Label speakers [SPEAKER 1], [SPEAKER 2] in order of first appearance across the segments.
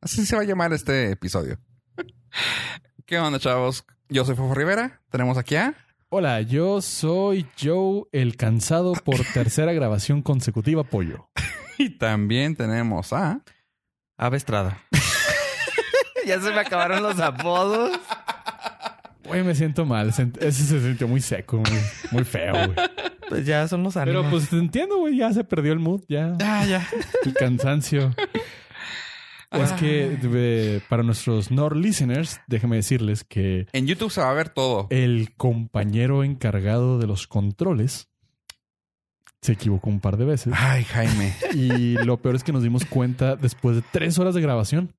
[SPEAKER 1] así se va a llamar este episodio. ¿Qué onda, chavos? Yo soy Fofo Rivera. Tenemos aquí a.
[SPEAKER 2] Hola, yo soy Joe, el cansado por tercera grabación consecutiva pollo.
[SPEAKER 1] Y también tenemos a.
[SPEAKER 3] Ave Estrada. ya se me acabaron los apodos.
[SPEAKER 2] Güey, me siento mal. Sent- Ese se sintió muy seco, muy, muy feo, güey.
[SPEAKER 3] Pues ya son los ánimos.
[SPEAKER 2] Pero pues te entiendo, güey. Ya se perdió el mood, ya.
[SPEAKER 3] Ya, ya.
[SPEAKER 2] El cansancio. Es que eh, para nuestros nor listeners, déjame decirles que
[SPEAKER 1] En YouTube se va a ver todo.
[SPEAKER 2] el compañero encargado de los controles se equivocó un par de veces.
[SPEAKER 1] Ay, Jaime.
[SPEAKER 2] Y lo peor es que nos dimos cuenta después de tres horas de grabación.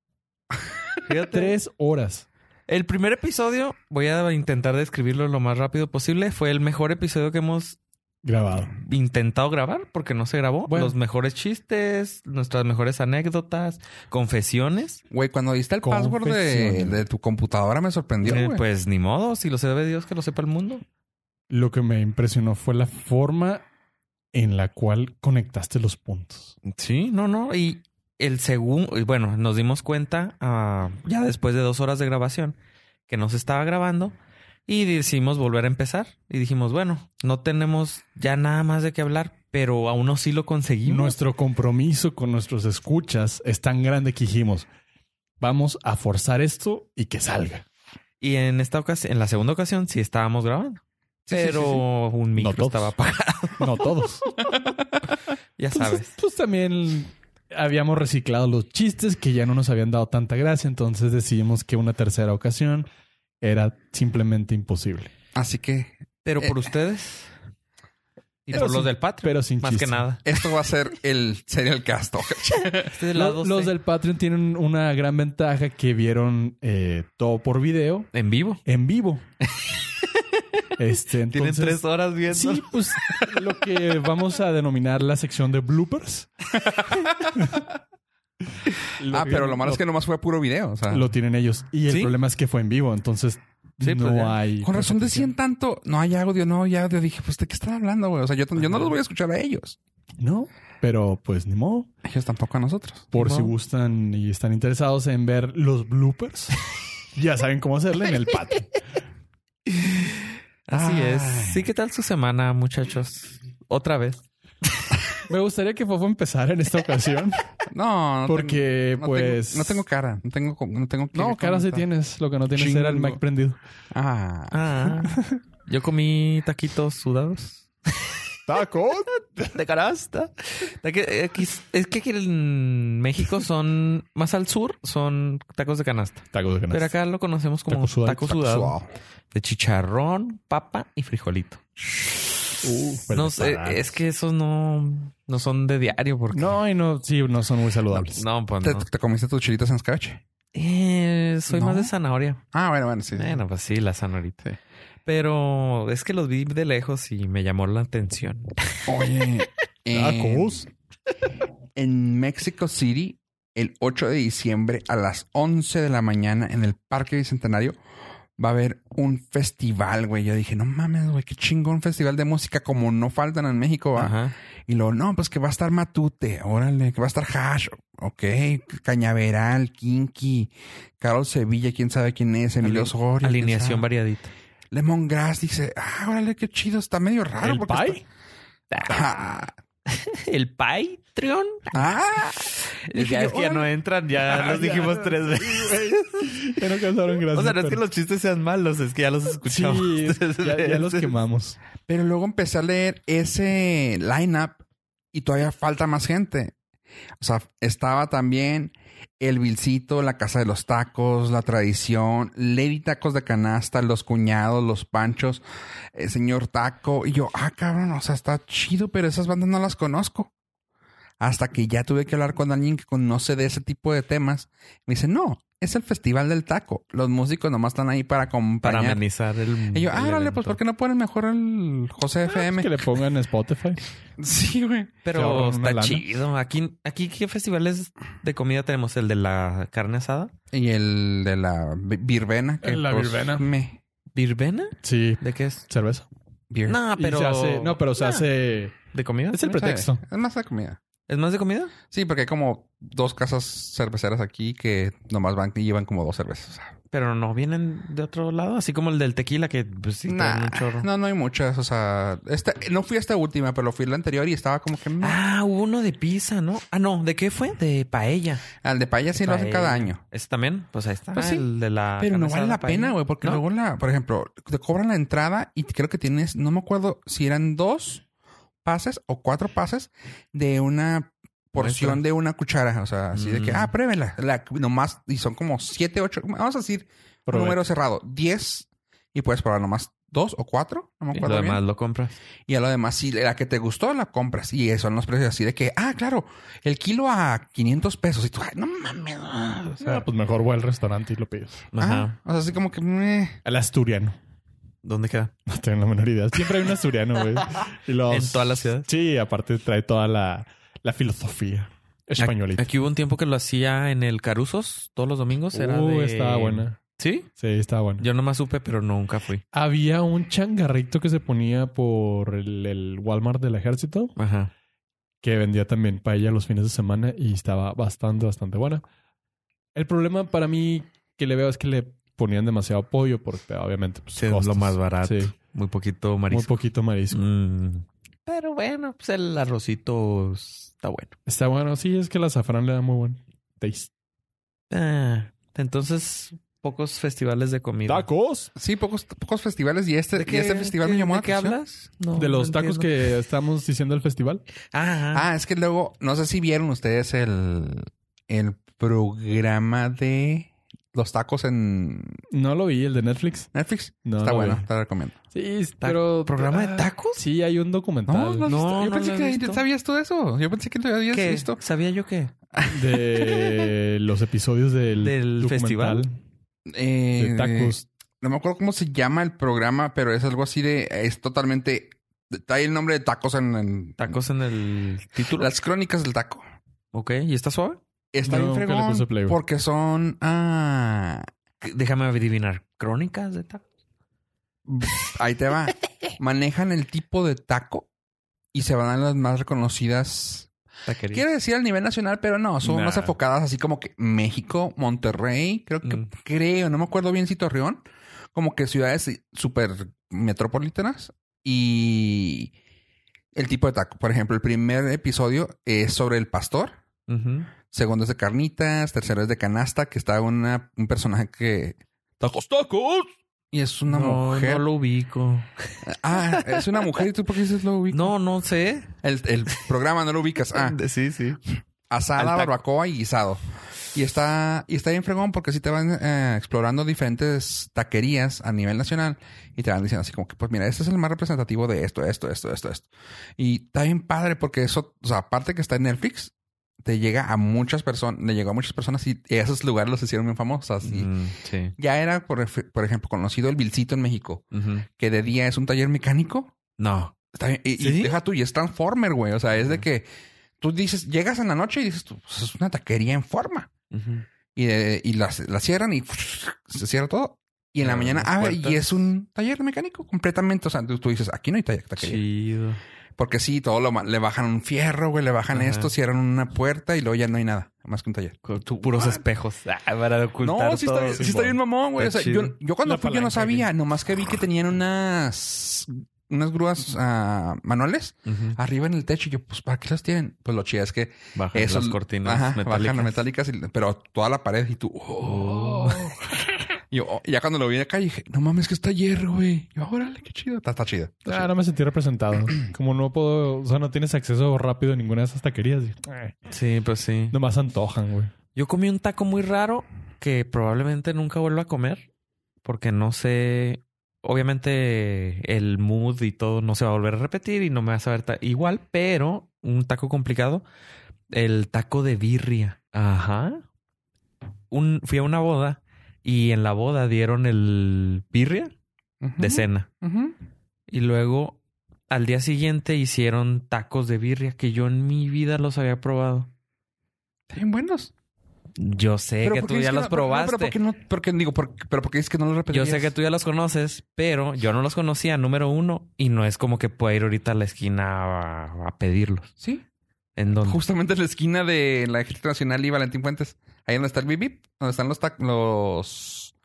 [SPEAKER 3] Fíjate.
[SPEAKER 2] Tres horas.
[SPEAKER 3] El primer episodio, voy a intentar describirlo lo más rápido posible. Fue el mejor episodio que hemos
[SPEAKER 2] Grabado.
[SPEAKER 3] intentado grabar porque no se grabó.
[SPEAKER 2] Bueno.
[SPEAKER 3] Los mejores chistes, nuestras mejores anécdotas, confesiones.
[SPEAKER 1] Güey, cuando diste el password de,
[SPEAKER 2] Confesiones.
[SPEAKER 1] de tu computadora me sorprendió,
[SPEAKER 3] Eh,
[SPEAKER 1] güey.
[SPEAKER 3] pues ni modo, si lo sabe Dios que lo sepa el mundo.
[SPEAKER 2] Lo que me impresionó fue la forma en la cual conectaste los puntos.
[SPEAKER 3] Sí, no, no. Y el segundo, bueno, nos dimos cuenta ah, ya después de dos horas de grabación que no se estaba grabando y decidimos volver a empezar. Y dijimos, bueno, no tenemos ya nada más de qué hablar, pero aún así lo
[SPEAKER 2] Y
[SPEAKER 3] conseguimos.
[SPEAKER 2] nuestro compromiso con nuestros escuchas es tan grande que dijimos, vamos a forzar esto y que salga.
[SPEAKER 3] Y en esta ocasión, en la segunda ocasión, sí estábamos grabando.
[SPEAKER 1] Sí, sí,
[SPEAKER 3] pero
[SPEAKER 1] sí,
[SPEAKER 3] un micro
[SPEAKER 2] todos.
[SPEAKER 3] estaba apagado.
[SPEAKER 2] No todos.
[SPEAKER 3] Ya
[SPEAKER 2] Entonces,
[SPEAKER 3] sabes.
[SPEAKER 2] pues también habíamos reciclado los chistes que ya no nos habían dado tanta gracia, entonces decidimos que una tercera ocasión era simplemente imposible.
[SPEAKER 1] Así que
[SPEAKER 3] Pero por ustedes y
[SPEAKER 2] eh, Pero
[SPEAKER 3] por los
[SPEAKER 2] sin-
[SPEAKER 3] del Patreon.
[SPEAKER 2] pero sin
[SPEAKER 3] más
[SPEAKER 2] chiste.
[SPEAKER 3] que nada.
[SPEAKER 1] esto va a ser el serial casto.
[SPEAKER 3] Este es el
[SPEAKER 2] Lo-
[SPEAKER 3] lado
[SPEAKER 2] los
[SPEAKER 3] C.
[SPEAKER 2] del Patreon tienen una gran ventaja que vieron eh, todo por video
[SPEAKER 3] en vivo.
[SPEAKER 2] en vivo. este,
[SPEAKER 3] Tienen
[SPEAKER 2] entonces,
[SPEAKER 3] tres horas viendo.
[SPEAKER 2] Sí, pues lo que vamos a denominar la sección de bloopers.
[SPEAKER 1] ah, pero lo malo es que nomás fue puro video. O sea,
[SPEAKER 2] lo tienen ellos. Y el
[SPEAKER 3] Sí.
[SPEAKER 2] problema es que fue en vivo, entonces
[SPEAKER 3] Sí, pues
[SPEAKER 2] no
[SPEAKER 3] ya.
[SPEAKER 2] hay.
[SPEAKER 1] con razón decían
[SPEAKER 2] competición.
[SPEAKER 1] tanto. No hay audio, no hay audio. Dije, pues, ¿de qué están hablando, güey? O sea, yo, yo no los voy a escuchar a ellos.
[SPEAKER 2] No, pero pues ni modo.
[SPEAKER 1] Ellos tampoco a nosotros.
[SPEAKER 2] Por
[SPEAKER 3] Ni
[SPEAKER 2] si
[SPEAKER 3] modo.
[SPEAKER 2] gustan y están interesados en ver los bloopers, ya saben cómo hacerle en el patio.
[SPEAKER 3] Así es.
[SPEAKER 1] Ay.
[SPEAKER 3] Sí, ¿qué tal su semana, muchachos? Otra vez.
[SPEAKER 2] Me gustaría que Fofo empezara en esta ocasión,
[SPEAKER 1] No, no tengo-
[SPEAKER 2] porque
[SPEAKER 1] no
[SPEAKER 2] pues.
[SPEAKER 1] tengo- no tengo cara. No tengo... co- No, tengo que
[SPEAKER 2] No, cara sí
[SPEAKER 1] comentar.
[SPEAKER 2] tienes. Lo que no tienes era el
[SPEAKER 1] Chingo.
[SPEAKER 2] Mac prendido.
[SPEAKER 1] Ah,
[SPEAKER 3] Ah, yo comí taquitos sudados
[SPEAKER 2] ¡Taco!
[SPEAKER 3] de canasta. Taque- eh, quis- Es que aquí en México son más al sur, son tacos de canasta.
[SPEAKER 2] Tacos de canasta.
[SPEAKER 3] Pero acá lo conocemos como
[SPEAKER 2] Taco
[SPEAKER 3] taco
[SPEAKER 2] sudado.
[SPEAKER 3] sudado,
[SPEAKER 2] Taco
[SPEAKER 1] suave.
[SPEAKER 3] de chicharrón, papa y frijolito.
[SPEAKER 2] Uf,
[SPEAKER 3] No sé, es que esos no, no son de diario porque no,
[SPEAKER 2] No, y no, sí, no son muy saludables.
[SPEAKER 3] pues
[SPEAKER 1] ¿Te,
[SPEAKER 3] no.
[SPEAKER 1] te comiste tus chilitos en scratch?
[SPEAKER 3] Eh, soy
[SPEAKER 1] ¿No?
[SPEAKER 3] más de zanahoria.
[SPEAKER 1] Ah, bueno, bueno, sí. sí.
[SPEAKER 3] Bueno, pues sí, la zanahorita.
[SPEAKER 1] Sí.
[SPEAKER 3] Pero es que los vi de lejos y me llamó la atención.
[SPEAKER 1] Oye,
[SPEAKER 2] Ah,
[SPEAKER 1] en,
[SPEAKER 2] Tacos.
[SPEAKER 1] en Mexico City, el 8 de diciembre a las 11 de la mañana en el Parque Bicentenario, va a haber un festival, güey. Yo dije, no mames, güey, qué chingón festival de música como no faltan en México, ¿va?
[SPEAKER 3] Ajá.
[SPEAKER 1] Y luego, no, pues que va a estar Matute, órale, que va a estar Hash, ok, Cañaveral, Kinky, Carol Sevilla, quién sabe quién es, Emilio
[SPEAKER 3] Ali-
[SPEAKER 1] Osorio. quién
[SPEAKER 3] Alineación
[SPEAKER 1] sabe.
[SPEAKER 3] variadita.
[SPEAKER 1] Lemon Grass dice, ah, órale, qué chido, está medio raro.
[SPEAKER 2] ¿El
[SPEAKER 1] porque
[SPEAKER 2] pie?
[SPEAKER 1] está- Ah,
[SPEAKER 3] El Patreon.
[SPEAKER 1] ah. Dije
[SPEAKER 3] Ya,
[SPEAKER 1] yo,
[SPEAKER 3] es que ya
[SPEAKER 1] órale.
[SPEAKER 3] no entran, ya los dijimos tres veces.
[SPEAKER 2] Ya no causaron gracia.
[SPEAKER 3] O sea, no es que
[SPEAKER 2] pero-
[SPEAKER 3] los chistes sean malos, es que ya los escuchamos.
[SPEAKER 2] Sí,
[SPEAKER 3] tres
[SPEAKER 2] ya, ya los
[SPEAKER 3] veces.
[SPEAKER 2] quemamos.
[SPEAKER 1] Pero luego empecé a leer ese lineup y todavía falta más gente. O sea, estaba también El Vilcito, La Casa de los Tacos, La Tradición, Lady Tacos de Canasta, Los Cuñados, Los Panchos, el Señor Taco. Y yo, ah, cabrón, o sea, está chido, pero esas bandas no las conozco. Hasta que ya tuve que hablar con alguien que conoce de ese tipo de temas. Me dice, no, es el Festival del Taco. Los músicos nomás están ahí para
[SPEAKER 3] Para
[SPEAKER 1] acompañar.
[SPEAKER 3] amenizar el.
[SPEAKER 1] Y yo,
[SPEAKER 3] el
[SPEAKER 1] ah, órale, pues,
[SPEAKER 3] evento.
[SPEAKER 1] ¿por qué no ponen mejor el José FM?
[SPEAKER 2] Es Ah, pues que le pongan Spotify.
[SPEAKER 1] Sí, güey.
[SPEAKER 2] se ahorran
[SPEAKER 3] Pero
[SPEAKER 2] una
[SPEAKER 3] está
[SPEAKER 2] lana.
[SPEAKER 3] chido. Aquí, aquí, ¿qué festivales de comida tenemos? El de la carne asada.
[SPEAKER 1] Y el de la vi- verbena. Que, pues,
[SPEAKER 2] La verbena.
[SPEAKER 1] Me,
[SPEAKER 3] ¿Birbena?
[SPEAKER 2] Sí,
[SPEAKER 3] ¿De qué es?
[SPEAKER 2] cerveza.
[SPEAKER 1] beer.
[SPEAKER 3] No,
[SPEAKER 2] Y
[SPEAKER 3] Ah, pero.
[SPEAKER 2] se hace- no, pero se
[SPEAKER 3] Ah,
[SPEAKER 2] hace.
[SPEAKER 3] ¿De comida?
[SPEAKER 2] Es el
[SPEAKER 1] Sí,
[SPEAKER 2] pretexto.
[SPEAKER 1] Es más la comida.
[SPEAKER 3] ¿Es más de comida?
[SPEAKER 1] Sí, porque hay como dos casas cerveceras aquí que nomás van y llevan como dos cervezas. O sea,
[SPEAKER 3] Pero no vienen de otro lado, así como el del tequila que pues, sí traen
[SPEAKER 1] nah,
[SPEAKER 3] un chorro.
[SPEAKER 1] no, no hay muchas. O sea, esta, no fui a esta última, pero fui a la anterior y estaba como que... "Mm, meh.
[SPEAKER 3] Ah, hubo uno de pizza, ¿no? Ah, no, ¿de qué fue? De paella.
[SPEAKER 1] Al de Paya sí lo hacen
[SPEAKER 3] Paella.
[SPEAKER 1] cada año.
[SPEAKER 3] ¿Ese también? Pues ahí está.
[SPEAKER 1] Pues sí,
[SPEAKER 3] el de la
[SPEAKER 1] Pero no
[SPEAKER 3] carne
[SPEAKER 1] vale
[SPEAKER 3] asada
[SPEAKER 1] la pena,
[SPEAKER 3] paella.
[SPEAKER 1] güey, porque
[SPEAKER 3] ¿No?
[SPEAKER 1] luego la, por ejemplo, te cobran la entrada y creo que tienes, no me acuerdo si eran dos pases o cuatro pases de una porción
[SPEAKER 3] Muestra.
[SPEAKER 1] de una cuchara. O sea, así de que,
[SPEAKER 3] Mm.
[SPEAKER 1] ah, pruébela. La, nomás, y son como siete, ocho, vamos a decir, un
[SPEAKER 2] Probé.
[SPEAKER 1] número cerrado, diez, y puedes probar nomás dos o cuatro, no me
[SPEAKER 3] Y
[SPEAKER 1] acuerdo
[SPEAKER 3] lo
[SPEAKER 1] bien.
[SPEAKER 3] demás lo compras.
[SPEAKER 1] Y a lo demás, si la que te gustó, la compras. Y son los precios así de que, ah, claro, el kilo a 500 pesos. Y tú, ay, no mames. ah, O sea,
[SPEAKER 2] Ah, pues mejor voy al restaurante y lo pides.
[SPEAKER 3] Ajá.
[SPEAKER 1] ah, o sea, así como que... meh.
[SPEAKER 2] Al asturiano.
[SPEAKER 3] ¿Dónde queda?
[SPEAKER 2] No tengo la menor idea. Siempre hay un asturiano, güey. Y los-
[SPEAKER 3] ¿En todas las ciudades?
[SPEAKER 2] Sí, aparte trae toda la, la filosofía españolita.
[SPEAKER 3] Aquí hubo un tiempo que lo hacía en el Caruzos todos los domingos. Era
[SPEAKER 2] Uh,
[SPEAKER 3] de-
[SPEAKER 2] estaba buena.
[SPEAKER 3] ¿Sí?
[SPEAKER 2] Sí, estaba buena.
[SPEAKER 3] Yo nomás supe, pero nunca fui.
[SPEAKER 2] Había un changarrito que se ponía por el, el Walmart del ejército
[SPEAKER 3] Ajá.
[SPEAKER 2] que vendía también paella los fines de semana y estaba bastante, bastante buena. El problema para mí que le veo es que le ponían demasiado pollo porque obviamente pues,
[SPEAKER 3] Sí, es lo
[SPEAKER 2] costos.
[SPEAKER 3] más barato.
[SPEAKER 2] Sí,
[SPEAKER 3] Muy poquito
[SPEAKER 2] muy
[SPEAKER 3] marisco.
[SPEAKER 2] poquito marisco.
[SPEAKER 3] Mm. Pero bueno, pues el arrocito está bueno.
[SPEAKER 2] Está bueno. Sí, es que el azafrán le da muy buen taste.
[SPEAKER 3] Ah, entonces, pocos festivales de comida.
[SPEAKER 2] ¡Tacos!
[SPEAKER 1] Sí, pocos, pocos festivales y este, y este festival me llamó la
[SPEAKER 3] ¿De qué
[SPEAKER 1] atención.
[SPEAKER 3] hablas? No,
[SPEAKER 2] De los
[SPEAKER 3] no
[SPEAKER 2] tacos
[SPEAKER 3] entiendo.
[SPEAKER 2] que estamos diciendo el festival.
[SPEAKER 3] Ah,
[SPEAKER 1] Ah, es que luego, no sé si vieron ustedes el, el programa de los tacos en
[SPEAKER 2] No lo vi, el de Netflix.
[SPEAKER 1] Netflix.
[SPEAKER 2] No,
[SPEAKER 1] Está
[SPEAKER 2] lo
[SPEAKER 1] bueno,
[SPEAKER 2] vi.
[SPEAKER 1] te lo recomiendo.
[SPEAKER 2] Sí,
[SPEAKER 3] ta-
[SPEAKER 2] pero...
[SPEAKER 3] ¿Programa de
[SPEAKER 2] ah,
[SPEAKER 3] tacos?
[SPEAKER 2] Sí, hay un
[SPEAKER 1] No,
[SPEAKER 2] documental
[SPEAKER 1] no,
[SPEAKER 3] No,
[SPEAKER 1] yo
[SPEAKER 3] no
[SPEAKER 1] pensé
[SPEAKER 3] lo he
[SPEAKER 1] que
[SPEAKER 3] visto.
[SPEAKER 1] sabías tú eso. Yo pensé que lo habías
[SPEAKER 3] ¿Qué?
[SPEAKER 1] visto.
[SPEAKER 3] ¿Sabía yo qué?
[SPEAKER 2] de los episodios del,
[SPEAKER 3] Del
[SPEAKER 2] documental
[SPEAKER 1] Eh,
[SPEAKER 2] de tacos.
[SPEAKER 1] No me acuerdo cómo se llama el programa, pero es algo así de. Es totalmente. Trae el nombre de tacos en. en-
[SPEAKER 3] Tacos en el título.
[SPEAKER 1] Las crónicas del taco.
[SPEAKER 3] Ok, ¿y está suave?
[SPEAKER 1] Está
[SPEAKER 2] No,
[SPEAKER 1] bien
[SPEAKER 2] nunca le
[SPEAKER 1] fregón.
[SPEAKER 2] puse play, güey.
[SPEAKER 1] porque son. Ah,
[SPEAKER 3] Déjame adivinar. ¿Crónicas de tacos?
[SPEAKER 1] Ahí te va. Manejan el tipo de taco y se van a las más reconocidas.
[SPEAKER 3] Taquerías.
[SPEAKER 1] Quiero decir al nivel nacional, pero no, son
[SPEAKER 2] Nah.
[SPEAKER 1] más enfocadas así como que México, Monterrey, creo que,
[SPEAKER 3] Mm.
[SPEAKER 1] creo, no me acuerdo bien si Torreón, como que ciudades súper metropolitanas y el tipo de taco. Por ejemplo, el primer episodio es sobre el pastor.
[SPEAKER 3] Ujú.
[SPEAKER 1] Segundo es de carnitas, tercero es de canasta, que está una, un personaje que... ¡Tacos, tacos! Y es una
[SPEAKER 3] no,
[SPEAKER 1] mujer.
[SPEAKER 3] no lo ubico.
[SPEAKER 1] Ah, es una mujer y tú por qué dices lo ubicas.
[SPEAKER 3] No, no sé.
[SPEAKER 1] El, el programa no lo ubicas. Ah,
[SPEAKER 2] Mm.
[SPEAKER 3] Sí, sí.
[SPEAKER 1] asada,
[SPEAKER 3] Al taco.
[SPEAKER 1] barbacoa y guisado. Y está, y está bien fregón porque sí te van eh, explorando diferentes taquerías a nivel nacional y te van diciendo así como que, pues mira, este es el más representativo de esto, esto, esto, esto, esto. Y está bien padre porque eso, o sea, aparte que está en Netflix, te llega a muchas personas, le llegó a muchas personas y esos lugares los hicieron bien famosos. Y
[SPEAKER 3] Mm, sí.
[SPEAKER 1] ya era, por, ef- por ejemplo, conocido el Vilcito en México,
[SPEAKER 3] Ujú.
[SPEAKER 1] que de día es un taller mecánico
[SPEAKER 3] No.
[SPEAKER 1] Está bien. Y, y
[SPEAKER 3] ¿Sí?
[SPEAKER 1] deja tú, y es Transformer, güey. O sea, es de
[SPEAKER 3] Ujú.
[SPEAKER 1] que tú dices, llegas en la noche y dices, tú, pues, es una taquería en forma.
[SPEAKER 3] Ujú.
[SPEAKER 1] Y, eh, y la, la cierran y se cierra todo. Y en la
[SPEAKER 3] Abren
[SPEAKER 1] mañana,
[SPEAKER 3] las
[SPEAKER 1] ah,
[SPEAKER 3] puertas.
[SPEAKER 1] y es un taller mecánico completamente. O sea, tú, tú dices, aquí no hay ta- taquería.
[SPEAKER 3] Chido.
[SPEAKER 1] Porque sí, todo lo ma- le bajan un fierro, güey, le bajan
[SPEAKER 3] Ajá.
[SPEAKER 1] esto, cierran una puerta y luego ya no hay nada, más que un taller.
[SPEAKER 3] Con tu- puros espejos. Ah, para ocultar
[SPEAKER 1] No, sí está,
[SPEAKER 3] todo.
[SPEAKER 1] bien- sí está bien mamón, güey. O
[SPEAKER 3] Está
[SPEAKER 1] sea, yo,
[SPEAKER 3] chido.
[SPEAKER 1] yo cuando
[SPEAKER 2] Una
[SPEAKER 1] fui yo no
[SPEAKER 2] palanca,
[SPEAKER 1] sabía, nomás que vi que tenían unas, unas grúas ah, manuales
[SPEAKER 3] Ujú.
[SPEAKER 1] arriba en el techo. Y yo, pues, ¿para qué las tienen? Pues lo chido es que
[SPEAKER 3] Bajan
[SPEAKER 1] eso-
[SPEAKER 3] las cortinas
[SPEAKER 1] ajá,
[SPEAKER 3] metálicas.
[SPEAKER 1] bajan las metálicas, y- pero toda la pared y tú. oh. Y yo, oh, ya cuando lo vi acá dije, no mames, que está hierro, güey. Y yo, órale, qué chido. Está, está chido. está
[SPEAKER 2] Ah,
[SPEAKER 1] chido.
[SPEAKER 2] no me sentí representado. Como no puedo, o sea, no tienes acceso rápido a ninguna de esas taquerías. dije, "Eh,
[SPEAKER 3] Sí, pues sí.
[SPEAKER 2] Nomás antojan, güey.
[SPEAKER 3] Yo comí un taco muy raro que probablemente nunca vuelva a comer porque no sé. Obviamente el mood y todo no se va a volver a repetir y no me va a saber ta- igual, pero un taco complicado, el taco de birria. Ajá. Un, fui a una boda y en la boda dieron el birria
[SPEAKER 1] Ujú,
[SPEAKER 3] de cena.
[SPEAKER 1] ujú.
[SPEAKER 3] Y luego al día siguiente hicieron tacos de birria que yo en mi vida los había probado.
[SPEAKER 1] Están bien buenos.
[SPEAKER 3] Yo sé
[SPEAKER 1] Pero
[SPEAKER 3] Eh, que
[SPEAKER 1] ¿por
[SPEAKER 3] tú
[SPEAKER 1] qué
[SPEAKER 3] ya
[SPEAKER 1] dices que
[SPEAKER 3] los
[SPEAKER 1] no- por-
[SPEAKER 3] probaste.
[SPEAKER 1] No, pero porque no, porque digo, por- pero porque es que no lo
[SPEAKER 3] Yo
[SPEAKER 1] repetirías.
[SPEAKER 3] sé que tú ya los conoces, pero yo no los conocía, número uno, y Pues no es como que pueda ir ahorita a la esquina a, a pedirlos.
[SPEAKER 1] Sí.
[SPEAKER 3] ¿En dónde?
[SPEAKER 1] Justamente en la esquina de la Ejército Nacional y Valentín Fuentes. Ahí donde está el Bip Bip, donde están los, tac- los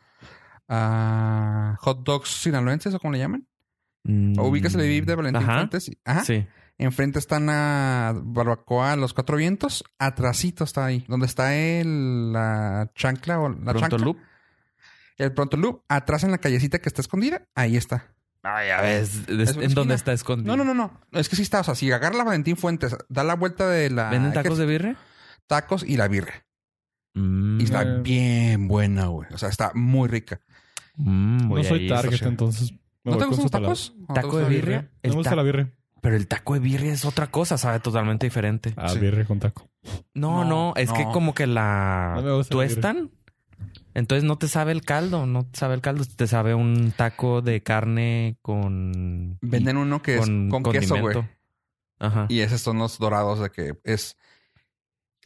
[SPEAKER 1] ah, hot dogs sinaloenses o como le llaman. ¿O ubicas el Bip Bip de Valentín
[SPEAKER 3] Mm, Ajá.
[SPEAKER 1] Fuentes? Ajá.
[SPEAKER 3] Sí.
[SPEAKER 1] Enfrente están la Barbacoa Los Cuatro Vientos. Atrasito está ahí, donde está el, la chancla o la
[SPEAKER 3] Pronto
[SPEAKER 1] chancla.
[SPEAKER 3] Loop.
[SPEAKER 1] El Pronto Loop. Atrás en la callecita que está escondida. Ahí está.
[SPEAKER 3] Ay, a ver, es- es-
[SPEAKER 1] una
[SPEAKER 3] ¿en dónde
[SPEAKER 1] esquina.
[SPEAKER 3] está escondido?
[SPEAKER 1] No, no, no, no. Es que sí está. O sea, si agarra la Valentín Fuentes, da la vuelta de la.
[SPEAKER 3] ¿Venden tacos de birre?
[SPEAKER 1] tacos y la birra.
[SPEAKER 3] Mm,
[SPEAKER 1] Y está
[SPEAKER 2] Eh.
[SPEAKER 1] bien buena, güey. O sea, está muy rica.
[SPEAKER 3] mm, voy
[SPEAKER 2] No soy
[SPEAKER 3] ahí,
[SPEAKER 2] target,
[SPEAKER 3] socio.
[SPEAKER 2] entonces. me
[SPEAKER 1] ¿No te
[SPEAKER 2] voy
[SPEAKER 1] gustan
[SPEAKER 2] con
[SPEAKER 1] los
[SPEAKER 2] su
[SPEAKER 1] tacos? ¿O
[SPEAKER 2] palabra. ¿Eh?
[SPEAKER 1] no te
[SPEAKER 3] ¿Taco
[SPEAKER 1] gusta
[SPEAKER 3] de
[SPEAKER 1] la
[SPEAKER 3] birria?
[SPEAKER 2] No
[SPEAKER 3] El
[SPEAKER 2] me gusta
[SPEAKER 3] ta-
[SPEAKER 2] la birre.
[SPEAKER 3] Pero el taco de birria es otra cosa, sabe totalmente diferente.
[SPEAKER 2] Ah,
[SPEAKER 1] Sí.
[SPEAKER 2] birre con taco.
[SPEAKER 1] No,
[SPEAKER 3] No, no, es que
[SPEAKER 1] no.
[SPEAKER 3] como que la
[SPEAKER 2] No me gusta la birria.
[SPEAKER 3] tuestan. Entonces no te sabe el caldo, no te sabe el caldo, te sabe un taco de carne con
[SPEAKER 1] Venden uno que es con queso, güey.
[SPEAKER 3] condimento. Ajá.
[SPEAKER 1] Y esos son los dorados de que es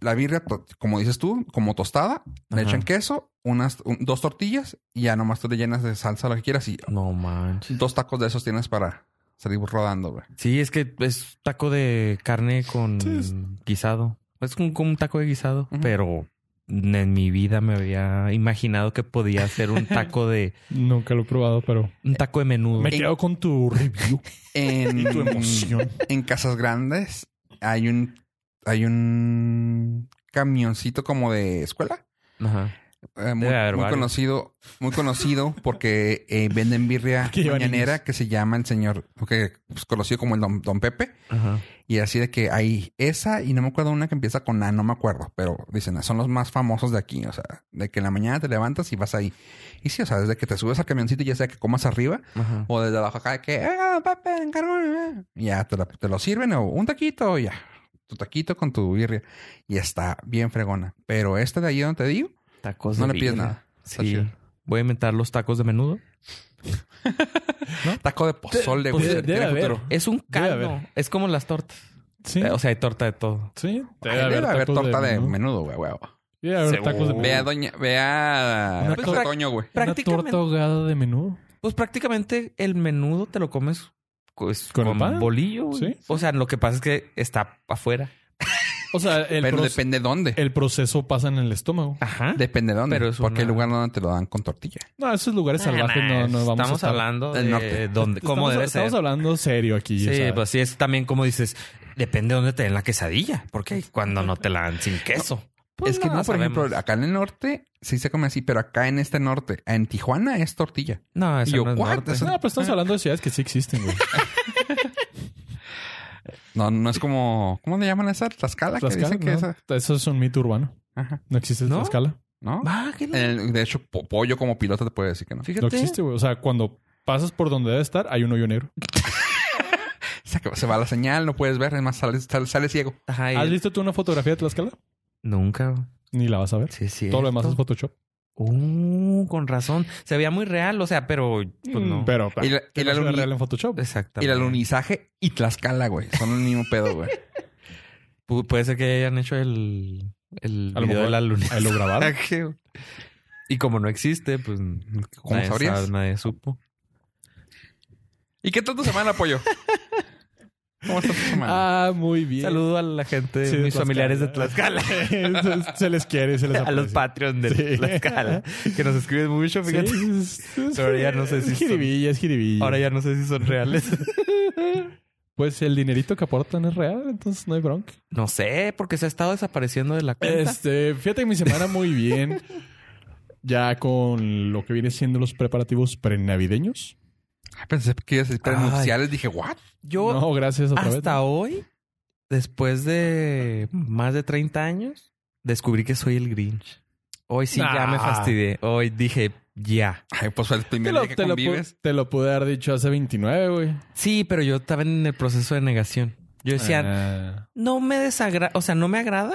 [SPEAKER 1] la birria, to- como dices tú, como tostada. Le
[SPEAKER 3] Ajá.
[SPEAKER 1] echan queso, unas, un- dos tortillas y ya nomás tú le llenas de salsa lo que quieras y
[SPEAKER 3] No manches.
[SPEAKER 1] dos tacos de esos tienes para salir rodando, güey.
[SPEAKER 3] Sí, es que es taco de carne con
[SPEAKER 2] Sí, es-
[SPEAKER 3] guisado. Es como, como un taco de guisado,
[SPEAKER 1] Ujú.
[SPEAKER 3] pero en mi vida me había imaginado que podía hacer un taco de
[SPEAKER 2] Nunca lo he probado, pero.
[SPEAKER 3] un taco de menudo.
[SPEAKER 2] Me quedo con tu review
[SPEAKER 1] En,
[SPEAKER 2] y tu emoción.
[SPEAKER 1] en Casas Grandes hay un hay un camioncito como de escuela.
[SPEAKER 3] Ajá.
[SPEAKER 1] Eh, muy,
[SPEAKER 3] Debe haber
[SPEAKER 1] muy
[SPEAKER 3] varios.
[SPEAKER 1] conocido, muy conocido porque eh, venden birria
[SPEAKER 2] Porque llevan
[SPEAKER 1] mañanera
[SPEAKER 2] niños.
[SPEAKER 1] que se llama el señor, que es conocido como el don, Don Pepe.
[SPEAKER 3] Ajá.
[SPEAKER 1] Y así de que hay esa y no me acuerdo una que empieza con A, no me acuerdo, pero dicen, "Ah, son los más famosos de aquí. O sea, de que en la mañana te levantas y vas ahí. Y sí, o sea, desde que te subes al camioncito, ya sea que comas arriba
[SPEAKER 3] Ajá.
[SPEAKER 1] o desde abajo acá, de que, ah, Pepe, encargo. eh". Ya te, la- te lo sirven o un taquito, o ya. Tu taquito con tu birria. Y está bien fregona. Pero esta de ahí donde te digo,
[SPEAKER 3] Tacos
[SPEAKER 1] no
[SPEAKER 3] de
[SPEAKER 1] le pides
[SPEAKER 3] birria.
[SPEAKER 1] nada. Está
[SPEAKER 3] Sí.
[SPEAKER 1] chido.
[SPEAKER 3] Voy a inventar los tacos de menudo.
[SPEAKER 1] Taco de pozole, güey.
[SPEAKER 2] Pues,
[SPEAKER 1] Tiene
[SPEAKER 2] debe haber.
[SPEAKER 1] futuro.
[SPEAKER 3] Es un
[SPEAKER 2] Debe
[SPEAKER 3] caldo.
[SPEAKER 2] haber.
[SPEAKER 3] Es como las tortas.
[SPEAKER 2] Sí.
[SPEAKER 3] Eh, O sea, hay torta de todo.
[SPEAKER 2] Sí.
[SPEAKER 1] Ahí Debe haber torta de menudo, güey, güey.
[SPEAKER 2] Debe haber tacos de
[SPEAKER 1] Ve a
[SPEAKER 2] menudo.
[SPEAKER 1] doña, ve a Casa
[SPEAKER 2] Una
[SPEAKER 1] de
[SPEAKER 3] torta-
[SPEAKER 1] Toño, güey.
[SPEAKER 2] Una
[SPEAKER 3] Prácticamente-
[SPEAKER 2] torta ahogada de menudo.
[SPEAKER 3] Pues prácticamente el menudo te lo comes pues,
[SPEAKER 2] ¿Con
[SPEAKER 3] con,
[SPEAKER 2] el pan?
[SPEAKER 3] bolillo. güey.
[SPEAKER 2] Sí.
[SPEAKER 3] O sea, lo que pasa es que está afuera.
[SPEAKER 2] O sea, el,
[SPEAKER 1] Pero
[SPEAKER 2] proce-
[SPEAKER 1] depende dónde.
[SPEAKER 2] el proceso pasa en el estómago.
[SPEAKER 3] Ajá.
[SPEAKER 1] Depende dónde.
[SPEAKER 3] Pero es
[SPEAKER 1] Porque el
[SPEAKER 3] una-
[SPEAKER 1] lugar donde te lo dan con tortilla.
[SPEAKER 2] No, esos lugares
[SPEAKER 3] Nah,
[SPEAKER 2] salvajes no,
[SPEAKER 3] nah,
[SPEAKER 2] no vamos a
[SPEAKER 3] Estamos
[SPEAKER 2] estar.
[SPEAKER 3] hablando
[SPEAKER 1] del
[SPEAKER 3] de
[SPEAKER 1] norte.
[SPEAKER 3] dónde, cómo
[SPEAKER 2] estamos,
[SPEAKER 3] debe
[SPEAKER 2] estamos
[SPEAKER 3] ser.
[SPEAKER 2] hablando serio aquí.
[SPEAKER 3] Sí,
[SPEAKER 2] o sea,
[SPEAKER 3] pues sí, es también como dices, depende de dónde te den la quesadilla, porque cuando no te la dan sin queso. Pues
[SPEAKER 1] es que no, por
[SPEAKER 3] sabemos.
[SPEAKER 1] ejemplo, acá en el norte sí se come así, pero acá en este norte, en Tijuana es tortilla.
[SPEAKER 3] No,
[SPEAKER 1] Y
[SPEAKER 3] eso
[SPEAKER 1] yo,
[SPEAKER 3] no es
[SPEAKER 1] ¿what?
[SPEAKER 3] norte.
[SPEAKER 1] Eso-
[SPEAKER 2] No, pues estamos hablando de ciudades que sí existen, güey.
[SPEAKER 1] No, no es como, ¿cómo le llaman esa? Tlaxcala, que
[SPEAKER 2] Tlaxcala,
[SPEAKER 1] dicen que
[SPEAKER 2] ¿no?
[SPEAKER 1] esa.
[SPEAKER 2] Eso es un mito urbano.
[SPEAKER 1] Ajá.
[SPEAKER 2] No existe
[SPEAKER 3] ¿No?
[SPEAKER 2] Tlaxcala.
[SPEAKER 1] ¿No?
[SPEAKER 3] Ah, qué
[SPEAKER 2] Eh,
[SPEAKER 3] la-
[SPEAKER 1] En el- de hecho, po- pollo como piloto te puede decir que no.
[SPEAKER 3] Fíjate.
[SPEAKER 2] No existe, güey. O sea, cuando pasas por donde debe estar, hay un hoyo negro.
[SPEAKER 1] Se, acaba- se va la señal, no puedes ver, es más, sales, sales, sales ciego.
[SPEAKER 3] Ajá, y-
[SPEAKER 2] ¿Has visto tú una fotografía de Tlaxcala?
[SPEAKER 3] Nunca.
[SPEAKER 2] Ni la vas a ver.
[SPEAKER 3] Sí, sí.
[SPEAKER 2] Todo lo demás es Photoshop.
[SPEAKER 3] Uh, con razón. Se veía muy real, o sea, pero pues no.
[SPEAKER 2] Mm. Pero
[SPEAKER 1] Y la-
[SPEAKER 2] ¿qué
[SPEAKER 1] y la
[SPEAKER 2] no se ve
[SPEAKER 1] luni-
[SPEAKER 2] real en Photoshop.
[SPEAKER 1] Y
[SPEAKER 3] Exactamente.
[SPEAKER 1] el alunizaje y Tlaxcala, güey. Son el mismo pedo, güey.
[SPEAKER 3] Pu- Puede ser que hayan hecho el, el
[SPEAKER 2] A lo
[SPEAKER 3] video
[SPEAKER 2] mejor
[SPEAKER 3] de la luna.
[SPEAKER 2] ahí lo
[SPEAKER 3] Ah,
[SPEAKER 2] grabaron.
[SPEAKER 3] Y como no existe, pues
[SPEAKER 1] ¿Cómo
[SPEAKER 3] nadie
[SPEAKER 1] sabrías?
[SPEAKER 3] sabe, nadie supo.
[SPEAKER 1] ¿Y qué tanto semana, pollo? ¿Cómo está tu semana?
[SPEAKER 2] Ah, muy bien.
[SPEAKER 3] Saludo a la gente,
[SPEAKER 2] Sí, de
[SPEAKER 3] mis
[SPEAKER 2] Tlaxcala.
[SPEAKER 3] familiares de Tlaxcala.
[SPEAKER 2] se les quiere, se les
[SPEAKER 3] a los
[SPEAKER 2] aprecia.
[SPEAKER 3] Patreons de
[SPEAKER 2] Sí.
[SPEAKER 3] Tlaxcala. Que nos escriben mucho,
[SPEAKER 2] Sí,
[SPEAKER 3] fíjate.
[SPEAKER 2] es- es-
[SPEAKER 3] Pero ya no sé si
[SPEAKER 2] Es
[SPEAKER 3] son-
[SPEAKER 2] jiribilla, es jiribilla.
[SPEAKER 3] Ahora ya no sé si son reales.
[SPEAKER 2] Pues el dinerito que aportan es real, entonces no hay bronca.
[SPEAKER 3] No sé, porque se ha estado desapareciendo de la cuenta.
[SPEAKER 2] Este, fíjate que mi semana muy bien. Ya con lo que viene siendo los preparativos prenavideños.
[SPEAKER 1] Pensé que ibas a decir
[SPEAKER 3] Ay.
[SPEAKER 1] nupciales. Dije, ¿what?
[SPEAKER 3] Yo
[SPEAKER 2] no, gracias otra vez.
[SPEAKER 3] Hasta hoy, después de más de 30 años, descubrí que soy el Grinch. Hoy sí ya me
[SPEAKER 2] Ah.
[SPEAKER 3] fastidié. Hoy dije ya.
[SPEAKER 1] Ay, pues fue el
[SPEAKER 2] Te
[SPEAKER 1] primer
[SPEAKER 2] lo,
[SPEAKER 1] día que
[SPEAKER 2] te lo pu-
[SPEAKER 1] convives.
[SPEAKER 2] te lo pude haber dicho hace 29, güey.
[SPEAKER 3] Sí, pero yo estaba en el proceso de negación. Yo decía,
[SPEAKER 2] Ah,
[SPEAKER 3] no me desagrada, o sea, no me agrada,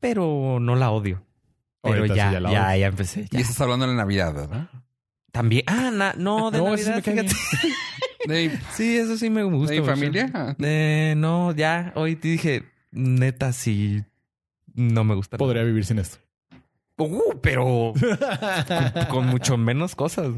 [SPEAKER 3] pero no la odio. Pero
[SPEAKER 2] ahorita sí
[SPEAKER 3] ya,
[SPEAKER 2] la
[SPEAKER 3] ya,
[SPEAKER 2] odio.
[SPEAKER 3] ya empecé. ya.
[SPEAKER 1] Y estás hablando de la Navidad, ¿verdad?
[SPEAKER 3] También, ah, na- no, de
[SPEAKER 2] No, ese sí
[SPEAKER 3] Navidad,
[SPEAKER 2] me cae bien.
[SPEAKER 3] fíjate.
[SPEAKER 1] De,
[SPEAKER 3] Sí, eso sí me gusta.
[SPEAKER 1] de mi
[SPEAKER 3] mucho.
[SPEAKER 1] familia. Ah,
[SPEAKER 3] Eh, no, ya, hoy te dije, neta, sí, no me gusta.
[SPEAKER 2] Podría vivir sin esto.
[SPEAKER 3] Uh, pero con, con mucho menos cosas.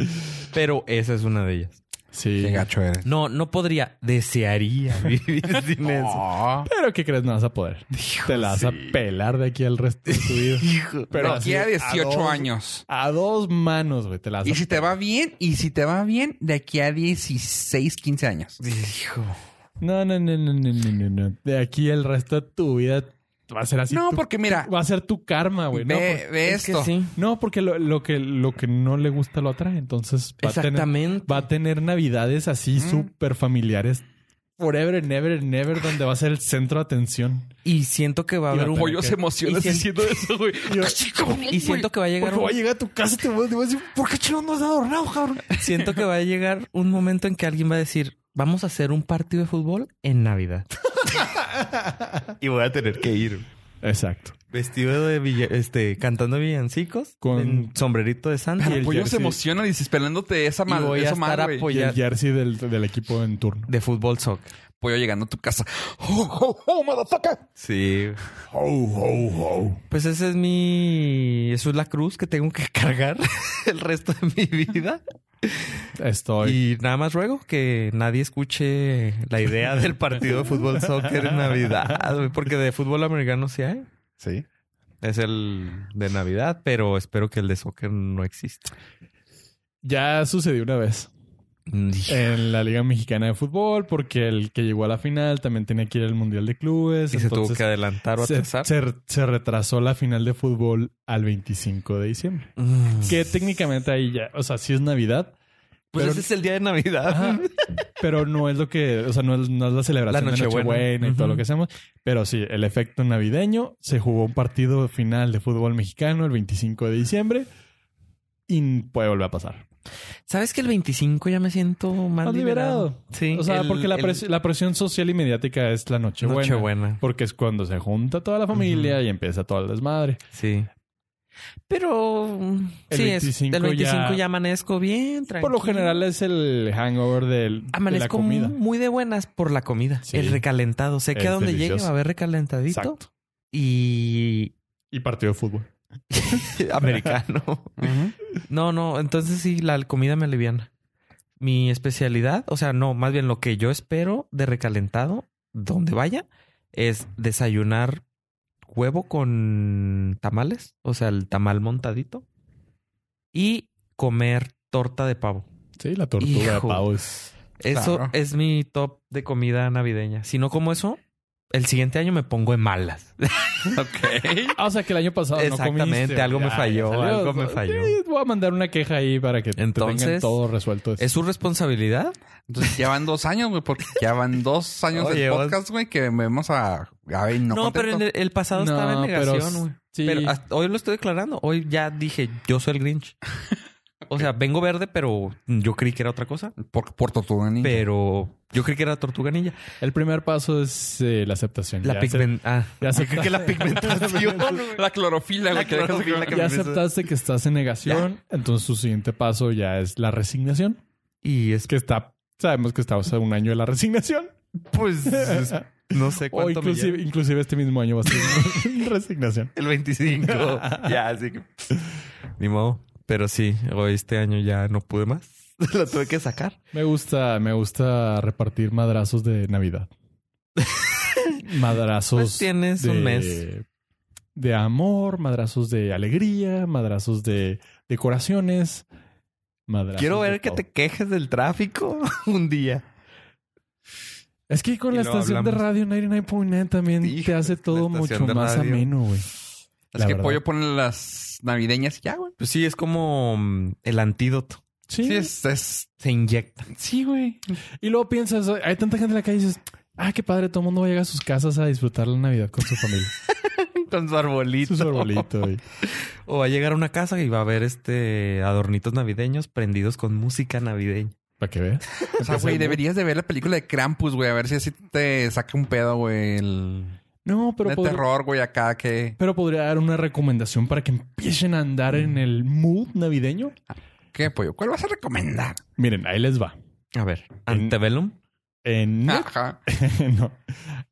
[SPEAKER 3] Pero esa es una de ellas.
[SPEAKER 2] Sí.
[SPEAKER 1] Qué gacho eres.
[SPEAKER 3] No, no podría. Desearía vivir sin eso.
[SPEAKER 1] No.
[SPEAKER 2] Pero ¿qué crees? No vas a poder. Te la vas a pelar de aquí al resto de tu vida.
[SPEAKER 3] Hijo.
[SPEAKER 1] Pero
[SPEAKER 2] Pero
[SPEAKER 1] aquí
[SPEAKER 2] así,
[SPEAKER 1] a
[SPEAKER 2] a
[SPEAKER 1] 18
[SPEAKER 2] dos-
[SPEAKER 1] años.
[SPEAKER 2] A dos manos, güey. Te la vas
[SPEAKER 1] Y
[SPEAKER 2] a
[SPEAKER 1] si te va bien, y si te va bien, de aquí a 16, 15 años.
[SPEAKER 3] Hijo.
[SPEAKER 2] No, no, no, no, no, no, no, no. De aquí el resto de tu vida va a ser así.
[SPEAKER 1] no,
[SPEAKER 2] Tu-
[SPEAKER 1] porque mira,
[SPEAKER 2] Va a ser tu karma, güey. No,
[SPEAKER 1] ve,
[SPEAKER 2] por-
[SPEAKER 1] ve
[SPEAKER 3] pues, Es que
[SPEAKER 1] esto.
[SPEAKER 3] sí.
[SPEAKER 2] no, porque lo, lo que, lo que no le gusta lo atrae. Entonces va a tener,
[SPEAKER 3] Exactamente.
[SPEAKER 2] va a tener navidades así
[SPEAKER 1] Mm.
[SPEAKER 2] súper familiares. Forever and ever and ever, donde va a ser el centro de atención.
[SPEAKER 3] Y siento que va a
[SPEAKER 2] Y va
[SPEAKER 3] haber
[SPEAKER 2] a
[SPEAKER 3] un.
[SPEAKER 2] tener- Pollo se
[SPEAKER 1] emociona
[SPEAKER 3] y si-
[SPEAKER 1] diciendo eso, güey.
[SPEAKER 3] Y siento que va a llegar un-
[SPEAKER 2] llegar a tu casa y te voy, a decir, ¿por qué chino no has adornado, cabrón?
[SPEAKER 3] Siento que va a llegar un momento en que alguien va a decir, vamos a hacer un partido de fútbol en Navidad. y voy a tener que ir
[SPEAKER 2] Exacto.
[SPEAKER 3] vestido de villa- este cantando villancicos
[SPEAKER 2] Con-
[SPEAKER 3] con sombrerito de Santa.
[SPEAKER 2] Y el
[SPEAKER 1] Pollo se
[SPEAKER 2] jersey.
[SPEAKER 1] emociona dice, esperándote esa
[SPEAKER 3] Y
[SPEAKER 1] mal,
[SPEAKER 3] voy a
[SPEAKER 1] eso
[SPEAKER 3] estar
[SPEAKER 1] mal, güey.
[SPEAKER 3] apoy-
[SPEAKER 2] Y el jersey del, del equipo en turno.
[SPEAKER 3] de fútbol soccer.
[SPEAKER 1] Pollo llegando a tu casa. Oh, oh, oh, motherfucker.
[SPEAKER 3] Sí.
[SPEAKER 1] Oh, oh, oh.
[SPEAKER 3] Pues esa es mi eso es la cruz que tengo que cargar el resto de mi vida
[SPEAKER 2] Estoy.
[SPEAKER 3] y nada más ruego que nadie escuche la idea del partido de fútbol soccer en Navidad, güey, porque de fútbol americano sí hay.
[SPEAKER 2] Sí.
[SPEAKER 3] Es el de Navidad, pero espero que el de soccer no exista.
[SPEAKER 2] Ya sucedió una vez. en la Liga Mexicana de Fútbol, porque el que llegó a la final también tenía que ir al Mundial de Clubes.
[SPEAKER 3] y se tuvo
[SPEAKER 2] entonces
[SPEAKER 3] que adelantar o
[SPEAKER 2] se,
[SPEAKER 3] atrasar.
[SPEAKER 2] se- se retrasó la final de fútbol al 25 de diciembre.
[SPEAKER 3] Mm.
[SPEAKER 2] Que técnicamente ahí ya, o sea, sí es Navidad,
[SPEAKER 3] Pues
[SPEAKER 2] pero-
[SPEAKER 3] ese es el día de Navidad.
[SPEAKER 2] Ajá. pero no es lo que, o sea, no es, no es la celebración
[SPEAKER 3] La
[SPEAKER 2] de
[SPEAKER 3] Nochebuena.
[SPEAKER 2] Nochebuena y todo
[SPEAKER 3] Ujú.
[SPEAKER 2] lo que hacemos. Pero sí, el efecto navideño, se jugó un partido final de fútbol mexicano el 25 de diciembre y puede volver a pasar.
[SPEAKER 3] ¿Sabes que el 25 ya me siento más,
[SPEAKER 2] Más
[SPEAKER 3] liberado?
[SPEAKER 2] liberado.
[SPEAKER 3] Sí.
[SPEAKER 2] O sea,
[SPEAKER 3] el-
[SPEAKER 2] porque la,
[SPEAKER 3] el-
[SPEAKER 2] pres- la presión social y mediática es la
[SPEAKER 3] Nochebuena.
[SPEAKER 2] Nochebuena. Porque es cuando se junta toda la familia y empieza todo el desmadre.
[SPEAKER 3] Sí. Pero mm,
[SPEAKER 2] El
[SPEAKER 3] sí, es-
[SPEAKER 2] 25
[SPEAKER 3] el 25 ya...
[SPEAKER 2] ya
[SPEAKER 3] amanezco bien, tranquilo.
[SPEAKER 2] Por lo general es el hangover del, de la
[SPEAKER 3] amanezco
[SPEAKER 2] comida.
[SPEAKER 3] muy de buenas por la comida.
[SPEAKER 2] Sí.
[SPEAKER 3] El recalentado. Sé que
[SPEAKER 2] Es
[SPEAKER 3] a donde llegue va
[SPEAKER 2] delicioso.
[SPEAKER 3] a haber recalentadito
[SPEAKER 2] Exacto.
[SPEAKER 3] y
[SPEAKER 2] Y partido de fútbol.
[SPEAKER 3] americano. No, no, entonces sí, la comida me aliviana. Mi especialidad, o sea, no, más bien lo que yo espero de recalentado, donde vaya, es desayunar huevo con tamales, o sea, el tamal montadito, y comer torta de pavo.
[SPEAKER 2] Sí, la tortuga de
[SPEAKER 3] Hijo.
[SPEAKER 2] pavo es...
[SPEAKER 3] Eso
[SPEAKER 1] Claro.
[SPEAKER 3] es mi top de comida navideña. Si no como eso, el siguiente año me pongo en malas.
[SPEAKER 1] Ok.
[SPEAKER 2] Ah, o sea, que el año pasado no
[SPEAKER 3] Exactamente,
[SPEAKER 2] comiste.
[SPEAKER 3] algo me
[SPEAKER 2] Ya, ya
[SPEAKER 3] falló,
[SPEAKER 2] salió.
[SPEAKER 3] algo me falló.
[SPEAKER 2] Sí, Voy a mandar una queja ahí para que te
[SPEAKER 3] Entonces,
[SPEAKER 2] tengan todo resuelto.
[SPEAKER 3] ¿Es su responsabilidad?
[SPEAKER 1] Entonces ya van dos años, güey, porque ya van dos años
[SPEAKER 3] Oye,
[SPEAKER 1] del
[SPEAKER 3] vas-
[SPEAKER 1] podcast, güey, que vemos a... A ver, no,
[SPEAKER 3] No, pero en
[SPEAKER 1] contento.
[SPEAKER 3] el, el pasado
[SPEAKER 2] No,
[SPEAKER 3] estaba en
[SPEAKER 2] pero
[SPEAKER 3] negación,
[SPEAKER 2] s-
[SPEAKER 3] güey.
[SPEAKER 2] Sí,
[SPEAKER 3] Pero hasta hoy lo estoy declarando. Hoy ya dije, yo soy el Grinch. O sea, vengo verde, pero yo creí que era otra cosa.
[SPEAKER 1] Por, por tortuga ninja.
[SPEAKER 3] Pero yo creí que era tortuga ninja.
[SPEAKER 2] el primer paso es eh, la aceptación.
[SPEAKER 3] La
[SPEAKER 2] Ya acep-
[SPEAKER 3] pigment... Ah.
[SPEAKER 2] ya acepta-
[SPEAKER 3] la pigmentación.
[SPEAKER 1] La clorofila,
[SPEAKER 3] La
[SPEAKER 1] güey. que dejas de
[SPEAKER 3] clorofila
[SPEAKER 1] comer.
[SPEAKER 2] ya aceptaste que estás en negación, entonces su siguiente paso ya es la resignación.
[SPEAKER 3] y es
[SPEAKER 2] que está, sabemos que estamos a un año de la resignación.
[SPEAKER 3] pues... es- No sé
[SPEAKER 2] O
[SPEAKER 3] cuánto me
[SPEAKER 2] inclusive,
[SPEAKER 3] lleva.
[SPEAKER 2] inclusive este mismo año va a ser resignación.
[SPEAKER 3] El 25. ya, así que... Ni modo. Pero sí, hoy este año ya no pude más. la tuve que sacar.
[SPEAKER 2] Me gusta, me gusta repartir madrazos de Navidad. madrazos.
[SPEAKER 3] Pues tienes un mes.
[SPEAKER 2] De amor, madrazos de alegría, madrazos de decoraciones. Madrazos
[SPEAKER 3] Quiero
[SPEAKER 2] de
[SPEAKER 3] ver que
[SPEAKER 2] todo.
[SPEAKER 3] te quejes del tráfico un día.
[SPEAKER 2] Es que con
[SPEAKER 3] Y
[SPEAKER 2] la
[SPEAKER 3] luego
[SPEAKER 2] estación de
[SPEAKER 3] hablamos.
[SPEAKER 2] radio 99.9 también te
[SPEAKER 3] Híjole,
[SPEAKER 2] hace todo
[SPEAKER 3] la
[SPEAKER 2] mucho
[SPEAKER 3] estación de
[SPEAKER 2] más
[SPEAKER 3] radio.
[SPEAKER 2] ameno, güey.
[SPEAKER 1] Es
[SPEAKER 2] La
[SPEAKER 1] que
[SPEAKER 2] verdad.
[SPEAKER 1] Pollo pone las navideñas y ya, güey.
[SPEAKER 3] Pues sí, es como mm, el antídoto.
[SPEAKER 1] Sí, es... es-
[SPEAKER 3] Se inyecta.
[SPEAKER 1] Sí, güey.
[SPEAKER 2] Y luego piensas, hay tanta gente en la calle y dices, ah, qué padre, todo el mundo va a llegar a sus casas a disfrutar la Navidad con su familia.
[SPEAKER 3] Con su arbolito.
[SPEAKER 2] Su arbolito. güey.
[SPEAKER 3] O va a llegar a una casa y va a haber este adornitos navideños prendidos con música navideña.
[SPEAKER 2] Para que veas.
[SPEAKER 1] O sea, güey, deberías de ver la película de Krampus, güey. A ver si así te saca un pedo, güey. El...
[SPEAKER 2] No, pero,
[SPEAKER 1] de
[SPEAKER 2] podría-
[SPEAKER 1] terror, güey, acá que...
[SPEAKER 2] pero podría dar una recomendación para que empiecen a andar en el mood navideño.
[SPEAKER 1] ¿Qué, Pollo? ¿Cuál vas a recomendar?
[SPEAKER 2] Miren, ahí les va.
[SPEAKER 3] A ver, Antebellum.
[SPEAKER 2] En, Net-
[SPEAKER 1] Ajá.
[SPEAKER 2] no.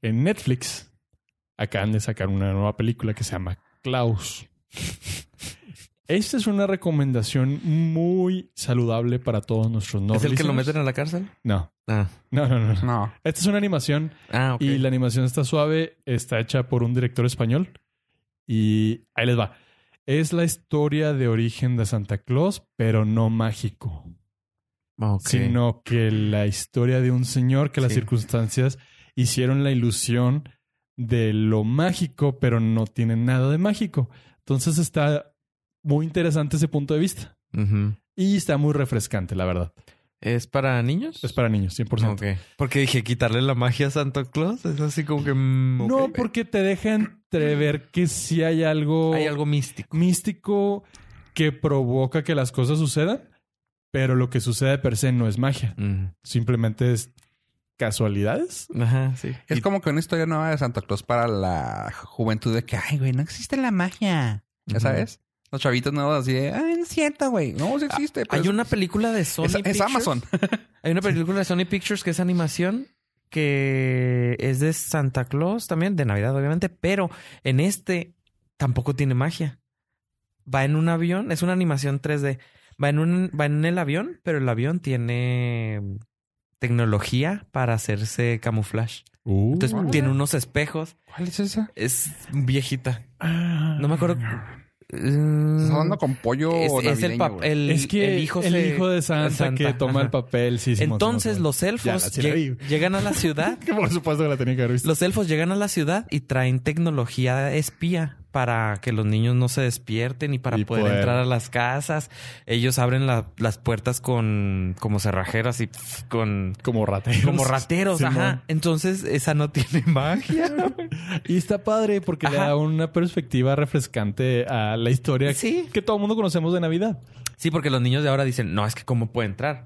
[SPEAKER 2] en Netflix acaban de sacar una nueva película que se llama Klaus. Esta es una recomendación muy saludable para todos nuestros no
[SPEAKER 3] ¿Es el que lo
[SPEAKER 2] listeners.
[SPEAKER 3] meten a la cárcel?
[SPEAKER 2] No,
[SPEAKER 3] Ah,
[SPEAKER 2] no, no, no. no.
[SPEAKER 1] No.
[SPEAKER 2] Esta es una animación
[SPEAKER 3] ah ok.
[SPEAKER 2] y la animación está suave, está hecha por un director español y ahí les va. Es la historia de origen de Santa Claus, pero no mágico,
[SPEAKER 3] Ok.
[SPEAKER 2] sino que la historia de un señor que las
[SPEAKER 3] Sí.
[SPEAKER 2] circunstancias hicieron la ilusión de lo mágico, pero no tiene nada de mágico. Entonces está muy interesante ese punto de vista.
[SPEAKER 3] Ujú.
[SPEAKER 2] Y está muy refrescante, la verdad.
[SPEAKER 3] ¿Es para niños?
[SPEAKER 2] Es para niños, 100%.
[SPEAKER 3] Ok. Porque dije, quitarle la magia a Santa Claus. Es así como que... mm, ok.
[SPEAKER 2] No, porque te deja entrever que sí hay algo,
[SPEAKER 3] Hay algo místico.
[SPEAKER 2] místico que provoca que las cosas sucedan, pero lo que sucede per se no es magia.
[SPEAKER 3] Mm.
[SPEAKER 2] Simplemente es casualidades.
[SPEAKER 3] Ajá, sí.
[SPEAKER 1] Es
[SPEAKER 3] Y-
[SPEAKER 1] como que una historia nueva de Santa Claus para la juventud de que, ay, güey, no existe la magia. ¿Ya
[SPEAKER 3] Ujú.
[SPEAKER 1] sabes? Los chavitos nuevos así de, ay, no es cierto, güey. No, sí existe. pero
[SPEAKER 3] Hay
[SPEAKER 1] es-
[SPEAKER 3] una película de Sony
[SPEAKER 1] es, es
[SPEAKER 3] Pictures.
[SPEAKER 1] Amazon.
[SPEAKER 3] Hay una película de Sony Pictures que es animación que es de Santa Claus también, de Navidad obviamente, pero en este tampoco tiene magia. Va en un avión, es una animación 3D. Va en un va en el avión, pero el avión tiene mm, tecnología para hacerse camuflaje. Entonces
[SPEAKER 1] Uh.
[SPEAKER 3] tiene unos espejos.
[SPEAKER 1] ¿Cuál es esa?
[SPEAKER 3] Es viejita.
[SPEAKER 2] Ah.
[SPEAKER 3] No me acuerdo. Mm,
[SPEAKER 1] Estás hablando con pollo
[SPEAKER 3] Es, es el,
[SPEAKER 1] navideño,
[SPEAKER 3] pap-
[SPEAKER 1] güey.
[SPEAKER 3] el,
[SPEAKER 2] Es que
[SPEAKER 3] el hijo, se-
[SPEAKER 2] de Santa,
[SPEAKER 3] Santa,
[SPEAKER 2] que toma
[SPEAKER 3] ajá.
[SPEAKER 2] el papel. Sí, sí,
[SPEAKER 3] Entonces los elfos
[SPEAKER 2] sí la
[SPEAKER 3] lleg-
[SPEAKER 2] vi.
[SPEAKER 3] llegan a la ciudad.
[SPEAKER 2] Que por supuesto que la tenía que haber visto.
[SPEAKER 3] Los elfos llegan a la ciudad y traen tecnología espía para que los niños no se despierten y para
[SPEAKER 2] Y
[SPEAKER 3] poder,
[SPEAKER 2] poder-
[SPEAKER 3] entrar a las casas. Ellos abren la- las puertas con como cerrajeras y pf, con
[SPEAKER 2] Como rateros.
[SPEAKER 3] como rateros,
[SPEAKER 2] Simón.
[SPEAKER 3] ajá. Entonces esa no tiene magia.
[SPEAKER 2] Y está padre porque le
[SPEAKER 3] Ajá.
[SPEAKER 2] da una perspectiva refrescante a la historia
[SPEAKER 3] Sí.
[SPEAKER 2] que todo el mundo conocemos de Navidad.
[SPEAKER 3] Sí, porque los niños de ahora dicen, "No, es que cómo puede entrar."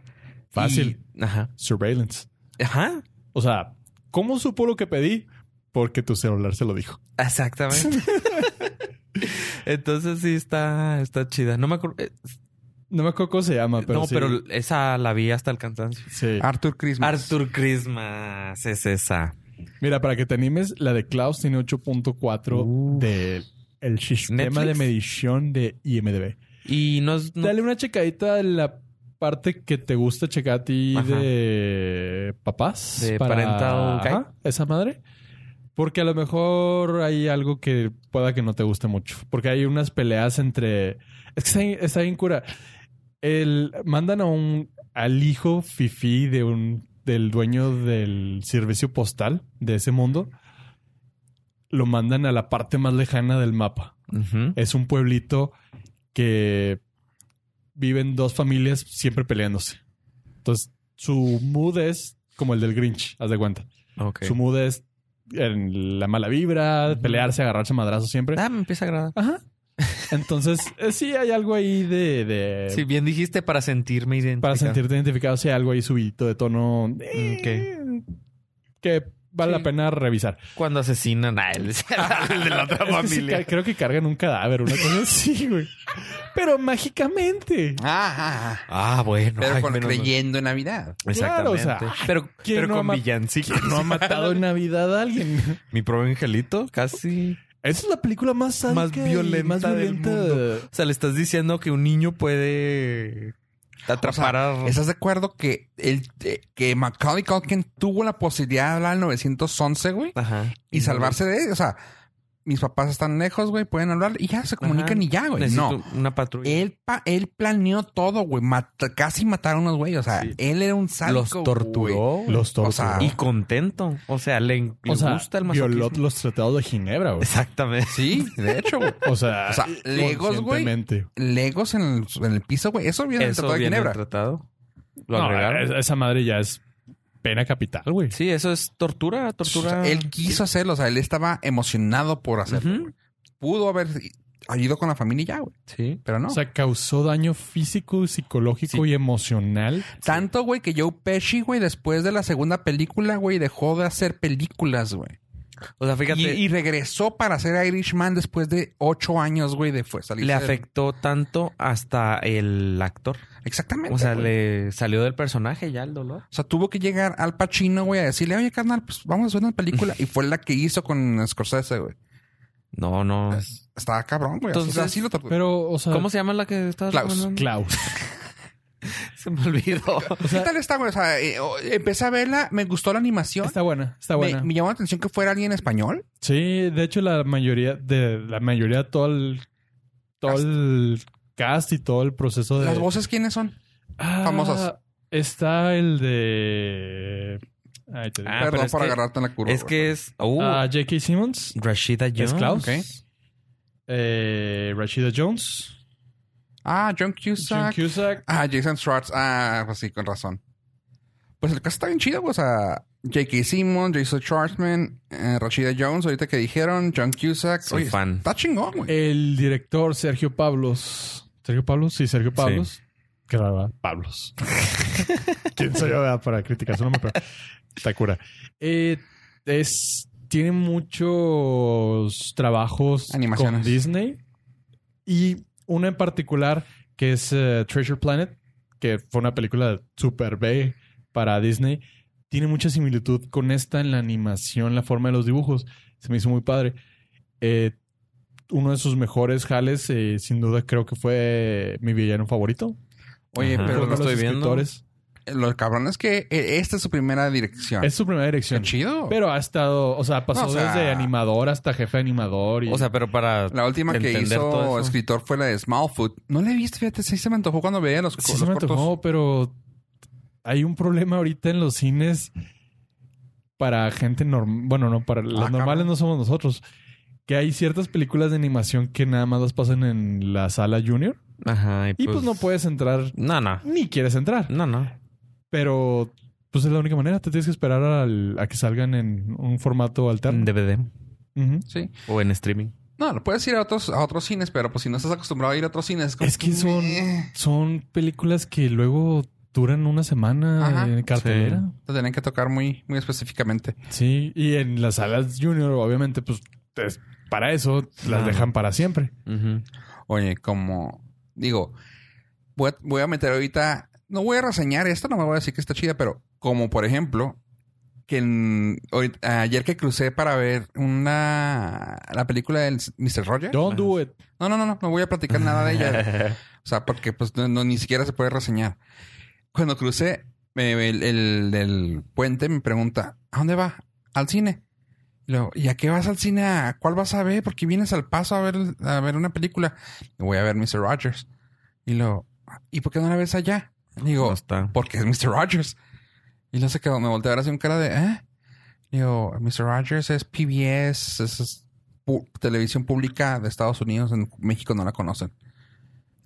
[SPEAKER 2] Fácil.
[SPEAKER 3] Y- ajá.
[SPEAKER 2] Surveillance.
[SPEAKER 3] Ajá.
[SPEAKER 2] O sea, ¿cómo supo lo que pedí? Porque tu celular se lo dijo.
[SPEAKER 3] Exactamente. Entonces sí está está chida. No me acuerdo eh,
[SPEAKER 2] No me acuerdo cómo se llama, pero
[SPEAKER 3] no,
[SPEAKER 2] sí. Ah,
[SPEAKER 3] pero esa la vi hasta el cansancio.
[SPEAKER 2] Sí.
[SPEAKER 1] Arthur Christmas.
[SPEAKER 3] Arthur Christmas es esa.
[SPEAKER 2] Mira, para que te animes, la de Klaus tiene 8.4
[SPEAKER 3] Uf.
[SPEAKER 2] del el sistema
[SPEAKER 3] Uh. ¿Netflix?
[SPEAKER 2] de medición de IMDB.
[SPEAKER 3] Y no es. no-
[SPEAKER 2] Dale una checadita a la parte que te gusta checar a ti
[SPEAKER 3] Ajá.
[SPEAKER 2] de papás.
[SPEAKER 3] De parental
[SPEAKER 2] Ajá,
[SPEAKER 3] guide.
[SPEAKER 2] Esa madre. Porque a lo mejor hay algo que pueda que no te guste mucho. Porque hay unas peleas entre... Es que está bien- está bien cura. El, mandan a un, al hijo fifí de un, del dueño del servicio postal de ese mundo. Lo mandan a la parte más lejana del mapa.
[SPEAKER 3] Ujú.
[SPEAKER 2] Es un pueblito que viven dos familias siempre peleándose. Entonces, su mood es como el del Grinch, haz de cuenta.
[SPEAKER 3] Ok.
[SPEAKER 2] Su mood es en la mala vibra,
[SPEAKER 3] Ujú.
[SPEAKER 2] pelearse, agarrarse a madrazos siempre.
[SPEAKER 3] Ah, me empieza a agradar.
[SPEAKER 2] Ajá. Entonces, eh, sí hay algo ahí de... de-
[SPEAKER 3] Si bien dijiste para sentirme identificado.
[SPEAKER 2] Eh, Para sentirte identificado, sí hay algo ahí subidito de tono... eh, Que vale
[SPEAKER 3] Mm, Sí.
[SPEAKER 2] la pena revisar.
[SPEAKER 3] Cuando asesinan a él. el de la otra
[SPEAKER 2] Es que sí
[SPEAKER 3] familia.
[SPEAKER 2] ca- creo que cargan un cadáver, una cosa así, güey. Pero mágicamente.
[SPEAKER 1] Ah, ah, ah.
[SPEAKER 3] Ah, bueno.
[SPEAKER 1] Pero
[SPEAKER 3] ay,
[SPEAKER 1] con
[SPEAKER 3] menos mal.
[SPEAKER 1] creyendo en Navidad.
[SPEAKER 2] Claro, o
[SPEAKER 3] Exactamente.
[SPEAKER 2] sea,
[SPEAKER 3] pero
[SPEAKER 2] ¿quién
[SPEAKER 3] pero
[SPEAKER 2] no
[SPEAKER 3] con
[SPEAKER 2] ama-
[SPEAKER 3] villancicos.
[SPEAKER 2] no ha matado en Navidad a alguien.
[SPEAKER 3] Mi propio angelito, casi.
[SPEAKER 2] Esa es la película más sádica
[SPEAKER 3] Más
[SPEAKER 2] y
[SPEAKER 3] violenta
[SPEAKER 2] más
[SPEAKER 3] del
[SPEAKER 2] violenta.
[SPEAKER 3] mundo. O sea, le estás diciendo que un niño puede atrapar a.
[SPEAKER 1] ¿Estás de acuerdo que, el, eh, que Macaulay Culkin tuvo la posibilidad de hablar al 911, güey?
[SPEAKER 3] Ajá.
[SPEAKER 1] Y salvarse de... O sea, mis papás están lejos, güey. Pueden hablar y ya se comunican
[SPEAKER 3] Ajá.
[SPEAKER 1] y ya, güey.
[SPEAKER 3] Necesito
[SPEAKER 1] No.
[SPEAKER 3] Una patrulla.
[SPEAKER 1] Él, pa- él planeó todo, güey. Mata- casi mataron a unos güeyes. O sea,
[SPEAKER 3] Sí.
[SPEAKER 1] él era un sádico,
[SPEAKER 3] los
[SPEAKER 1] güey.
[SPEAKER 3] torturó.
[SPEAKER 2] Los
[SPEAKER 1] O sea,
[SPEAKER 3] Y
[SPEAKER 2] torturó.
[SPEAKER 3] contento. O sea, le, le
[SPEAKER 2] o sea,
[SPEAKER 3] gusta el
[SPEAKER 2] violó
[SPEAKER 3] masoquismo.
[SPEAKER 2] los tratados de Ginebra, güey.
[SPEAKER 3] Exactamente.
[SPEAKER 1] Sí, de hecho, güey.
[SPEAKER 2] O sea,
[SPEAKER 3] Ah,
[SPEAKER 1] O sea, legos, güey.
[SPEAKER 2] conscientemente.
[SPEAKER 1] Legos en el, en el piso, güey. Eso viene del
[SPEAKER 3] Eso
[SPEAKER 1] Tratado de
[SPEAKER 3] viene en el
[SPEAKER 1] Ginebra.
[SPEAKER 3] tratado. Lo
[SPEAKER 2] No,
[SPEAKER 3] agregaron.
[SPEAKER 2] es- esa madre ya es pena capital, güey.
[SPEAKER 3] Sí, eso es tortura,
[SPEAKER 1] O
[SPEAKER 3] tortura.
[SPEAKER 1] sea, Pues, él quiso hacerlo. O sea, él estaba emocionado por hacerlo.
[SPEAKER 3] Ujú.
[SPEAKER 1] güey. Pudo haber ido con la familia y ya, güey.
[SPEAKER 3] Sí.
[SPEAKER 1] Pero no.
[SPEAKER 2] O sea, causó daño físico, psicológico
[SPEAKER 3] Sí.
[SPEAKER 2] y emocional.
[SPEAKER 1] Tanto, güey, que Joe Pesci, güey, después de la segunda película, güey, dejó de hacer películas, güey.
[SPEAKER 3] O sea, fíjate,
[SPEAKER 1] Y, y regresó para hacer Irishman después de ocho años, güey, de fue salir.
[SPEAKER 3] le afectó tanto hasta el actor.
[SPEAKER 1] Exactamente.
[SPEAKER 3] O sea,
[SPEAKER 1] güey.
[SPEAKER 3] le salió del personaje ya el dolor.
[SPEAKER 1] O sea, tuvo que llegar al Pacino, güey, a decirle, oye, carnal, pues vamos a hacer una película. Y fue la que hizo con Scorsese, güey.
[SPEAKER 3] No, no. es-
[SPEAKER 1] Está cabrón, güey. Entonces, o sea,
[SPEAKER 3] Entonces,
[SPEAKER 1] sí lo torturó.
[SPEAKER 2] Pero, o sea,
[SPEAKER 3] ¿Cómo se llama la que estás
[SPEAKER 1] Klaus.
[SPEAKER 3] recomendando?
[SPEAKER 2] Klaus.
[SPEAKER 3] Se me olvidó.
[SPEAKER 2] O
[SPEAKER 1] ¿Qué
[SPEAKER 2] sea,
[SPEAKER 1] tal está, güey? O sea, eh, oh, empecé a verla, me gustó la animación.
[SPEAKER 2] está buena, está
[SPEAKER 1] Me,
[SPEAKER 2] buena.
[SPEAKER 1] me llamó la atención que fuera alguien español.
[SPEAKER 2] Sí, de hecho la mayoría de la mayoría todo el todo
[SPEAKER 1] Cast.
[SPEAKER 2] el cast y todo el proceso de
[SPEAKER 1] ¿Las voces quiénes son?
[SPEAKER 2] Ah,
[SPEAKER 1] famosas.
[SPEAKER 2] Está el de Ay, te digo.
[SPEAKER 3] Ah,
[SPEAKER 2] Ah,
[SPEAKER 1] Perdón
[SPEAKER 3] pero es
[SPEAKER 1] por
[SPEAKER 3] que-
[SPEAKER 1] agarrarte en la curva.
[SPEAKER 3] es
[SPEAKER 1] güey.
[SPEAKER 3] que es. Uh,
[SPEAKER 2] J.K. Simmons,
[SPEAKER 3] Rashida Jones.
[SPEAKER 2] Ah. es Klaus.
[SPEAKER 1] ok.
[SPEAKER 2] Eh, Rashida Jones,
[SPEAKER 1] Ah, John
[SPEAKER 2] John
[SPEAKER 1] Cusack.
[SPEAKER 2] Cusack.
[SPEAKER 1] Ah, Jason Schwartz. Ah, pues sí, con razón. Pues el caso está bien chido, güey. O sea, J.K. Simmons, Jason Schwartzman, eh, Rashida Jones, ahorita que dijeron, John Cusack.
[SPEAKER 3] Soy
[SPEAKER 1] Oye,
[SPEAKER 3] fan.
[SPEAKER 1] Está chingón, güey.
[SPEAKER 2] El director Sergio Pablos. Sergio Pablos, sí, Sergio Pablos. Que la verdad, Pablos. ¿Quién soy yo verdad, para criticar su nombre? Pero está cura. Eh, es, tiene muchos trabajos
[SPEAKER 1] Animaciones.
[SPEAKER 2] con Disney. Y una en particular que es eh, Treasure Planet, que fue una película super B para Disney. Tiene mucha similitud con esta en la animación, la forma de los dibujos. Se me hizo muy padre. Eh, uno de sus mejores jales, eh, sin duda creo que fue mi villano favorito.
[SPEAKER 1] Oye,
[SPEAKER 3] Ajá.
[SPEAKER 1] pero
[SPEAKER 2] Uno de
[SPEAKER 3] Ah. lo estoy
[SPEAKER 2] los
[SPEAKER 3] viendo.
[SPEAKER 2] escritores.
[SPEAKER 1] lo cabrón es que eh, esta es su primera dirección.
[SPEAKER 2] Es su primera
[SPEAKER 1] Qué
[SPEAKER 2] dirección.
[SPEAKER 1] chido.
[SPEAKER 2] Pero ha estado, o sea, pasó
[SPEAKER 1] Oh. No, o sea-
[SPEAKER 2] desde animador hasta jefe de animador. Y,
[SPEAKER 3] O sea, pero para.
[SPEAKER 1] la última que
[SPEAKER 3] entender todo
[SPEAKER 1] hizo
[SPEAKER 3] eso.
[SPEAKER 1] escritor fue la de Smallfoot. No la he visto, fíjate, sí se me antojó cuando veía los,
[SPEAKER 2] sí
[SPEAKER 1] los
[SPEAKER 2] se me
[SPEAKER 1] cortos.
[SPEAKER 2] antojó, pero hay un problema ahorita en los cines para gente normal. Bueno, no, para los
[SPEAKER 1] Ah,
[SPEAKER 2] normales
[SPEAKER 1] cabrón.
[SPEAKER 2] no somos nosotros. Que hay ciertas películas de animación que nada más las pasan en la sala junior.
[SPEAKER 3] Ajá.
[SPEAKER 2] Y pues no puedes entrar,
[SPEAKER 3] No, no.
[SPEAKER 2] ni quieres entrar.
[SPEAKER 3] No, no.
[SPEAKER 2] Pero pues es la única manera. Te tienes que esperar al- a que salgan en un formato
[SPEAKER 3] En
[SPEAKER 2] alterno.
[SPEAKER 3] DVD
[SPEAKER 2] Ujú.
[SPEAKER 1] Sí.
[SPEAKER 3] o en streaming.
[SPEAKER 1] No, lo puedes ir a otros, a otros cines, pero pues si no estás acostumbrado a ir a otros cines. como
[SPEAKER 2] Es que son,
[SPEAKER 1] eh,
[SPEAKER 2] son películas que luego duran una semana
[SPEAKER 1] Ajá.
[SPEAKER 2] en cartelera.
[SPEAKER 1] Te tenían que tocar muy, muy específicamente.
[SPEAKER 2] Sí. Y en las salas junior, obviamente, pues es para eso las
[SPEAKER 3] Ah.
[SPEAKER 2] dejan para siempre.
[SPEAKER 1] Oye, como digo, voy a, voy a meter ahorita, no voy a reseñar esto, no me voy a decir que está chida, pero como por ejemplo, que en- hoy- ayer que crucé para ver una la película del Mr. Roger.
[SPEAKER 2] Don't do it.
[SPEAKER 1] No, no, no, no, no voy a platicar nada
[SPEAKER 3] Ah,
[SPEAKER 1] de ella. O sea, porque pues no, no- ni siquiera se puede reseñar. Cuando crucé me- el, el del puente me pregunta, ¿a dónde va? Al cine. Y luego, ¿y a qué vas al cine? ¿A cuál vas a ver? Porque vienes al paso a ver, a ver una película. Y voy a ver Mr. Rogers. Y luego, ¿y por qué no la ves allá? Y digo,
[SPEAKER 3] No está.
[SPEAKER 1] porque es Mr. Rogers. Y no sé qué, me volteé a ver así un cara de, ¿eh? Digo, Mr. Rogers es PBS, es, es pu- televisión pública de Estados Unidos, en México no la conocen.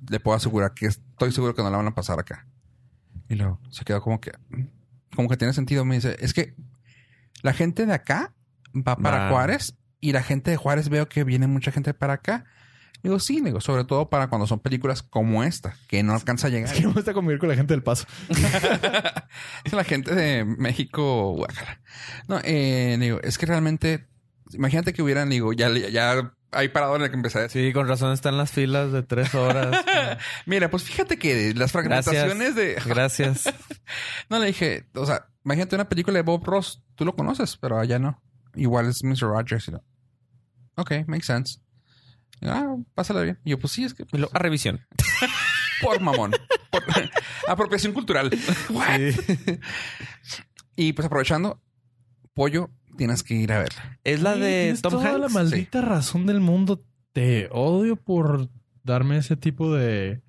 [SPEAKER 1] Le puedo asegurar que estoy seguro que no la van a pasar acá. Y luego se quedó como que, "Mm, como que tiene sentido. Me dice, es que la gente de acá va para
[SPEAKER 3] Va.
[SPEAKER 1] Juárez y la gente de Juárez veo que viene mucha gente para acá. Digo, sí, digo, sobre todo para cuando son películas como esta, que no alcanza a llegar.
[SPEAKER 2] Es que no me gusta convivir con la gente del paso.
[SPEAKER 1] Es La gente de México, guácala. No, eh, digo, es que realmente, imagínate que hubieran, digo, ya, ya hay parado en el que empecé a decir.
[SPEAKER 3] Sí, con razón están las filas de tres horas.
[SPEAKER 1] Mira, pues fíjate que las fragmentaciones de.
[SPEAKER 3] Gracias.
[SPEAKER 1] No le dije, o sea, imagínate una película de Bob Ross, tú lo conoces, pero allá no. Igual es Mr. Rogers. Y lo, ok, makes sense. Y, Ah, pásala bien. Y yo, pues sí, es que
[SPEAKER 3] Y luego, a revisión.
[SPEAKER 1] por mamón. por apropiación cultural. What? Y pues aprovechando, Pollo, tienes que ir a verla.
[SPEAKER 3] Es la
[SPEAKER 2] Sí,
[SPEAKER 3] de
[SPEAKER 2] tienes
[SPEAKER 3] Tom
[SPEAKER 2] toda la
[SPEAKER 3] Hanks.
[SPEAKER 2] maldita razón del mundo. Te odio por darme ese tipo de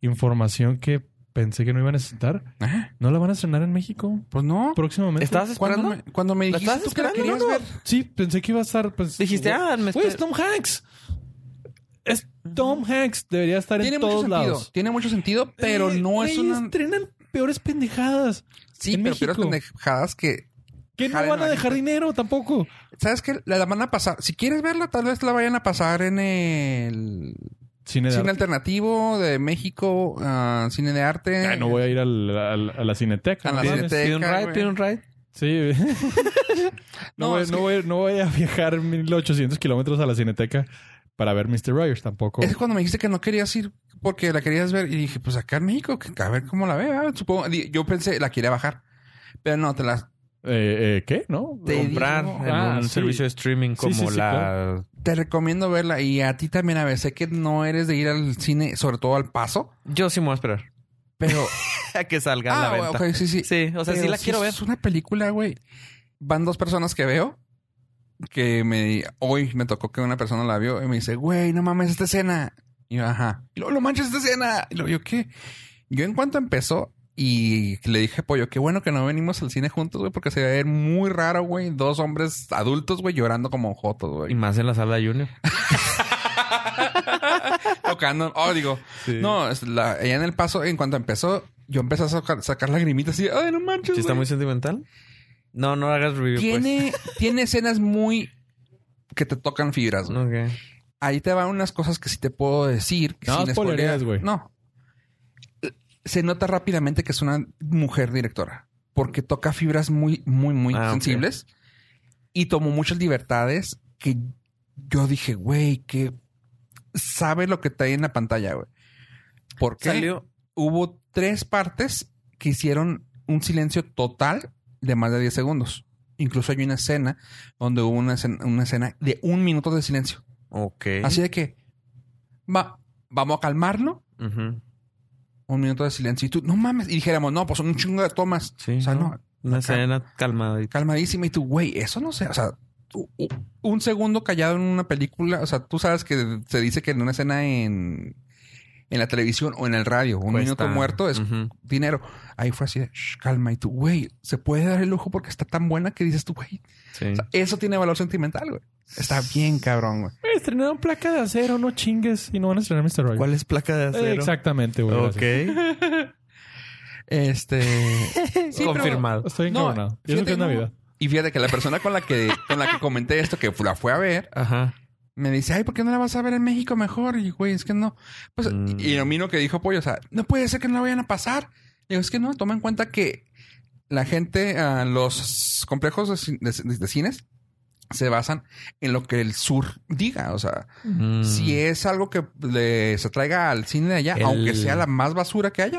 [SPEAKER 2] información que pensé que no iba a necesitar.
[SPEAKER 1] Ajá.
[SPEAKER 2] ¿No la van a estrenar en México
[SPEAKER 1] Pues no.
[SPEAKER 2] próximamente?
[SPEAKER 3] ¿Estabas
[SPEAKER 1] Cuando
[SPEAKER 3] esperando?
[SPEAKER 1] me, cuando me
[SPEAKER 3] ¿La
[SPEAKER 1] dijiste
[SPEAKER 3] estabas
[SPEAKER 1] tú que la
[SPEAKER 3] esperando?
[SPEAKER 1] querías
[SPEAKER 3] No, no.
[SPEAKER 1] ver.
[SPEAKER 2] Sí, pensé que iba a estar... pues,
[SPEAKER 3] Dijiste,
[SPEAKER 2] güey,
[SPEAKER 3] ah, me
[SPEAKER 2] güey,
[SPEAKER 3] esper-
[SPEAKER 2] es Tom Hanks. Es Tom Hanks. Debería estar
[SPEAKER 1] Tiene
[SPEAKER 2] en
[SPEAKER 1] mucho
[SPEAKER 2] todos
[SPEAKER 1] sentido.
[SPEAKER 2] lados.
[SPEAKER 1] Tiene mucho sentido, pero
[SPEAKER 2] Eh,
[SPEAKER 1] no es
[SPEAKER 2] güey,
[SPEAKER 1] una.
[SPEAKER 2] estrenan peores pendejadas.
[SPEAKER 1] Sí,
[SPEAKER 2] en
[SPEAKER 1] pero pero
[SPEAKER 2] México.
[SPEAKER 1] pendejadas que.
[SPEAKER 2] Que no
[SPEAKER 1] Jalen
[SPEAKER 2] van a
[SPEAKER 1] la
[SPEAKER 2] dejar dinero tampoco.
[SPEAKER 1] ¿Sabes qué? La, la van a pasar. Si quieres verla, tal vez la vayan a pasar en el
[SPEAKER 2] Cine de
[SPEAKER 1] cine
[SPEAKER 2] arte.
[SPEAKER 1] alternativo de México, ah, cine de arte.
[SPEAKER 2] Ah, no voy a ir al- al- a la cineteca.
[SPEAKER 1] A la
[SPEAKER 2] ¿no?
[SPEAKER 1] cineteca.
[SPEAKER 3] Pide un
[SPEAKER 1] Teca,
[SPEAKER 3] ride,
[SPEAKER 1] güey.
[SPEAKER 3] pide un ride.
[SPEAKER 2] Sí.
[SPEAKER 1] No,
[SPEAKER 2] no, voy,
[SPEAKER 1] es
[SPEAKER 2] no,
[SPEAKER 1] que-
[SPEAKER 2] voy, no voy a viajar 1800 kilómetros a la Cineteca para ver Mr. Rogers tampoco.
[SPEAKER 1] Es cuando me dijiste que no querías ir porque la querías ver. Y dije, pues acá en México, que- a ver cómo la ve. ¿verdad? Supongo. di- Yo pensé, la quería bajar. Pero no, te la.
[SPEAKER 2] eh, eh, ¿Qué? ¿No?
[SPEAKER 1] Te
[SPEAKER 3] comprar
[SPEAKER 1] digo-
[SPEAKER 3] en
[SPEAKER 2] Ah,
[SPEAKER 3] un
[SPEAKER 2] sí.
[SPEAKER 3] servicio de streaming
[SPEAKER 2] Sí,
[SPEAKER 3] como
[SPEAKER 2] sí, sí,
[SPEAKER 3] la.
[SPEAKER 1] Te recomiendo verla y a ti también a ver. Sé que no eres de ir al cine, sobre todo al paso,
[SPEAKER 3] Yo sí me voy a esperar
[SPEAKER 1] pero.
[SPEAKER 3] a que salga a la venta.
[SPEAKER 1] Ah, ok, sí, sí.
[SPEAKER 3] Sí, o sea, sí
[SPEAKER 1] Pero
[SPEAKER 3] la
[SPEAKER 1] si
[SPEAKER 3] quiero ver.
[SPEAKER 1] Es una película, güey. Van dos personas que veo que me. Hoy me tocó que una persona la vio y me dice, güey, no mames esta escena. Y yo, ajá. Y luego, lo manches esta escena. Y luego, yo, ¿qué? Yo, en cuanto empezó y le dije, pollo, qué bueno que no venimos al cine juntos, güey, porque se ve muy raro, güey. Dos hombres adultos, güey, llorando como jotos,
[SPEAKER 3] Y
[SPEAKER 1] güey.
[SPEAKER 3] más en la sala Junior.
[SPEAKER 1] Tocando. Oh, digo,
[SPEAKER 2] Sí.
[SPEAKER 1] no, es la- ella en el paso, en cuanto empezó, yo empecé a sacar, sacar lagrimitas así, ay, no manches.
[SPEAKER 3] ¿Sí está
[SPEAKER 1] güey".
[SPEAKER 3] muy sentimental? No, no hagas review, pues.
[SPEAKER 1] Tiene, tiene escenas muy que te tocan fibras.
[SPEAKER 3] pues.
[SPEAKER 1] güey.
[SPEAKER 3] Ok.
[SPEAKER 1] Ahí te van unas cosas que sí te puedo decir. que
[SPEAKER 2] No
[SPEAKER 1] sin
[SPEAKER 2] spoilerías,
[SPEAKER 1] spoilear-
[SPEAKER 2] güey.
[SPEAKER 1] No. Se nota rápidamente que es una mujer directora porque toca fibras muy, muy, muy
[SPEAKER 3] Ah, ok.
[SPEAKER 1] sensibles y tomó muchas libertades que yo dije, güey, que sabe lo que está ahí en la pantalla, güey. Porque
[SPEAKER 3] Salió.
[SPEAKER 1] hubo tres partes que hicieron un silencio total de más de 10 segundos. Incluso hay una escena donde hubo una escena, una escena de un minuto de silencio.
[SPEAKER 3] Ok.
[SPEAKER 1] Así de que, va, vamos a calmarlo.
[SPEAKER 3] Ujú.
[SPEAKER 1] Un minuto de silencio. Y tú, no mames. Y dijéramos, no, pues un chingo de tomas.
[SPEAKER 3] Sí,
[SPEAKER 1] o sea,
[SPEAKER 3] ¿no?
[SPEAKER 1] no,
[SPEAKER 3] Una escena calmada. y-
[SPEAKER 1] calmadísima. Y tú, güey, eso no sé. O sea, u- u- un segundo callado en una película. O sea, tú sabes que se dice que en una escena en, en la televisión o en el radio, un
[SPEAKER 3] Cuesta.
[SPEAKER 1] minuto muerto es
[SPEAKER 3] Ujú.
[SPEAKER 1] dinero. Ahí fue así de, "Shh, calma. Y tú, güey, se puede dar el lujo porque está tan buena que dices tú, güey.
[SPEAKER 3] Sí.
[SPEAKER 1] O sea, eso tiene valor sentimental, güey. Está bien, cabrón, güey.
[SPEAKER 2] Eh, Estrenaron placa de acero, no chingues. Y no van a estrenar Mr. Rogers.
[SPEAKER 3] ¿Cuál es placa de acero?
[SPEAKER 2] Eh, exactamente, güey.
[SPEAKER 3] Ok.
[SPEAKER 2] gracias.
[SPEAKER 1] Este. Sí, pero-
[SPEAKER 3] Confirmado.
[SPEAKER 2] Estoy
[SPEAKER 1] No,
[SPEAKER 2] encabronado. y eso
[SPEAKER 1] fíjate
[SPEAKER 2] que es
[SPEAKER 1] que no.
[SPEAKER 2] Navidad.
[SPEAKER 1] Y fíjate que la persona con la que, con la que comenté esto, que la fue a ver,
[SPEAKER 3] Ajá.
[SPEAKER 1] me dice, ay, ¿por qué no la vas a ver en México mejor? Y güey, es que no. Pues,
[SPEAKER 3] Mm.
[SPEAKER 1] y lo mismo que dijo Pollo, o sea, no puede ser que no la vayan a pasar. Digo, es que no, toma en cuenta que la gente, ah, los complejos de, cin- de- de cines se basan en lo que el sur diga. O sea,
[SPEAKER 3] Mm.
[SPEAKER 1] si es algo que le- se traiga al cine de allá,
[SPEAKER 3] El-
[SPEAKER 1] aunque sea la más basura que haya,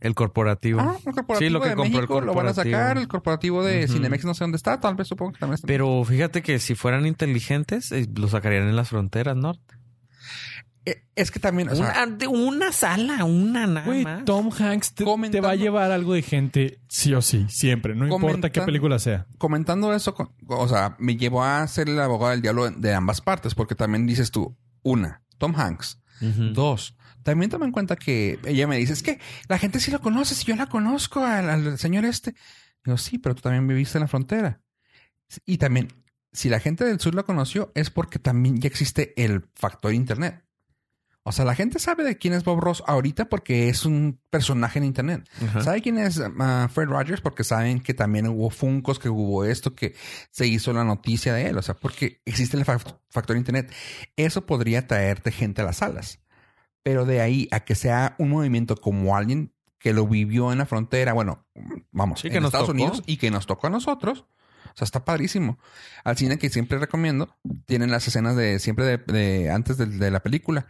[SPEAKER 3] El corporativo.
[SPEAKER 1] ah, el corporativo
[SPEAKER 3] Sí, lo que
[SPEAKER 1] de
[SPEAKER 3] compró el
[SPEAKER 1] México lo van a
[SPEAKER 3] corporativo.
[SPEAKER 1] sacar, el corporativo de
[SPEAKER 3] Ujú.
[SPEAKER 1] Cinemex no sé dónde está, tal vez supongo que también está.
[SPEAKER 3] Pero fíjate que si fueran inteligentes, eh, lo sacarían en las fronteras, ¿no?
[SPEAKER 1] Eh, es que también, o sea,
[SPEAKER 3] una, de una sala, una nada
[SPEAKER 2] Güey,
[SPEAKER 3] más.
[SPEAKER 2] Tom Hanks te,
[SPEAKER 1] Comentando-
[SPEAKER 2] te va a llevar algo de gente sí o sí, siempre. No importa qué
[SPEAKER 1] Comentando-
[SPEAKER 2] película sea.
[SPEAKER 1] comentando eso, con- o sea, me llevó a ser el abogado del diablo de ambas partes, porque también dices tú, una, Tom Hanks,
[SPEAKER 3] Ujú.
[SPEAKER 1] dos, también toma en cuenta que ella me dice, es que la gente sí lo conoce, si yo la conozco al, al señor este. Digo, sí, pero tú también viviste en la frontera. Y también, si la gente del sur la conoció, es porque también ya existe el factor internet. O sea, la gente sabe de quién es Bob Ross ahorita porque es un personaje en internet.
[SPEAKER 3] Ajá.
[SPEAKER 1] ¿Sabe quién es ah, Fred Rogers? Porque saben que también hubo Funcos, que hubo esto, que se hizo la noticia de él. O sea, porque existe el fac- factor internet. Eso podría traerte gente a las salas. Pero de ahí a que sea un movimiento como alguien que lo vivió en la frontera, bueno, vamos,
[SPEAKER 3] Sí, que
[SPEAKER 1] en
[SPEAKER 3] nos
[SPEAKER 1] Estados
[SPEAKER 3] tocó.
[SPEAKER 1] Unidos y que nos tocó a nosotros. O sea, está padrísimo. Al cine que siempre recomiendo, tienen las escenas de siempre de, de- antes de, de la película.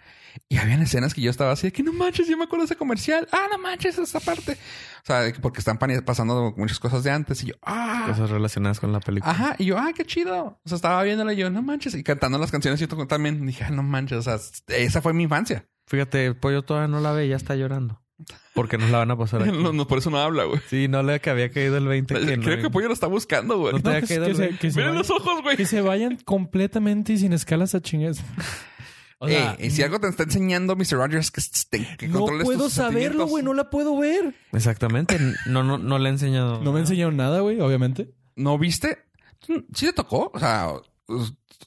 [SPEAKER 1] Y habían escenas que yo estaba así de que no manches, yo me acuerdo de ese comercial. Ah, no manches, esa parte. O sea, de que- porque están pane- pasando muchas cosas de antes. Y yo, ah,
[SPEAKER 3] Cosas relacionadas con la película.
[SPEAKER 1] ajá. Y yo, ah, qué chido. O sea, estaba viéndolo y yo, no manches. Y cantando las canciones, yo to- también dije, ah, no manches. O sea, esa fue mi infancia.
[SPEAKER 3] Fíjate, el pollo todavía no la ve, ya está llorando. Porque nos la van a pasar aquí.
[SPEAKER 1] No, no, por eso no habla, güey.
[SPEAKER 3] Sí, no le que había caído el 20. que no,
[SPEAKER 1] Pues, Creo que Pollo lo está buscando, güey.
[SPEAKER 3] No te
[SPEAKER 2] No,
[SPEAKER 3] haya
[SPEAKER 2] que,
[SPEAKER 3] caído
[SPEAKER 2] que
[SPEAKER 3] el
[SPEAKER 2] se,
[SPEAKER 3] 20.
[SPEAKER 2] que se
[SPEAKER 1] Miren
[SPEAKER 2] vayan-
[SPEAKER 1] los ojos, güey.
[SPEAKER 2] que se vayan completamente y sin escalas a chingues. O sea,
[SPEAKER 1] Eh, si algo te está enseñando Mr. Rogers que, te- que
[SPEAKER 2] no
[SPEAKER 1] controles
[SPEAKER 2] puedo
[SPEAKER 1] tus
[SPEAKER 2] saberlo,
[SPEAKER 1] sentimientos.
[SPEAKER 2] güey. No la puedo ver.
[SPEAKER 3] Exactamente. No, no, no le he enseñado.
[SPEAKER 2] No me enseñaron nada, güey, obviamente.
[SPEAKER 1] ¿No viste? Sí te tocó. O sea,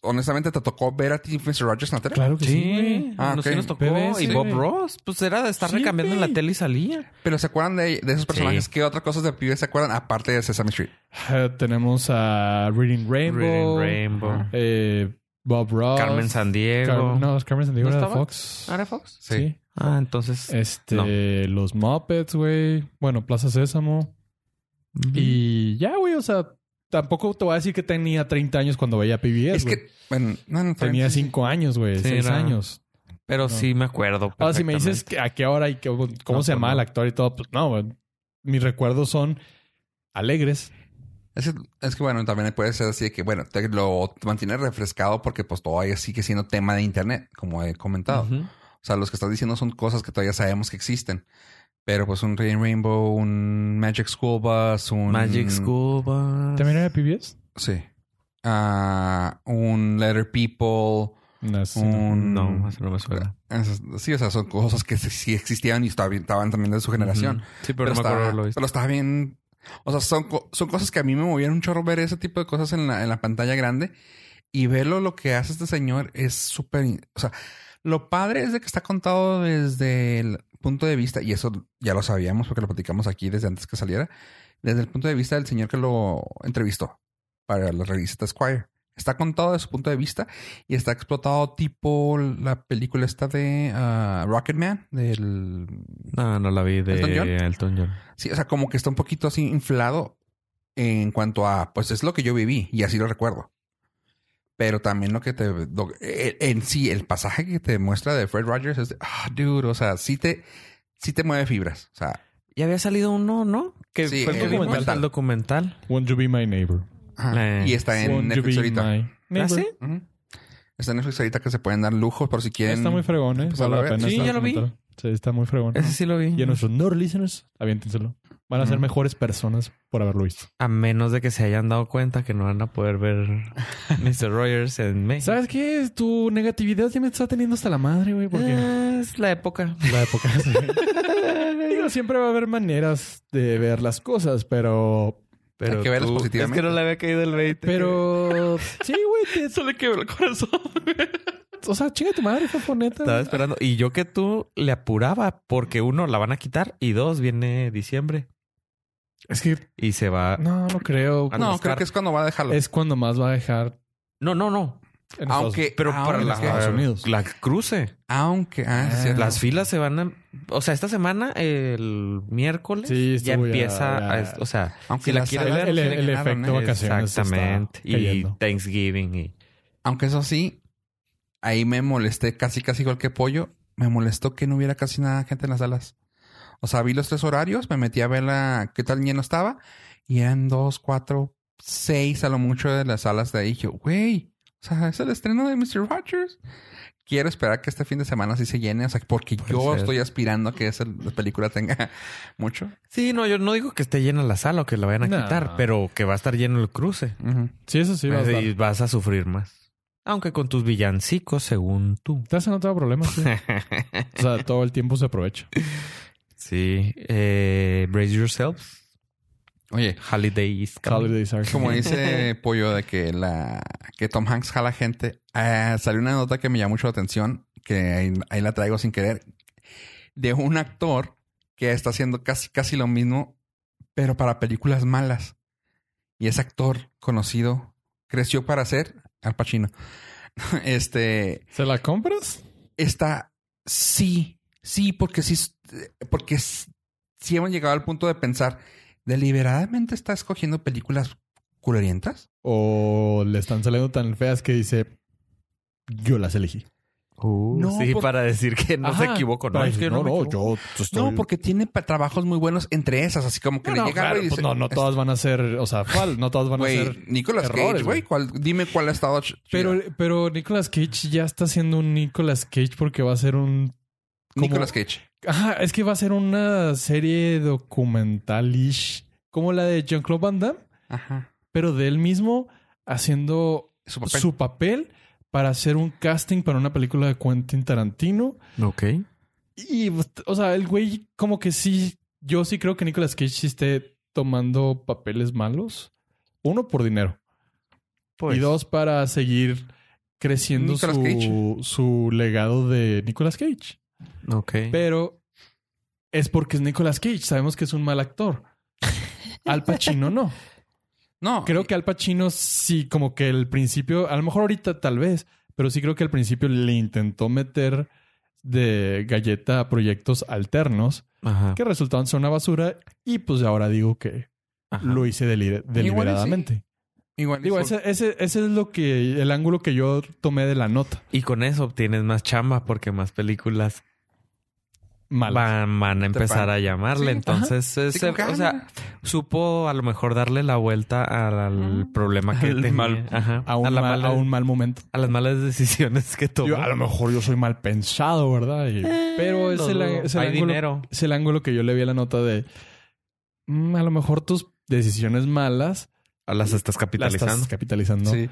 [SPEAKER 1] honestamente te tocó ver a ti Mr. Rogers en la tele.
[SPEAKER 2] Claro que
[SPEAKER 3] Sí,
[SPEAKER 2] sí. güey.
[SPEAKER 1] Ah,
[SPEAKER 3] no, sí
[SPEAKER 1] ok.
[SPEAKER 3] nos tocó.
[SPEAKER 2] PBS,
[SPEAKER 3] y Bob
[SPEAKER 2] güey.
[SPEAKER 3] Ross, pues era de estar
[SPEAKER 2] Sí,
[SPEAKER 3] recambiando en la
[SPEAKER 2] güey.
[SPEAKER 3] tele y salía.
[SPEAKER 1] Pero ¿se acuerdan de, de esos personajes?
[SPEAKER 3] Sí.
[SPEAKER 1] ¿Qué otras cosas de pibes se acuerdan? Aparte de Sesame Street.
[SPEAKER 2] Eh, tenemos a Reading Rainbow.
[SPEAKER 3] Reading Rainbow.
[SPEAKER 1] Ajá.
[SPEAKER 2] eh, Bob Ross.
[SPEAKER 3] Carmen
[SPEAKER 2] Car-
[SPEAKER 3] Sandiego.
[SPEAKER 2] no, Carmen Sandiego
[SPEAKER 3] ¿No
[SPEAKER 2] era de
[SPEAKER 3] estaba?
[SPEAKER 2] Fox.
[SPEAKER 3] ¿Ara Fox?
[SPEAKER 1] Sí.
[SPEAKER 2] sí.
[SPEAKER 3] Ah, entonces.
[SPEAKER 2] Este,
[SPEAKER 3] No.
[SPEAKER 2] los Muppets, güey. Bueno, Plaza Sésamo. Y ya, güey, o sea, tampoco te voy a decir que tenía 30 años cuando veía PBS.
[SPEAKER 1] es
[SPEAKER 2] güey.
[SPEAKER 1] que... Bueno, no, no, está bien.
[SPEAKER 2] tenía
[SPEAKER 1] Sí, sí.
[SPEAKER 2] 5 años, güey,
[SPEAKER 3] Sí,
[SPEAKER 2] 6
[SPEAKER 3] era-
[SPEAKER 2] años.
[SPEAKER 3] Pero
[SPEAKER 2] no.
[SPEAKER 3] sí me acuerdo.
[SPEAKER 2] Ahora, Ah, si me dices que- a qué hora y qué- cómo
[SPEAKER 3] No,
[SPEAKER 2] se llamaba
[SPEAKER 3] pues no.
[SPEAKER 2] el actor y todo, pues no, güey. Mis recuerdos son alegres.
[SPEAKER 1] Es que, es que, bueno, también puede ser así de que, bueno, te lo mantienes refrescado porque pues todavía sigue siendo tema de internet, como he comentado.
[SPEAKER 3] Ujú.
[SPEAKER 1] O sea, los que estás diciendo son cosas que todavía sabemos que existen. Pero pues un Rain Rainbow, un Magic School Bus, un...
[SPEAKER 3] Magic Scuba.
[SPEAKER 2] ¿También era de PBS?
[SPEAKER 1] Sí. Ah, un Letter People,
[SPEAKER 2] No, sí, no.
[SPEAKER 1] un...
[SPEAKER 3] No, eso no me suena.
[SPEAKER 1] Esas- Sí, o sea, son cosas que sí- sí existían y estaban, estaban también de su generación.
[SPEAKER 3] Ujú. Sí, pero, no me
[SPEAKER 1] está-
[SPEAKER 3] acuerdo lo visto.
[SPEAKER 1] pero está bien. O sea, son, co- son cosas que a mí me movieron un chorro ver ese tipo de cosas en la, en la pantalla grande. Y verlo lo que hace este señor es súper. in- O sea, lo padre es de que está contado desde el punto de vista, y eso ya lo sabíamos porque lo platicamos aquí desde antes que saliera, desde el punto de vista del señor que lo entrevistó para la revista Squire. Está contado desde su punto de vista y está explotado tipo la película esta de ah, Rocketman, del
[SPEAKER 3] No, no la vi de
[SPEAKER 1] ¿Elton John?
[SPEAKER 3] Elton John.
[SPEAKER 1] Sí, o sea, como que está un poquito así inflado en cuanto a, pues es lo que yo viví y así lo recuerdo. Pero también lo que te... lo- eh, en sí, el pasaje que te muestra de Fred Rogers es, de, ah, dude, o sea, sí te, sí te mueve fibras. O sea,
[SPEAKER 3] Ya había salido uno, ¿no? Que
[SPEAKER 1] Sí,
[SPEAKER 3] fue el,
[SPEAKER 2] el
[SPEAKER 3] que vimos,
[SPEAKER 1] documental.
[SPEAKER 3] el documental.
[SPEAKER 2] Won't You Be My Neighbor.
[SPEAKER 1] ajá.
[SPEAKER 3] Eh,
[SPEAKER 1] y está en
[SPEAKER 2] Won't You
[SPEAKER 1] Netflix
[SPEAKER 2] Be
[SPEAKER 1] ahorita.
[SPEAKER 2] My Neighbor.
[SPEAKER 3] ¿Ah, sí?
[SPEAKER 1] Ujú. Está en Netflix ahorita que se pueden dar lujos por si quieren...
[SPEAKER 2] Está muy fregón, ¿eh?
[SPEAKER 1] Pues,
[SPEAKER 2] Vale
[SPEAKER 1] a
[SPEAKER 2] la
[SPEAKER 1] ver.
[SPEAKER 2] pena.
[SPEAKER 3] Sí,
[SPEAKER 2] está
[SPEAKER 3] ya lo vi.
[SPEAKER 2] documental. Sí, está muy fregón.
[SPEAKER 3] Ese sí lo vi.
[SPEAKER 2] Y a nuestros nerd listeners, aviéntenselo. Van a ser
[SPEAKER 1] Ujú.
[SPEAKER 2] mejores personas por haberlo visto.
[SPEAKER 3] A menos de que se hayan dado cuenta que no van a poder ver Mr. Rogers en México.
[SPEAKER 2] ¿Sabes qué? Tu negatividad ya me está teniendo hasta la madre, güey, porque
[SPEAKER 3] Ah, Es la época.
[SPEAKER 2] la época. sí. Digo, siempre va a haber maneras de ver las cosas, pero.
[SPEAKER 3] Pero
[SPEAKER 1] que verlos
[SPEAKER 3] tú-
[SPEAKER 1] positivamente.
[SPEAKER 3] Es que no le había caído el 20.
[SPEAKER 2] Pero. Sí, güey. te-
[SPEAKER 3] Eso le quebró el corazón.
[SPEAKER 2] O sea, chinga tu madre, fue neta.
[SPEAKER 3] Estaba esperando. Y yo que tú le apuraba porque uno, la van a quitar y dos, viene diciembre
[SPEAKER 2] Es que.
[SPEAKER 3] y se va.
[SPEAKER 2] No, no creo.
[SPEAKER 3] Ah,
[SPEAKER 1] No,
[SPEAKER 3] Oscar.
[SPEAKER 1] creo que es cuando va a dejarlo.
[SPEAKER 2] Es cuando más va a dejar.
[SPEAKER 3] No, no, no.
[SPEAKER 2] en
[SPEAKER 1] Aunque-
[SPEAKER 2] Estados-
[SPEAKER 3] Pero
[SPEAKER 1] Ah,
[SPEAKER 3] para
[SPEAKER 1] en
[SPEAKER 3] la,
[SPEAKER 1] Estados
[SPEAKER 2] Unidos.
[SPEAKER 3] la cruce.
[SPEAKER 1] Aunque... Ah, sí,
[SPEAKER 2] Ah,
[SPEAKER 1] cierto.
[SPEAKER 3] Las filas se van a... O sea, esta semana, el miércoles,
[SPEAKER 2] Sí,
[SPEAKER 3] ya
[SPEAKER 2] estuvo ya-
[SPEAKER 3] empieza...
[SPEAKER 2] ya-
[SPEAKER 3] a- o sea,
[SPEAKER 1] aunque
[SPEAKER 3] si la
[SPEAKER 1] las
[SPEAKER 3] quiere
[SPEAKER 1] salas
[SPEAKER 3] ver,
[SPEAKER 1] no
[SPEAKER 2] el-
[SPEAKER 1] se le
[SPEAKER 2] el
[SPEAKER 1] llenaron,
[SPEAKER 2] efecto
[SPEAKER 1] ¿eh?
[SPEAKER 2] vacaciones está
[SPEAKER 3] exactamente. Y
[SPEAKER 2] cayendo.
[SPEAKER 3] Thanksgiving y...
[SPEAKER 1] Aunque eso sí, ahí me molesté casi, casi igual que Pollo. Me molestó que no hubiera casi nada de gente en las salas. O sea, vi los tres horarios, me metí a ver la, qué tal lleno estaba. Y eran dos, cuatro, seis a lo mucho de las salas de ahí. Y yo, güey, o sea, es el estreno de Mr. Rogers. Quiero esperar que este fin de semana sí se llene. O sea, porque
[SPEAKER 3] Puede
[SPEAKER 1] yo
[SPEAKER 3] ser.
[SPEAKER 1] estoy aspirando a que esa la película tenga mucho.
[SPEAKER 3] Sí, no, yo no digo que esté llena la sala o que la vayan a
[SPEAKER 2] No.
[SPEAKER 3] quitar, pero que va a estar lleno el cruce.
[SPEAKER 1] Ujú.
[SPEAKER 2] Sí, eso sí va a estar.
[SPEAKER 3] y vas a sufrir más. Aunque con tus villancicos, según tú.
[SPEAKER 2] Te hacen otro problema, sí. O sea, todo el tiempo se aprovecha.
[SPEAKER 3] sí. Eh, brace yourselves.
[SPEAKER 1] Oye,
[SPEAKER 3] Holiday is coming.
[SPEAKER 2] Holidays are
[SPEAKER 1] Como dice Pollo de que la que Tom Hanks jala gente, ah, salió una nota que me llamó mucho la atención, que ahí, ahí la traigo sin querer, de un actor que está haciendo casi, casi lo mismo, pero para películas malas. Y ese actor conocido creció para ser Al Pacino. Este
[SPEAKER 2] ¿Se la compras?
[SPEAKER 1] está sí, sí, porque sí, porque sí, sí hemos llegado al punto de pensar deliberadamente está escogiendo películas culerientas.
[SPEAKER 2] ¿O le están saliendo tan feas que dice yo las elegí?
[SPEAKER 3] Uh,
[SPEAKER 1] No,
[SPEAKER 3] sí,
[SPEAKER 1] por-
[SPEAKER 3] para decir que no se
[SPEAKER 2] pues- Ajá.
[SPEAKER 3] equivoco. No,
[SPEAKER 2] Para
[SPEAKER 3] es que
[SPEAKER 2] decir,
[SPEAKER 3] yo no
[SPEAKER 2] no,
[SPEAKER 3] me
[SPEAKER 2] no,
[SPEAKER 3] equivoco.
[SPEAKER 2] yo estoy...
[SPEAKER 1] No, porque tiene pa- trabajos muy buenos entre esas, así como que
[SPEAKER 2] No,
[SPEAKER 1] le
[SPEAKER 2] no,
[SPEAKER 1] llega
[SPEAKER 2] claro,
[SPEAKER 1] algo y
[SPEAKER 2] pues
[SPEAKER 1] dice,
[SPEAKER 2] no, no todas van a ser, o sea, ¿cuál? No todas van a
[SPEAKER 1] Güey,
[SPEAKER 2] ser.
[SPEAKER 1] Nicolas
[SPEAKER 2] errores,
[SPEAKER 1] Cage, güey,
[SPEAKER 2] güey.
[SPEAKER 1] ¿cuál- dime cuál ha estado. ch-
[SPEAKER 2] Pero,
[SPEAKER 1] chida.
[SPEAKER 2] pero Nicolas Cage ya está siendo un Nicolas Cage porque va a ser un. como-
[SPEAKER 1] Nicolas Cage.
[SPEAKER 2] Ajá, es que va a ser una serie documental-ish, como la de Jean-Claude Van Damme,
[SPEAKER 1] Ajá.
[SPEAKER 2] pero de él mismo haciendo
[SPEAKER 1] Su papel.
[SPEAKER 2] su papel para hacer un casting para una película de Quentin Tarantino.
[SPEAKER 3] Ok.
[SPEAKER 2] Y, pues, o sea, el güey, como que sí, yo sí creo que Nicolas Cage sí esté tomando papeles malos. Uno, por dinero.
[SPEAKER 3] Pues,
[SPEAKER 2] Y dos, para seguir creciendo
[SPEAKER 1] Nicolas
[SPEAKER 2] su,
[SPEAKER 1] Cage.
[SPEAKER 2] su legado de Nicolas Cage.
[SPEAKER 3] Ok.
[SPEAKER 2] Pero es porque es Nicolas Cage. Sabemos que es un mal actor. Al Pacino no.
[SPEAKER 1] No,
[SPEAKER 2] Creo que Al Pacino sí, como que al principio, a lo mejor ahorita tal vez, pero sí creo que al principio le intentó meter de galleta a proyectos alternos
[SPEAKER 3] Ajá.
[SPEAKER 2] que resultaban ser una basura y pues ahora digo que
[SPEAKER 3] Ajá.
[SPEAKER 2] lo hice deli- deliberadamente.
[SPEAKER 1] igual.
[SPEAKER 2] Digo,
[SPEAKER 1] hizo-
[SPEAKER 2] ese, ese, ese es lo que el ángulo que yo tomé de la nota.
[SPEAKER 3] Y con eso obtienes más chamba porque más películas
[SPEAKER 2] malas.
[SPEAKER 3] van, van a empezar a
[SPEAKER 1] Sí,
[SPEAKER 3] llamarle. Entonces,
[SPEAKER 1] Sí,
[SPEAKER 3] ese-
[SPEAKER 1] como que,
[SPEAKER 3] o
[SPEAKER 1] ah,
[SPEAKER 3] sea,
[SPEAKER 1] mira.
[SPEAKER 3] supo a lo mejor darle la vuelta al, al problema que
[SPEAKER 2] Al
[SPEAKER 3] tenía.
[SPEAKER 2] mal-
[SPEAKER 3] Ajá.
[SPEAKER 2] A un,
[SPEAKER 3] a, la
[SPEAKER 2] mal,
[SPEAKER 3] mala-
[SPEAKER 2] a un mal momento.
[SPEAKER 3] a las malas decisiones que tomó.
[SPEAKER 2] Yo, a lo mejor yo soy mal pensado, ¿verdad? Y-
[SPEAKER 1] Eh,
[SPEAKER 2] pero es
[SPEAKER 3] lo
[SPEAKER 2] el,
[SPEAKER 3] Eh, dudo.
[SPEAKER 2] es el
[SPEAKER 3] Hay
[SPEAKER 2] ángulo,
[SPEAKER 3] dinero.
[SPEAKER 2] es el ángulo que yo le vi a la nota de... mm, a lo mejor tus decisiones malas
[SPEAKER 3] las
[SPEAKER 2] Ah,
[SPEAKER 3] estás
[SPEAKER 2] las
[SPEAKER 3] capitalizando
[SPEAKER 2] estás capitalizando.
[SPEAKER 1] Sí.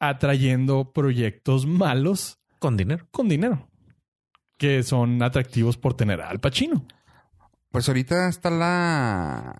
[SPEAKER 2] Atrayendo proyectos malos
[SPEAKER 3] con dinero.
[SPEAKER 2] con dinero. Que son atractivos por tener al Pacino.
[SPEAKER 1] Pues ahorita está la,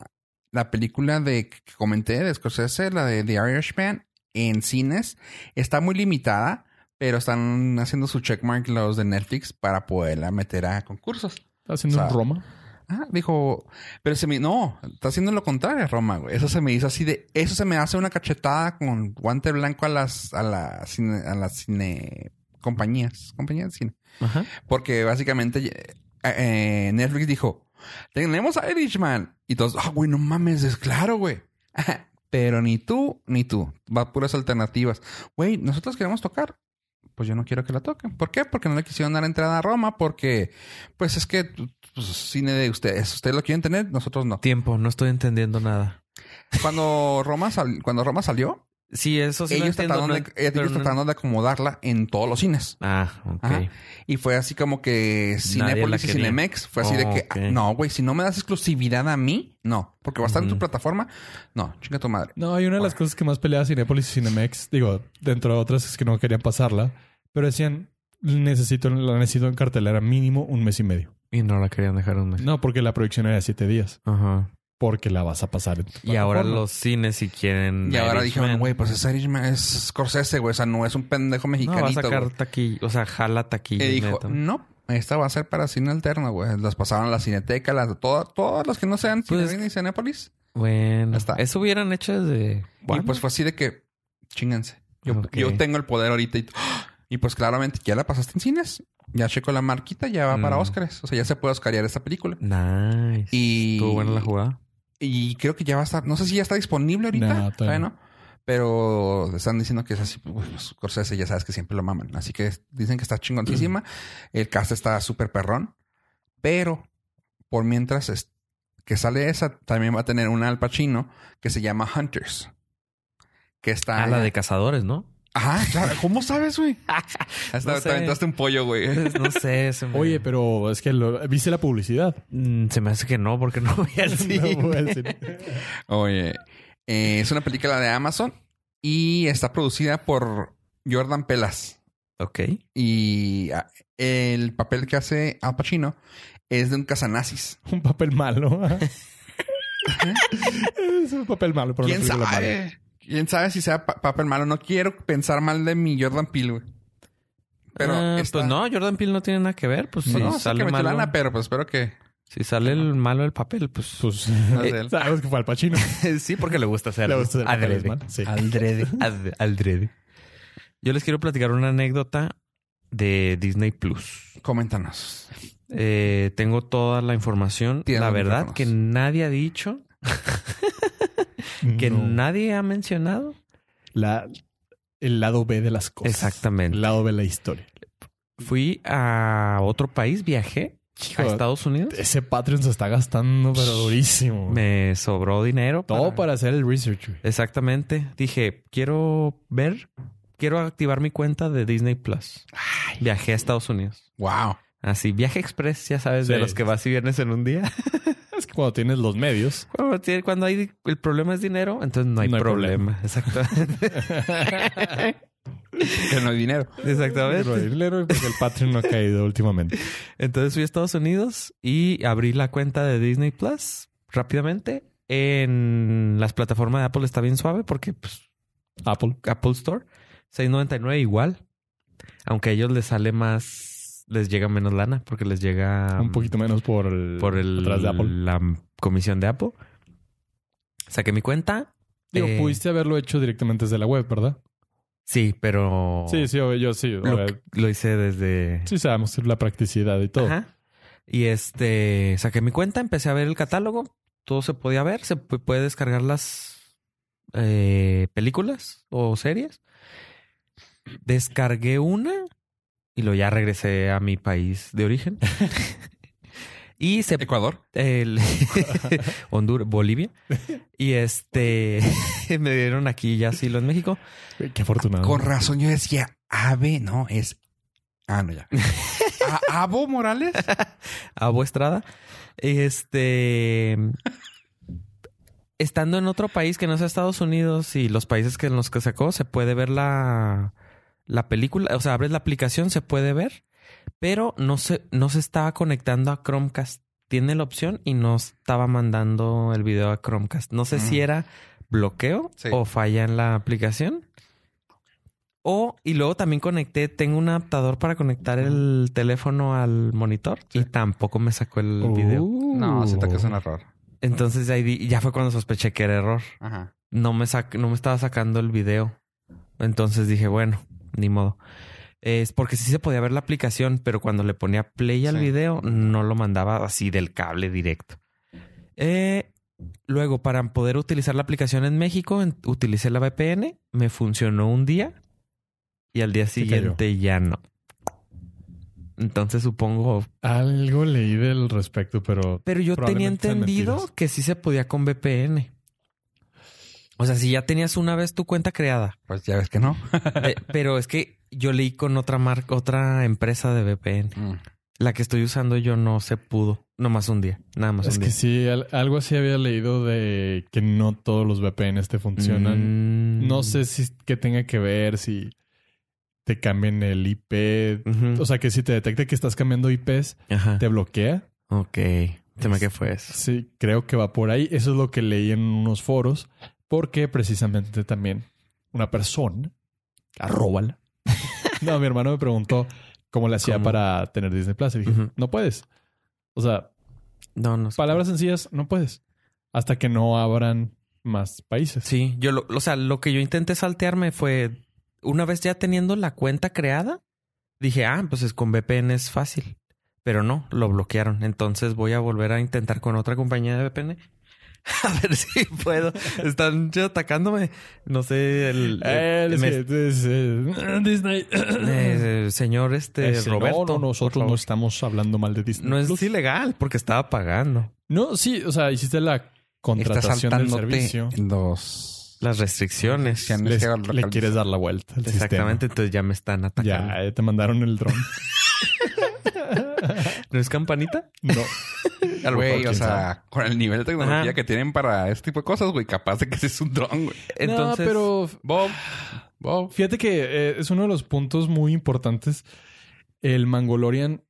[SPEAKER 1] la película de que comenté de Scorsese, la de The Irishman, en cines. Está muy limitada, pero están haciendo su checkmark los de Netflix para poderla meter a concursos.
[SPEAKER 2] Haciendo
[SPEAKER 1] O sea,
[SPEAKER 2] un Roma.
[SPEAKER 1] Ah, dijo, pero se me, no, está haciendo lo contrario, Roma, güey. Eso se me hizo así de, eso se me hace una cachetada con guante blanco a las, a las cine, a las cine compañías, compañías de cine.
[SPEAKER 3] Ajá.
[SPEAKER 1] Porque básicamente eh, eh, Netflix dijo, tenemos a Irishman. Y todos, ah, güey, no mames, es claro, güey. Pero ni tú, ni tú. Va puras alternativas. Güey, nosotros queremos tocar. Pues yo no quiero que la toquen. ¿Por qué? Porque no le quisieron dar entrada a Roma. Porque, pues es que pues, cine de ustedes. Ustedes lo quieren tener, nosotros no.
[SPEAKER 3] Tiempo, no estoy entendiendo nada.
[SPEAKER 1] Cuando Roma, sal- cuando Roma salió,
[SPEAKER 3] Sí, eso sí lo
[SPEAKER 1] ellos,
[SPEAKER 3] entiendo,
[SPEAKER 1] trataron,
[SPEAKER 3] no-
[SPEAKER 1] de, ellos
[SPEAKER 3] pero no-
[SPEAKER 1] trataron de acomodarla en todos los cines.
[SPEAKER 3] Ah, ok.
[SPEAKER 1] Ajá. Y fue así como que Cinépolis y
[SPEAKER 3] quería.
[SPEAKER 1] Cinemex fue así de que,
[SPEAKER 3] Ok.
[SPEAKER 1] ah, no, güey, si no me das exclusividad a mí, no, porque va a estar en tu
[SPEAKER 3] Ujú.
[SPEAKER 1] plataforma. No, chinga tu madre.
[SPEAKER 2] No, y una de las cosas que más peleaba Cinepolis y Cinemex, digo, dentro de otras es que no querían pasarla, pero decían, necesito, la necesito en cartelera mínimo un mes y medio.
[SPEAKER 3] Y no la querían dejar un mes.
[SPEAKER 2] No, porque la proyección era de siete días,
[SPEAKER 3] Ajá.
[SPEAKER 2] porque la vas a pasar. En tu
[SPEAKER 3] Y ahora
[SPEAKER 2] plataforma.
[SPEAKER 3] los cines si quieren.
[SPEAKER 1] Y ahora
[SPEAKER 3] Irishman.
[SPEAKER 1] dijeron, güey, pues es Irishman, es Scorsese, güey, o sea, no es un pendejo
[SPEAKER 3] No, va a
[SPEAKER 1] mexicanito.
[SPEAKER 3] sacar
[SPEAKER 1] güey.
[SPEAKER 3] taquilla, o sea, jala taquilla.
[SPEAKER 1] y dijo, "Mm,
[SPEAKER 3] neta.
[SPEAKER 1] no, esta va a ser para cine alterno, güey. Las pasaban a la Cineteca, las, todas, todas las que no sean
[SPEAKER 3] Pues-
[SPEAKER 1] Cinemex ni Cinépolis.
[SPEAKER 3] Bueno,
[SPEAKER 1] Está.
[SPEAKER 3] eso hubieran hecho desde.
[SPEAKER 1] Y pues fue así de que, chinganse. Yo,
[SPEAKER 3] Ok.
[SPEAKER 1] yo tengo el poder ahorita y, y pues claramente ya la pasaste en cines. Ya checo la marquita, ya va para
[SPEAKER 3] Mm.
[SPEAKER 1] Oscars. O sea, ya se puede Oscarear esta película.
[SPEAKER 3] Nice.
[SPEAKER 1] Y,
[SPEAKER 3] Estuvo buena la jugada.
[SPEAKER 1] y creo que ya va a estar, no sé si ya está disponible ahorita,
[SPEAKER 2] No, todavía
[SPEAKER 1] todavía
[SPEAKER 2] no.
[SPEAKER 1] no. Pero están diciendo que es así, pues, los Scorsese ya sabes que siempre lo maman. Así que dicen que está chingoncísima. El cast está súper perrón. Pero por mientras es- que sale esa, también va a tener una Al Pacino que se llama Hunters. Que está.
[SPEAKER 3] Ah, la de cazadores, ¿no?
[SPEAKER 1] Ajá, claro. ¿Cómo sabes, güey? Hasta
[SPEAKER 3] No sé.
[SPEAKER 1] te aventaste un pollo, güey.
[SPEAKER 3] no sé. Se me...
[SPEAKER 2] Oye, pero es que lo- viste la publicidad.
[SPEAKER 3] Mm, se me hace que no, porque no voy al cine.
[SPEAKER 2] No fue al cine.
[SPEAKER 1] Oye, eh, es una película de Amazon y está producida por Jordan Pelas.
[SPEAKER 3] ok.
[SPEAKER 1] Y ah, el papel que hace Al Pacino es de un cazanazis.
[SPEAKER 2] un papel malo. ¿ah? es un papel malo, pero una
[SPEAKER 1] ¿Quién
[SPEAKER 2] película
[SPEAKER 1] sabe?
[SPEAKER 2] mala.
[SPEAKER 1] ¿Quién sabe si sea pa- papel malo? No quiero pensar mal de mi Jordan Peele, güey. Pero
[SPEAKER 3] Ah,
[SPEAKER 1] está-
[SPEAKER 3] pues no, Jordan Peele no tiene nada que ver. Pues
[SPEAKER 1] Pues
[SPEAKER 3] si
[SPEAKER 1] no, sé
[SPEAKER 3] sale
[SPEAKER 1] que metió
[SPEAKER 3] malo.
[SPEAKER 1] lana, pero pues espero que...
[SPEAKER 3] Si sale el malo el papel, pues.
[SPEAKER 2] Pues,
[SPEAKER 1] no es de él.
[SPEAKER 2] sabes que fue al Pacino.
[SPEAKER 3] sí, porque le gusta hacer
[SPEAKER 2] Le gusta hacer papeles malos, sí.
[SPEAKER 3] Aldrede. Ad- aldrede. Yo les quiero platicar una anécdota de Disney Plus.
[SPEAKER 1] Coméntanos.
[SPEAKER 3] Eh, tengo toda la información.
[SPEAKER 1] Tienes
[SPEAKER 3] la
[SPEAKER 1] los
[SPEAKER 3] verdad
[SPEAKER 1] micrófonos.
[SPEAKER 3] que nadie ha dicho, que
[SPEAKER 2] No.
[SPEAKER 3] nadie ha mencionado.
[SPEAKER 2] La, el lado B de las cosas.
[SPEAKER 3] Exactamente.
[SPEAKER 2] El lado B de la historia.
[SPEAKER 3] Fui a otro país, viajé a Estados Unidos.
[SPEAKER 2] Ese Patreon se está gastando, pero durísimo.
[SPEAKER 3] Me sobró dinero.
[SPEAKER 2] Todo para hacer el research. güey.
[SPEAKER 3] Exactamente. Dije, quiero ver, quiero activar mi cuenta de Disney Plus. Viajé a Estados Unidos.
[SPEAKER 1] Wow.
[SPEAKER 3] Así, viaje express, ya sabes, de
[SPEAKER 2] Sí.
[SPEAKER 3] los que vas y viernes en un día.
[SPEAKER 2] Es que cuando tienes los medios.
[SPEAKER 3] Cuando tiene- cuando hay el problema es dinero, entonces no hay,
[SPEAKER 2] No hay
[SPEAKER 3] problema. Exactamente.
[SPEAKER 1] Que no hay dinero.
[SPEAKER 3] Exactamente.
[SPEAKER 2] Pero el héroe, porque el Patreon no ha caído últimamente.
[SPEAKER 3] Entonces fui a Estados Unidos y abrí la cuenta de Disney Plus rápidamente. En las plataformas de Apple está bien suave porque pues,
[SPEAKER 2] Apple.
[SPEAKER 3] Apple Store 6.99 igual. Aunque a ellos les sale más, les llega menos lana porque les llega
[SPEAKER 2] un poquito menos por el,
[SPEAKER 3] mm, por el,
[SPEAKER 2] atrás de Apple.
[SPEAKER 3] la comisión de Apple. Saqué mi cuenta.
[SPEAKER 2] Digo,
[SPEAKER 3] eh,
[SPEAKER 2] pudiste haberlo hecho directamente desde la web, ¿verdad?
[SPEAKER 3] Sí, pero
[SPEAKER 2] Sí, sí, yo sí. o
[SPEAKER 3] Lo,
[SPEAKER 2] sea,
[SPEAKER 3] lo hice desde...
[SPEAKER 2] Sí, sabemos la practicidad y todo.
[SPEAKER 3] Ajá. Y este, saqué mi cuenta, empecé a ver el catálogo, todo se podía ver, se pu- puede descargar las eh, películas o series. Descargué una y luego ya regresé a mi país de origen. Y se
[SPEAKER 1] Ecuador.
[SPEAKER 3] el Honduras, Bolivia. Y este me dieron aquí ya asilo en México.
[SPEAKER 2] Qué
[SPEAKER 3] Ah.
[SPEAKER 2] afortunado.
[SPEAKER 1] Con razón yo decía, Ave, no, es... Ah, no, ya. ¿A- ¿Abo Morales?
[SPEAKER 3] Abo Estrada. Este. Estando en otro país que no sea Estados Unidos y los países que en los que sacó, se puede ver la, la película. O sea, abres la aplicación, se puede ver, pero no se, no se estaba conectando a Chromecast. Tiene la opción y no estaba mandando el video a Chromecast. No sé si
[SPEAKER 1] Mm.
[SPEAKER 3] era bloqueo
[SPEAKER 1] Sí.
[SPEAKER 3] o falla en la aplicación. O, y luego también conecté, tengo un adaptador para conectar el teléfono al monitor y tampoco me sacó el
[SPEAKER 2] Oh.
[SPEAKER 3] video.
[SPEAKER 1] No, siento que es un error.
[SPEAKER 3] Entonces ahí di- ya fue cuando sospeché que era error.
[SPEAKER 1] Ajá.
[SPEAKER 3] No me, sac- no me estaba sacando el video. Entonces dije, bueno, ni modo. Es porque sí se podía ver la aplicación, pero cuando le ponía play al
[SPEAKER 1] Sí.
[SPEAKER 3] video, no lo mandaba así del cable directo. Eh, luego, para poder utilizar la aplicación en México, en- utilicé la VPN, me funcionó un día y al día
[SPEAKER 2] cayó.
[SPEAKER 3] siguiente ya no. Entonces supongo,
[SPEAKER 2] Algo leí del respecto, pero
[SPEAKER 3] pero yo tenía
[SPEAKER 2] Probablemente sean
[SPEAKER 3] entendido
[SPEAKER 2] mentiras.
[SPEAKER 3] que sí se podía con VPN. O sea, si ya tenías una vez tu cuenta creada,
[SPEAKER 1] Pues ya ves que no.
[SPEAKER 3] Eh, pero es que yo leí con otra marca, otra empresa de VPN.
[SPEAKER 1] Mm.
[SPEAKER 3] La que estoy usando yo no se pudo. Nomás un día. Nada más
[SPEAKER 2] es
[SPEAKER 3] un
[SPEAKER 2] que
[SPEAKER 3] día.
[SPEAKER 2] sí, al- algo así había leído de que no todos los VPNs te funcionan.
[SPEAKER 3] Mm.
[SPEAKER 2] No sé si que tenga que ver, si te cambien el IP.
[SPEAKER 3] Ujú.
[SPEAKER 2] O sea, que si te detecta que estás cambiando IPs,
[SPEAKER 3] Ajá.
[SPEAKER 2] te bloquea.
[SPEAKER 3] Ok. Se me que fue eso.
[SPEAKER 2] Sí, creo que va por ahí. Eso es lo que leí en unos foros, porque precisamente también una persona, arróbala. no, mi hermano me preguntó cómo le hacía
[SPEAKER 3] ¿Cómo?
[SPEAKER 2] para tener Disney Plus. Y dije,
[SPEAKER 3] Ujú.
[SPEAKER 2] no puedes. O sea,
[SPEAKER 3] No, no. sé.
[SPEAKER 2] palabras sencillas, no puedes. Hasta que no abran más países.
[SPEAKER 3] Sí, yo lo, o sea, lo que yo intenté saltearme fue una vez ya teniendo la cuenta creada, dije, ah, pues es con VPN es fácil. Pero no, lo bloquearon. Entonces voy a volver a intentar con otra compañía de VPN. A ver si puedo. Están ya atacándole. No sé, el,
[SPEAKER 2] Eh, es
[SPEAKER 3] me-
[SPEAKER 2] que, es, eh, Disney.
[SPEAKER 3] eh, señor este
[SPEAKER 2] Eh, sí, no,
[SPEAKER 3] Roberto.
[SPEAKER 2] no,
[SPEAKER 3] por
[SPEAKER 2] nosotros
[SPEAKER 3] favor.
[SPEAKER 2] no estamos hablando mal de Disney.
[SPEAKER 3] No es
[SPEAKER 2] Plus.
[SPEAKER 3] ilegal porque estaba pagando
[SPEAKER 2] No, sí, o sea, hiciste la
[SPEAKER 1] Está
[SPEAKER 2] contratación del
[SPEAKER 1] saltándote
[SPEAKER 2] servicio.
[SPEAKER 1] los...
[SPEAKER 3] las restricciones.
[SPEAKER 1] Ya no
[SPEAKER 2] Les-
[SPEAKER 1] es que haga el
[SPEAKER 2] le
[SPEAKER 1] local-
[SPEAKER 2] quieres dar la vuelta al
[SPEAKER 3] Exactamente, entonces ya me están
[SPEAKER 2] sistema.
[SPEAKER 3] atacando.
[SPEAKER 2] Ya, eh, te mandaron el dron.
[SPEAKER 3] ¿No es campanita?
[SPEAKER 2] no.
[SPEAKER 3] A lo
[SPEAKER 1] Güey,
[SPEAKER 3] mejor,
[SPEAKER 1] o
[SPEAKER 3] quién
[SPEAKER 1] sea,
[SPEAKER 3] sabe.
[SPEAKER 1] con el nivel de tecnología
[SPEAKER 3] Ajá.
[SPEAKER 1] que tienen para este tipo de cosas, güey, capaz de que ese es un dron, güey.
[SPEAKER 3] Entonces,
[SPEAKER 2] No, pero
[SPEAKER 1] Bob, Bob.
[SPEAKER 2] fíjate que eh, es uno de los puntos muy importantes. El Mangolorian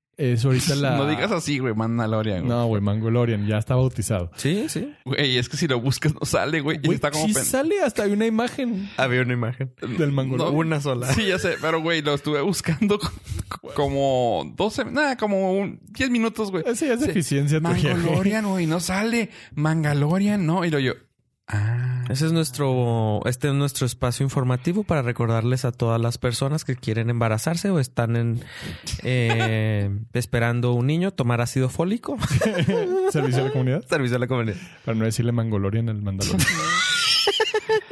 [SPEAKER 2] es ahorita la...
[SPEAKER 1] No digas así, güey, Mandalorian, güey.
[SPEAKER 2] No, güey, Mangolorian ya está bautizado.
[SPEAKER 3] Sí, sí.
[SPEAKER 1] Güey, es que si lo buscas no sale, güey. Y
[SPEAKER 2] Güey,
[SPEAKER 1] está como
[SPEAKER 2] sí
[SPEAKER 1] pen-
[SPEAKER 2] sale hasta hay una imagen
[SPEAKER 3] Había una imagen.
[SPEAKER 2] del
[SPEAKER 1] No,
[SPEAKER 2] Mangolorian.
[SPEAKER 3] Una sola.
[SPEAKER 1] Sí, ya sé, pero güey, lo estuve buscando co- como 12, nada, como un 10 minutos, güey.
[SPEAKER 2] Esa ya es
[SPEAKER 1] Sí.
[SPEAKER 2] eficiencia tu jefe.
[SPEAKER 1] Mangolorian, güey, no sale. Mangalorian, no. Y lo yo, ah,
[SPEAKER 3] Ese es nuestro, este es nuestro espacio informativo para recordarles a todas las personas que quieren embarazarse o están en, eh, esperando un niño tomar ácido fólico.
[SPEAKER 2] Servicio a la comunidad.
[SPEAKER 3] Servicio a la comunidad.
[SPEAKER 2] Para no decirle Mangolorian al Mandalorian.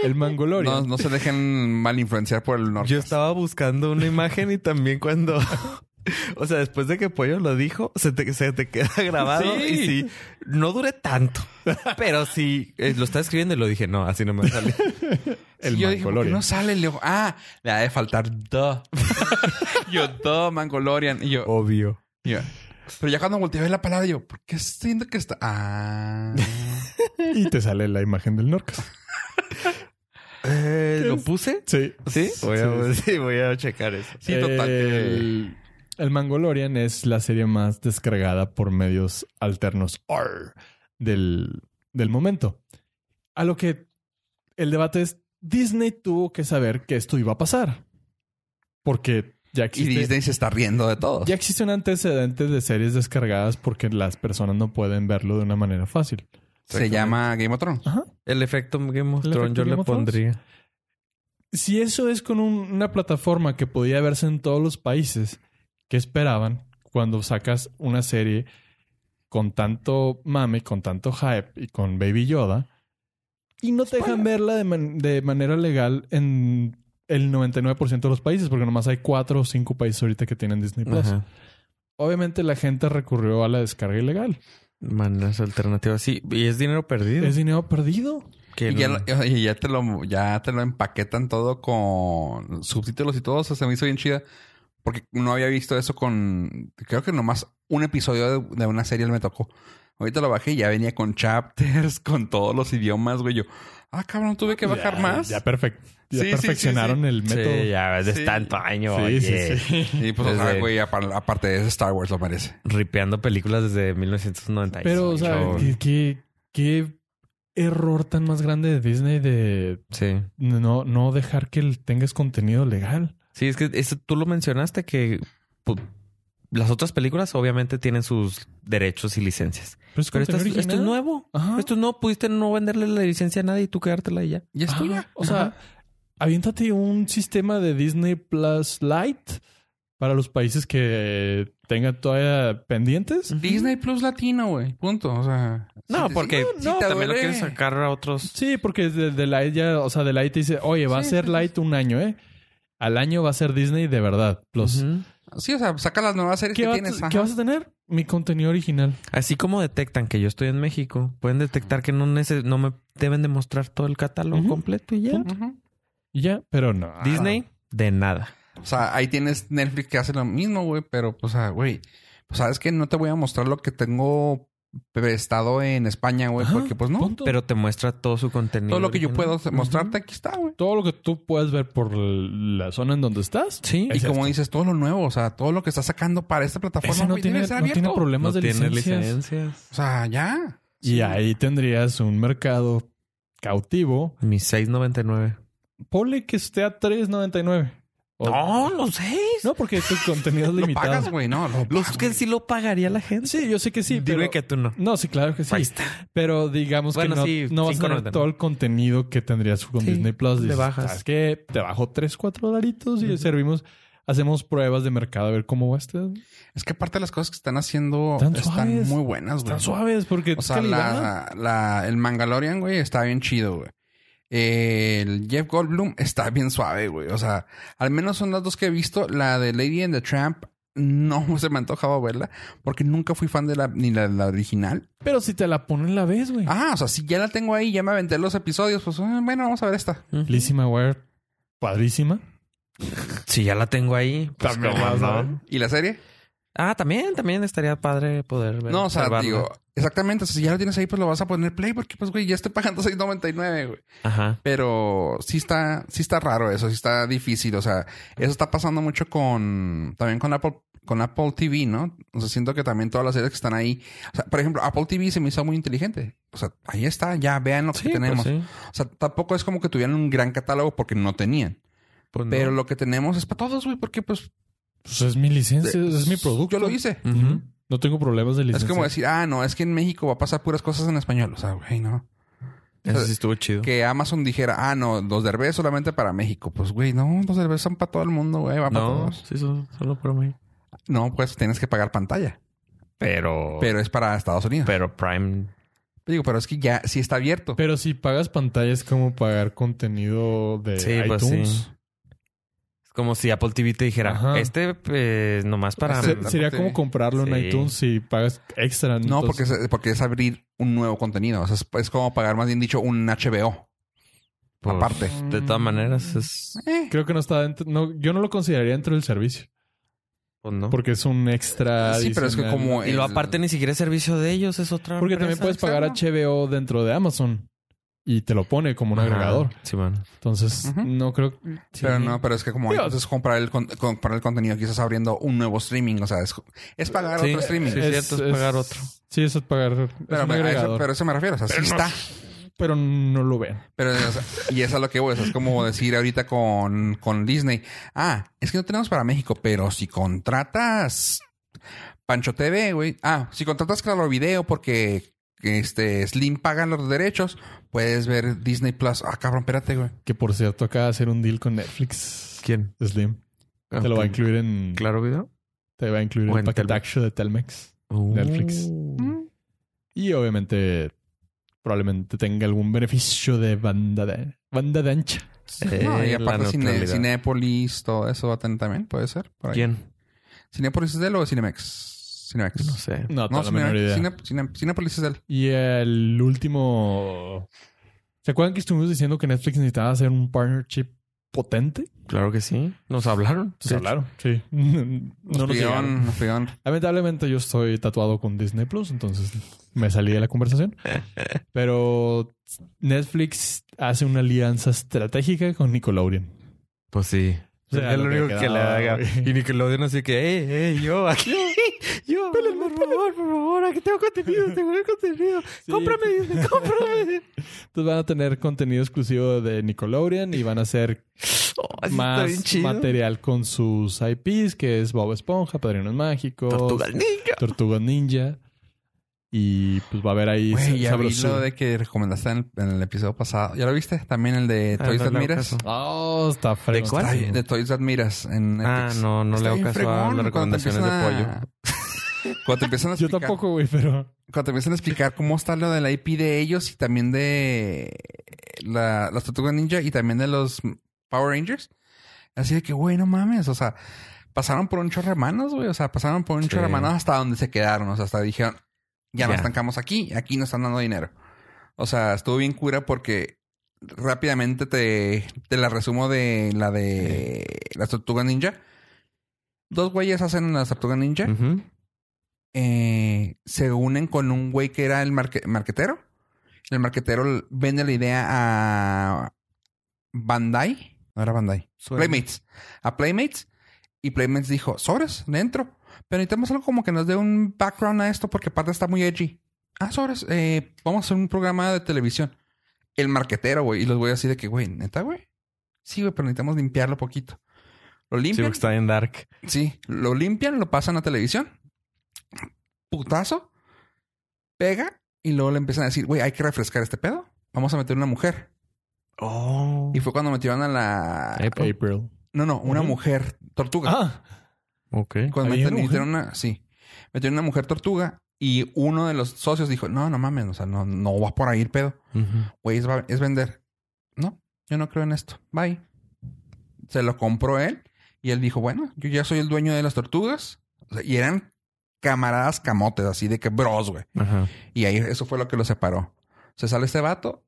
[SPEAKER 2] el Mangolorian.
[SPEAKER 1] no, no se dejen mal influenciar por el norte.
[SPEAKER 3] Yo estaba buscando una imagen y también cuando, o sea, después de que Pollo lo dijo, se te, se te queda grabado
[SPEAKER 1] Sí.
[SPEAKER 3] y sí, no duré tanto, pero sí, eh, lo estaba escribiendo y lo dije, no, así no me sale.
[SPEAKER 2] El
[SPEAKER 1] Sí, yo dije, ¿por qué
[SPEAKER 2] Mangolorian.
[SPEAKER 1] no sale? Le digo, ah, le ha de faltar duh. yo, duh, Mangolorian. Y yo,
[SPEAKER 3] Obvio.
[SPEAKER 1] y yo, pero ya cuando volteé a ver la palabra, yo, ¿por qué siento que está? Ah,
[SPEAKER 2] Y te sale la imagen del Norcas.
[SPEAKER 3] Eh, ¿Lo
[SPEAKER 2] es?
[SPEAKER 3] puse?
[SPEAKER 2] Sí.
[SPEAKER 3] Sí, voy a,
[SPEAKER 2] Sí.
[SPEAKER 3] sí, voy a checar eso.
[SPEAKER 1] sí, total. que-
[SPEAKER 2] El, el Mangolorian es la serie más descargada por medios alternos arr, del, del momento. A lo que el debate es, Disney tuvo que saber que esto iba a pasar. Porque ya
[SPEAKER 1] Y
[SPEAKER 2] existe...
[SPEAKER 1] Disney se está riendo de todos.
[SPEAKER 2] Ya existe un antecedente de series descargadas porque las personas no pueden verlo de una manera fácil.
[SPEAKER 1] Se llama Game of Thrones.
[SPEAKER 2] Ajá.
[SPEAKER 3] El efecto Game of
[SPEAKER 2] ¿El
[SPEAKER 3] Thrones
[SPEAKER 2] efecto
[SPEAKER 3] yo
[SPEAKER 2] Game
[SPEAKER 3] le
[SPEAKER 2] of Thrones?
[SPEAKER 3] pondría.
[SPEAKER 2] Si eso es con un- una plataforma que podía verse en todos los países, ¿qué esperaban cuando sacas una serie con tanto mame, con tanto hype y con Baby Yoda y no te dejan verla de, man- de manera legal en el 99% de los países? Porque nomás hay cuatro o cinco países ahorita que tienen Disney Plus.
[SPEAKER 3] Ajá.
[SPEAKER 2] obviamente la gente recurrió a la descarga ilegal.
[SPEAKER 3] Maneras alternativas. Sí, y es dinero perdido.
[SPEAKER 2] Es dinero perdido.
[SPEAKER 3] Que
[SPEAKER 1] Y ya,
[SPEAKER 3] no-
[SPEAKER 1] lo- y ya te lo, ya te lo empaquetan todo con subtítulos y todo. O sea, se me hizo bien chida. Porque no había visto eso con... Creo que nomás un episodio de, de una serie me tocó. Ahorita lo bajé y ya venía con chapters, con todos los idiomas, güey. Yo, ah, cabrón, tuve que bajar
[SPEAKER 2] Ya-
[SPEAKER 1] más.
[SPEAKER 2] Ya, perfec- ya
[SPEAKER 1] Sí, sí, sí,
[SPEAKER 2] perfeccionaron
[SPEAKER 1] sí.
[SPEAKER 2] el método.
[SPEAKER 3] Sí, ya es de
[SPEAKER 1] Sí.
[SPEAKER 3] tanto año.
[SPEAKER 2] Sí,
[SPEAKER 3] oye.
[SPEAKER 2] sí, sí.
[SPEAKER 1] Y pues, o sea,
[SPEAKER 3] Desde-
[SPEAKER 1] güey, apar- aparte de eso, Star Wars lo merece.
[SPEAKER 3] Ripeando películas desde 1998.
[SPEAKER 2] Pero, o sea, ¿qué, qué, qué error tan más grande de Disney de
[SPEAKER 3] Sí.
[SPEAKER 2] no, no dejar que el- tengas contenido legal.
[SPEAKER 3] Sí, es que esto, tú lo mencionaste que pu- las otras películas obviamente tienen sus derechos y licencias.
[SPEAKER 2] Pero es
[SPEAKER 3] Pero esto es,
[SPEAKER 2] contenido
[SPEAKER 3] esto es
[SPEAKER 2] original.
[SPEAKER 3] nuevo.
[SPEAKER 2] Ajá.
[SPEAKER 1] Pues,
[SPEAKER 3] Esto no pudiste no venderle la licencia a nadie y tú quedártela y ya.
[SPEAKER 1] Y es
[SPEAKER 2] Ajá.
[SPEAKER 1] tuya.
[SPEAKER 2] O sea,
[SPEAKER 3] Ajá.
[SPEAKER 2] aviéntate un sistema de Disney Plus Lite para los países que tengan todavía
[SPEAKER 3] Mm.
[SPEAKER 2] pendientes.
[SPEAKER 1] Disney Plus Latino, güey. Punto. O sea...
[SPEAKER 3] No,
[SPEAKER 1] si te-
[SPEAKER 3] porque
[SPEAKER 1] si
[SPEAKER 3] no,
[SPEAKER 1] te
[SPEAKER 3] también lo
[SPEAKER 1] duele.
[SPEAKER 3] quieren sacar a otros.
[SPEAKER 2] Sí, porque de, de Lite ya, o sea, de Lite te dice, oye, va
[SPEAKER 1] Sí,
[SPEAKER 2] a ser
[SPEAKER 1] sí, sí.
[SPEAKER 2] Lite un año, ¿eh? Al año va a ser Disney de verdad. Plus.
[SPEAKER 3] Ujú.
[SPEAKER 1] Sí, o sea, saca las nuevas series
[SPEAKER 2] ¿Qué,
[SPEAKER 1] que
[SPEAKER 2] va-
[SPEAKER 1] tienes.
[SPEAKER 2] qué
[SPEAKER 1] ajá.
[SPEAKER 2] vas a tener? Mi contenido original.
[SPEAKER 3] Así como detectan que yo estoy en México, pueden detectar que no, neces- no me deben de mostrar todo el catálogo
[SPEAKER 2] Ujú.
[SPEAKER 3] completo y ya.
[SPEAKER 1] Ujú.
[SPEAKER 2] Y ya, pero no.
[SPEAKER 1] Ah.
[SPEAKER 3] Disney, de nada.
[SPEAKER 1] O sea, ahí tienes Netflix que hace lo mismo, güey, pero, pues, o sea, güey, pues, sabes que no te voy a mostrar lo que tengo prestado en España, güey,
[SPEAKER 2] Ajá,
[SPEAKER 1] porque, pues, no.
[SPEAKER 2] punto.
[SPEAKER 3] Pero te muestra todo su contenido.
[SPEAKER 1] Todo lo que yo
[SPEAKER 3] original.
[SPEAKER 1] puedo
[SPEAKER 3] Ujú.
[SPEAKER 1] mostrarte, aquí está, güey.
[SPEAKER 2] todo lo que tú puedes ver por la zona en donde estás.
[SPEAKER 3] Sí.
[SPEAKER 1] Y
[SPEAKER 2] Es
[SPEAKER 1] como
[SPEAKER 2] esto.
[SPEAKER 1] dices, todo lo nuevo, o sea, todo lo que estás sacando para esta plataforma,
[SPEAKER 2] Ese no
[SPEAKER 1] güey,
[SPEAKER 2] tiene,
[SPEAKER 1] debe ser
[SPEAKER 2] no tiene
[SPEAKER 1] abierto.
[SPEAKER 2] problemas
[SPEAKER 3] no
[SPEAKER 2] de
[SPEAKER 3] tiene
[SPEAKER 2] licencias.
[SPEAKER 3] licencias.
[SPEAKER 1] o sea, ya.
[SPEAKER 2] Y ahí tendrías un mercado cautivo.
[SPEAKER 3] Mi 6.99.
[SPEAKER 2] Ponle que esté a 3.99. O-
[SPEAKER 3] No, los seis.
[SPEAKER 2] No, porque tu contenido es
[SPEAKER 1] Lo
[SPEAKER 2] limitado.
[SPEAKER 1] pagas, Ah, güey, no. lo
[SPEAKER 3] Los
[SPEAKER 1] pagas,
[SPEAKER 3] que sí lo pagaría la gente.
[SPEAKER 2] Sí, yo sé que sí,
[SPEAKER 3] Dime
[SPEAKER 2] pero...
[SPEAKER 3] que tú no.
[SPEAKER 2] No, sí, claro que sí.
[SPEAKER 3] Ahí está.
[SPEAKER 2] Pero digamos
[SPEAKER 3] Bueno,
[SPEAKER 2] que no,
[SPEAKER 3] sí,
[SPEAKER 2] no vas a tener
[SPEAKER 3] 5.99.
[SPEAKER 2] todo el contenido que tendrías con
[SPEAKER 3] Sí,
[SPEAKER 2] Disney Plus.
[SPEAKER 3] le
[SPEAKER 2] Dices,
[SPEAKER 3] bajas.
[SPEAKER 2] ¿Sabes qué? Te bajo 3, 4 dolaritos y
[SPEAKER 3] Ujú.
[SPEAKER 2] servimos... Hacemos pruebas de mercado a ver cómo va este.
[SPEAKER 1] Es que aparte de las cosas que están haciendo
[SPEAKER 2] Están
[SPEAKER 1] están
[SPEAKER 2] suaves.
[SPEAKER 1] muy buenas, güey.
[SPEAKER 2] Están suaves porque
[SPEAKER 1] O
[SPEAKER 2] es
[SPEAKER 1] sea,
[SPEAKER 2] calidad.
[SPEAKER 1] la, la- el Mangalorian, güey, está bien chido, güey. El Jeff Goldblum está bien suave, güey. O sea, al menos son las dos que he visto. La de Lady and the Tramp no se me antojaba verla porque nunca fui fan de la ni la, la original.
[SPEAKER 2] Pero si te la ponen la vez, güey.
[SPEAKER 1] Ah, o sea, si ya la tengo ahí, ya me aventé los episodios, pues eh, bueno, vamos a ver esta.
[SPEAKER 2] Lizzie McGuire, padrísima.
[SPEAKER 3] Si ya la tengo ahí. pues,
[SPEAKER 2] También
[SPEAKER 3] ¿cómo
[SPEAKER 2] la vas a
[SPEAKER 3] no?
[SPEAKER 2] ver.
[SPEAKER 1] ¿Y la serie?
[SPEAKER 3] Ah, también, también estaría padre poder ver.
[SPEAKER 1] No, o sea,
[SPEAKER 3] observarla.
[SPEAKER 1] digo, exactamente. o sea, si ya lo tienes ahí, pues lo vas a poner play porque, pues, güey, ya estoy pagando 6.99, güey.
[SPEAKER 3] Ajá.
[SPEAKER 1] Pero sí está, sí está raro eso, sí está difícil. O sea, eso está pasando mucho con también con Apple, con Apple TV, ¿no? O sea, siento que también todas las series que están ahí. O sea, por ejemplo, Apple TV se me hizo muy inteligente. O sea, ahí está, ya vean lo que
[SPEAKER 3] Sí, pues
[SPEAKER 1] tenemos.
[SPEAKER 3] sí.
[SPEAKER 1] O sea, tampoco es como que tuvieran un gran catálogo porque no tenían.
[SPEAKER 3] Pues no.
[SPEAKER 1] Pero lo que tenemos es para todos, güey, porque pues
[SPEAKER 2] Pues es mi licencia, es mi producto.
[SPEAKER 1] yo lo hice.
[SPEAKER 3] Ujú.
[SPEAKER 2] Ujú. No tengo problemas de
[SPEAKER 1] Es
[SPEAKER 2] licencia.
[SPEAKER 1] como decir, ah, no, es que en México va a pasar puras cosas en español. O sea, güey, no.
[SPEAKER 3] Eso sí estuvo chido.
[SPEAKER 1] Que Amazon dijera, ah, no, los derbés solamente para México. Pues, güey, no, los derbés son para todo el mundo, güey, va para
[SPEAKER 3] No,
[SPEAKER 1] todos.
[SPEAKER 3] sí, solo, solo por mí.
[SPEAKER 1] No, pues tienes que pagar pantalla.
[SPEAKER 3] Pero, pero,
[SPEAKER 1] Pero es para Estados Unidos.
[SPEAKER 3] Prime.
[SPEAKER 1] Digo, pero es que ya sí está abierto.
[SPEAKER 2] Pero si pagas pantalla es como pagar contenido de
[SPEAKER 3] Sí, pues
[SPEAKER 2] iTunes.
[SPEAKER 3] sí. Es como si Apple TV te dijera,
[SPEAKER 2] Ajá.
[SPEAKER 3] este pues, nomás para...
[SPEAKER 1] Ah,
[SPEAKER 2] Se-
[SPEAKER 1] Apple
[SPEAKER 2] sería
[SPEAKER 1] TV.
[SPEAKER 2] como comprarlo en
[SPEAKER 3] Sí.
[SPEAKER 2] iTunes si pagas
[SPEAKER 1] no,
[SPEAKER 2] extra. entonces-
[SPEAKER 1] porque, es, porque es abrir un nuevo contenido. O sea, es, es como pagar, más bien dicho, un HBO.
[SPEAKER 3] pues,
[SPEAKER 1] aparte.
[SPEAKER 3] De todas
[SPEAKER 2] mm,
[SPEAKER 3] maneras, es...
[SPEAKER 1] Eh,
[SPEAKER 2] Creo que no está dentro. No, yo no lo consideraría dentro del servicio.
[SPEAKER 3] pues, no.
[SPEAKER 2] Porque es un extra.
[SPEAKER 1] Ah, sí, pero es que
[SPEAKER 2] adicional.
[SPEAKER 1] como...
[SPEAKER 3] Y lo
[SPEAKER 1] el-
[SPEAKER 3] aparte ni siquiera es servicio de ellos, es otra
[SPEAKER 2] Porque también puedes pagar HBO dentro de Amazon y te lo pone como un agregador.
[SPEAKER 3] Sí, bueno.
[SPEAKER 2] Entonces,
[SPEAKER 1] Ujú.
[SPEAKER 2] no creo. sí.
[SPEAKER 1] Pero no, pero es que como
[SPEAKER 2] Digo-
[SPEAKER 1] entonces comprar el, con- comprar el contenido que estás abriendo un nuevo streaming. O sea, es, es pagar
[SPEAKER 3] Sí,
[SPEAKER 1] otro streaming.
[SPEAKER 3] sí, es cierto, es pagar otro.
[SPEAKER 2] Sí, eso es pagar. es
[SPEAKER 1] Pero,
[SPEAKER 2] un
[SPEAKER 1] a eso,
[SPEAKER 2] agregador.
[SPEAKER 1] pero eso me refiero. O sea, sí está.
[SPEAKER 2] pero no lo vean.
[SPEAKER 1] Pero, o sea, y es a lo que voy. o sea, es como decir ahorita con, con Disney. Ah, es que no tenemos para México, pero si contratas Pancho TV, güey. Ah, si contratas Claro Video porque este Slim paga los derechos, puedes ver Disney Plus. Ah, cabrón, espérate, güey.
[SPEAKER 2] Que por cierto, acaba de hacer un deal con Netflix.
[SPEAKER 3] ¿Quién?
[SPEAKER 2] Slim. Te lo va a incluir en.
[SPEAKER 3] ¿Claro video?
[SPEAKER 2] Te va a incluir
[SPEAKER 3] O
[SPEAKER 2] en
[SPEAKER 3] en
[SPEAKER 2] el paquetacho de Telmex. Netflix.
[SPEAKER 3] Uh. Mm,
[SPEAKER 2] Y obviamente, probablemente tenga algún beneficio de banda de, banda de ancha.
[SPEAKER 3] Eh,
[SPEAKER 1] no, y
[SPEAKER 3] la
[SPEAKER 1] aparte cine,
[SPEAKER 3] neutralidad.
[SPEAKER 1] Cinépolis, todo eso va a tener también, puede ser. por ahí.
[SPEAKER 3] ¿Quién?
[SPEAKER 1] ¿Cinepolis es de él o Cinemex? Cinemex.
[SPEAKER 3] No sé.
[SPEAKER 1] No,
[SPEAKER 2] No, tengo la menor
[SPEAKER 1] Cinemex.
[SPEAKER 2] idea.
[SPEAKER 1] Cine- Cine- Cinepolis es de él.
[SPEAKER 2] Y el último. ¿Se acuerdan que estuvimos diciendo que Netflix necesitaba hacer un partnership potente?
[SPEAKER 3] Claro que sí. Nos hablaron.
[SPEAKER 2] Pues hablaron, sí. No
[SPEAKER 1] Nos
[SPEAKER 2] nos llegaron.
[SPEAKER 1] pidieron, nos pidieron.
[SPEAKER 2] Lamentablemente yo estoy tatuado con Disney Plus, entonces me salí de la conversación. Pero Netflix hace una alianza estratégica con Nickelodeon.
[SPEAKER 3] Pues sí.
[SPEAKER 2] O sea,
[SPEAKER 3] es
[SPEAKER 2] lo
[SPEAKER 3] lo
[SPEAKER 2] que
[SPEAKER 3] único que, le
[SPEAKER 2] quedaba,
[SPEAKER 3] haga.
[SPEAKER 2] güey.
[SPEAKER 3] Y Nickelodeon así que, hey, hey, yo, aquí, yo, por favor, por favor, aquí tengo contenido, tengo el contenido. Cómprame, Disney, cómprame.
[SPEAKER 2] Entonces van a tener contenido exclusivo de Nickelodeon y van a hacer
[SPEAKER 3] Oh, eso está bien
[SPEAKER 2] más
[SPEAKER 3] chido.
[SPEAKER 2] material con sus IPs, que es Bob Esponja, Padrinos Mágicos,
[SPEAKER 3] Tortuga Ninja.
[SPEAKER 2] Tortuga Ninja. Y pues va a haber ahí
[SPEAKER 1] Güey, ya vi
[SPEAKER 2] sabrosura.
[SPEAKER 1] lo de que recomendaste en el, en el episodio pasado. ¿Ya lo viste? También el de
[SPEAKER 3] Ah,
[SPEAKER 1] Toys
[SPEAKER 3] no
[SPEAKER 1] That
[SPEAKER 3] le hago
[SPEAKER 1] Miras.
[SPEAKER 3] caso.
[SPEAKER 2] Oh, está fregón.
[SPEAKER 3] cuál?
[SPEAKER 1] Está bien, De Toys That Miras en
[SPEAKER 3] Ah,
[SPEAKER 1] Netflix.
[SPEAKER 3] no, no
[SPEAKER 1] Está
[SPEAKER 3] le hago
[SPEAKER 1] bien
[SPEAKER 3] caso
[SPEAKER 1] fregón
[SPEAKER 3] a
[SPEAKER 1] cuando
[SPEAKER 3] las
[SPEAKER 1] te
[SPEAKER 3] recomendaciones de
[SPEAKER 1] empiezan
[SPEAKER 3] pollo.
[SPEAKER 1] a- Cuando te empiezan a
[SPEAKER 2] Yo
[SPEAKER 1] explicar,
[SPEAKER 2] tampoco, güey, pero...
[SPEAKER 1] Cuando te empiezan a explicar cómo está lo de la IP de ellos y también de eh, la, las Tortugas Ninja y también de los Power Rangers. Así de que, güey, no mames. O sea, pasaron por un chorro de manos, güey. O sea, pasaron por un
[SPEAKER 3] Sí.
[SPEAKER 1] chorro de manos hasta donde se quedaron. O sea, hasta dijeron, ya, nos
[SPEAKER 3] Ya.
[SPEAKER 1] estancamos aquí. Aquí nos están dando dinero. O sea, estuvo bien cura porque rápidamente te, te la resumo de la de las Tortugas Ninja. Dos güeyes hacen las Tortugas Ninja
[SPEAKER 3] Ujú.
[SPEAKER 1] eh, se unen con un güey que era el marque- marquetero. El marquetero l- vende la idea a Bandai. No era Bandai.
[SPEAKER 3] Suena.
[SPEAKER 1] Playmates. A Playmates. Y Playmates dijo, sobres, dentro. Pero necesitamos algo como que nos dé un background a esto porque aparte está muy edgy. Ah, sobres, eh, vamos a hacer un programa de televisión. El marquetero, güey. Y los güeyes así de que, güey, ¿neta, güey? Sí, güey, pero necesitamos limpiarlo poquito. Lo
[SPEAKER 3] Sí,
[SPEAKER 1] limpian.
[SPEAKER 3] porque está en Dark.
[SPEAKER 1] Sí, lo limpian, lo pasan a televisión. Putazo. Pega y luego le empiezan a decir, güey, hay que refrescar este pedo. Vamos a meter una mujer.
[SPEAKER 3] Oh.
[SPEAKER 1] Y fue cuando metieron a la...
[SPEAKER 3] April.
[SPEAKER 2] April.
[SPEAKER 1] No, no, una
[SPEAKER 2] pues. Ujú.
[SPEAKER 1] mujer tortuga.
[SPEAKER 2] Ah,
[SPEAKER 3] Ok.
[SPEAKER 1] cuando meten-
[SPEAKER 2] ¿había una mujer?
[SPEAKER 1] metieron una... Sí. Metieron una mujer tortuga y uno de los socios dijo, no, no mames, o sea, no, no va por ahí el pedo.
[SPEAKER 3] Ujú.
[SPEAKER 1] "Ah, Güey, es, va- es vender. No, yo no creo en esto. Bye. Se lo compró él y él dijo, bueno, yo ya soy el dueño de las tortugas. O sea, y eran camaradas camotes, así de que bros, güey.
[SPEAKER 3] Ajá.
[SPEAKER 1] Y ahí eso fue lo que lo separó. Se sale este vato,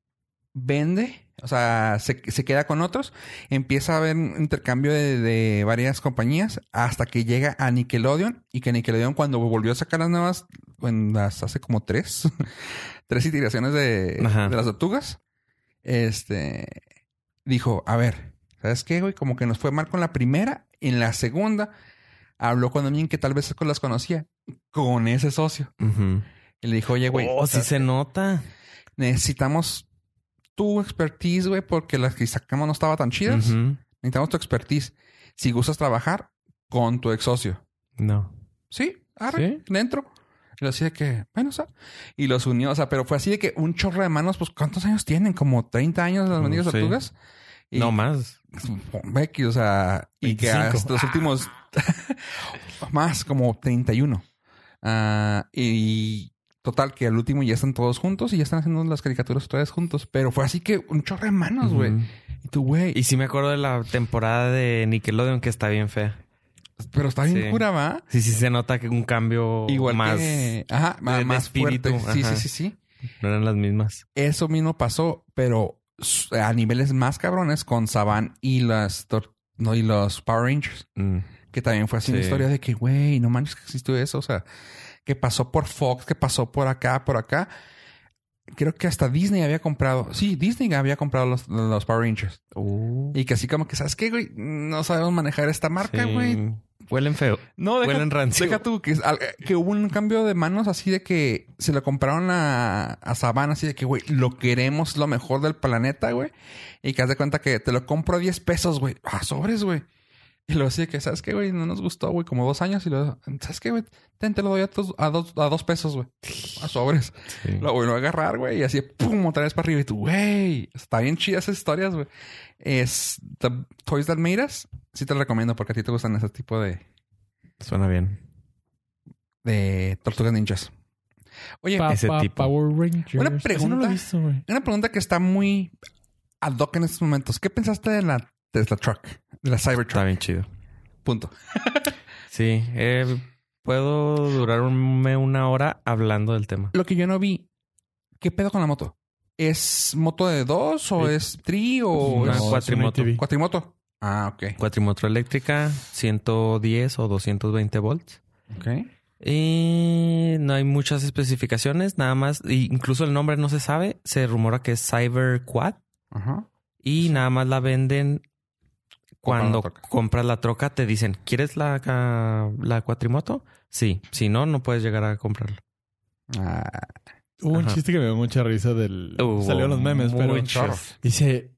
[SPEAKER 1] vende, o sea, se, se queda con otros. Empieza a haber un intercambio de, de varias compañías hasta que llega a Nickelodeon. Y que Nickelodeon, cuando volvió a sacar las nuevas, en las hace como tres, tres iteraciones de,
[SPEAKER 3] Ajá.
[SPEAKER 1] de las tortugas, este dijo: A ver, ¿sabes qué, güey? Como que nos fue mal con la primera, en la segunda. Habló con alguien que tal vez las conocía, con ese socio.
[SPEAKER 3] Ujú.
[SPEAKER 1] Y le dijo, oye, güey.
[SPEAKER 3] oh,
[SPEAKER 1] o sea,
[SPEAKER 3] sí se nota.
[SPEAKER 1] necesitamos tu expertise, güey, porque las que sacamos no estaba tan chidas.
[SPEAKER 3] Ujú.
[SPEAKER 1] Necesitamos tu expertise. Si gustas trabajar con tu ex socio.
[SPEAKER 3] No.
[SPEAKER 1] Sí, arre,
[SPEAKER 3] Sí.
[SPEAKER 1] dentro. Y lo hacía que, bueno, o sea, y los unió, o sea, pero fue así de que un chorro de manos, pues, ¿cuántos años tienen? Como 30 años las
[SPEAKER 3] Mm,
[SPEAKER 1] benditas
[SPEAKER 3] sí.
[SPEAKER 1] tortugas. Y,
[SPEAKER 3] No más.
[SPEAKER 1] Becky, o sea, y que
[SPEAKER 2] 25.
[SPEAKER 1] hasta los últimos más como 31. Ah, y total, que al último ya están todos juntos y ya están haciendo las caricaturas otra vez juntos. Pero fue así que un chorro de manos, güey.
[SPEAKER 3] Ujú.
[SPEAKER 1] Y tú, güey.
[SPEAKER 3] Y sí me acuerdo de la temporada de Nickelodeon que está bien fea.
[SPEAKER 1] Pero está bien
[SPEAKER 3] sí.
[SPEAKER 1] cura, ¿va?
[SPEAKER 3] Sí, sí se nota que un cambio
[SPEAKER 1] Igual
[SPEAKER 3] más.
[SPEAKER 1] que- Ajá, ma-
[SPEAKER 3] de- de
[SPEAKER 1] más
[SPEAKER 3] espíritu,
[SPEAKER 1] fuerte. Sí,
[SPEAKER 3] ajá.
[SPEAKER 1] sí, sí, sí.
[SPEAKER 3] No eran las mismas.
[SPEAKER 1] Eso mismo pasó, pero s- a niveles más cabrones con Saban y las... tor- No, y los Power Rangers.
[SPEAKER 3] Mm.
[SPEAKER 1] Que también fue así una
[SPEAKER 3] Sí.
[SPEAKER 1] historia de que, güey, no manches que existió eso. O sea, que pasó por Fox, que pasó por acá, por acá. Creo que hasta Disney había comprado. Sí, Disney había comprado los, los Power Rangers. Y que así como que, ¿sabes qué, güey? No sabemos manejar esta Uh, marca,
[SPEAKER 3] Sí.
[SPEAKER 1] güey.
[SPEAKER 3] Huelen feo.
[SPEAKER 1] No, deja,
[SPEAKER 3] Huelen rancio.
[SPEAKER 1] deja tú que, es al- eh, que hubo un cambio de manos así de que se lo compraron a, a Saban, así de que, güey, lo queremos lo mejor del planeta, güey. Y que haz de cuenta que te lo compro a 10 pesos, güey. Ah, sobres, güey. Y luego así de que, ¿sabes qué, güey? No nos gustó, güey, como dos años. Y luego, ¿sabes qué, güey? Ten, te lo doy a, tus- a dos, a dos pesos, güey. A sobres.
[SPEAKER 3] Sí.
[SPEAKER 1] Lo vuelvo a agarrar, güey, y así, pum, otra vez para arriba. Y tú, güey, está bien chidas esas historias, güey. Es The Toys That Made Us. Sí te lo recomiendo porque a ti te gustan ese tipo de,
[SPEAKER 3] Suena bien.
[SPEAKER 1] de Tortugas Ninjas. Oye,
[SPEAKER 2] Pa-
[SPEAKER 3] Ese
[SPEAKER 2] pa-
[SPEAKER 3] tipo.
[SPEAKER 2] Power Rangers.
[SPEAKER 1] Una
[SPEAKER 2] Eso no lo
[SPEAKER 1] pregunta.
[SPEAKER 2] he visto, güey.
[SPEAKER 1] una pregunta que está muy ad hoc en estos momentos. ¿Qué pensaste de la Tesla Truck? De la
[SPEAKER 3] Está
[SPEAKER 1] Cybertruck.
[SPEAKER 3] bien chido.
[SPEAKER 1] Punto.
[SPEAKER 3] Sí, eh, puedo durarme una hora hablando del tema.
[SPEAKER 1] Lo que yo no vi, ¿qué pedo con la moto? ¿Es moto de dos o
[SPEAKER 2] Sí.
[SPEAKER 1] es tri o
[SPEAKER 3] Una
[SPEAKER 1] es
[SPEAKER 2] es una
[SPEAKER 3] cuatrimoto.
[SPEAKER 2] ATV.
[SPEAKER 1] cuatrimoto? Ah, ok.
[SPEAKER 3] Cuatrimotor eléctrica, 110 o 220 volts.
[SPEAKER 1] Ok.
[SPEAKER 3] Y no hay muchas especificaciones, nada más. y Incluso el nombre no se sabe. Se rumora que es Cyber Quad
[SPEAKER 1] Ajá.
[SPEAKER 3] y nada más la venden cuando
[SPEAKER 1] Compran la troca.
[SPEAKER 3] compras la troca. Te dicen, ¿quieres la, ca- la cuatrimoto? Sí, si no, no puedes llegar a comprarla.
[SPEAKER 1] Ah,
[SPEAKER 2] Hubo un
[SPEAKER 3] Ajá.
[SPEAKER 2] chiste que me dio mucha risa del...
[SPEAKER 3] Hubo
[SPEAKER 2] Salió en los memes, pero...
[SPEAKER 3] muchos.
[SPEAKER 1] Uh, chorro.
[SPEAKER 2] Dice,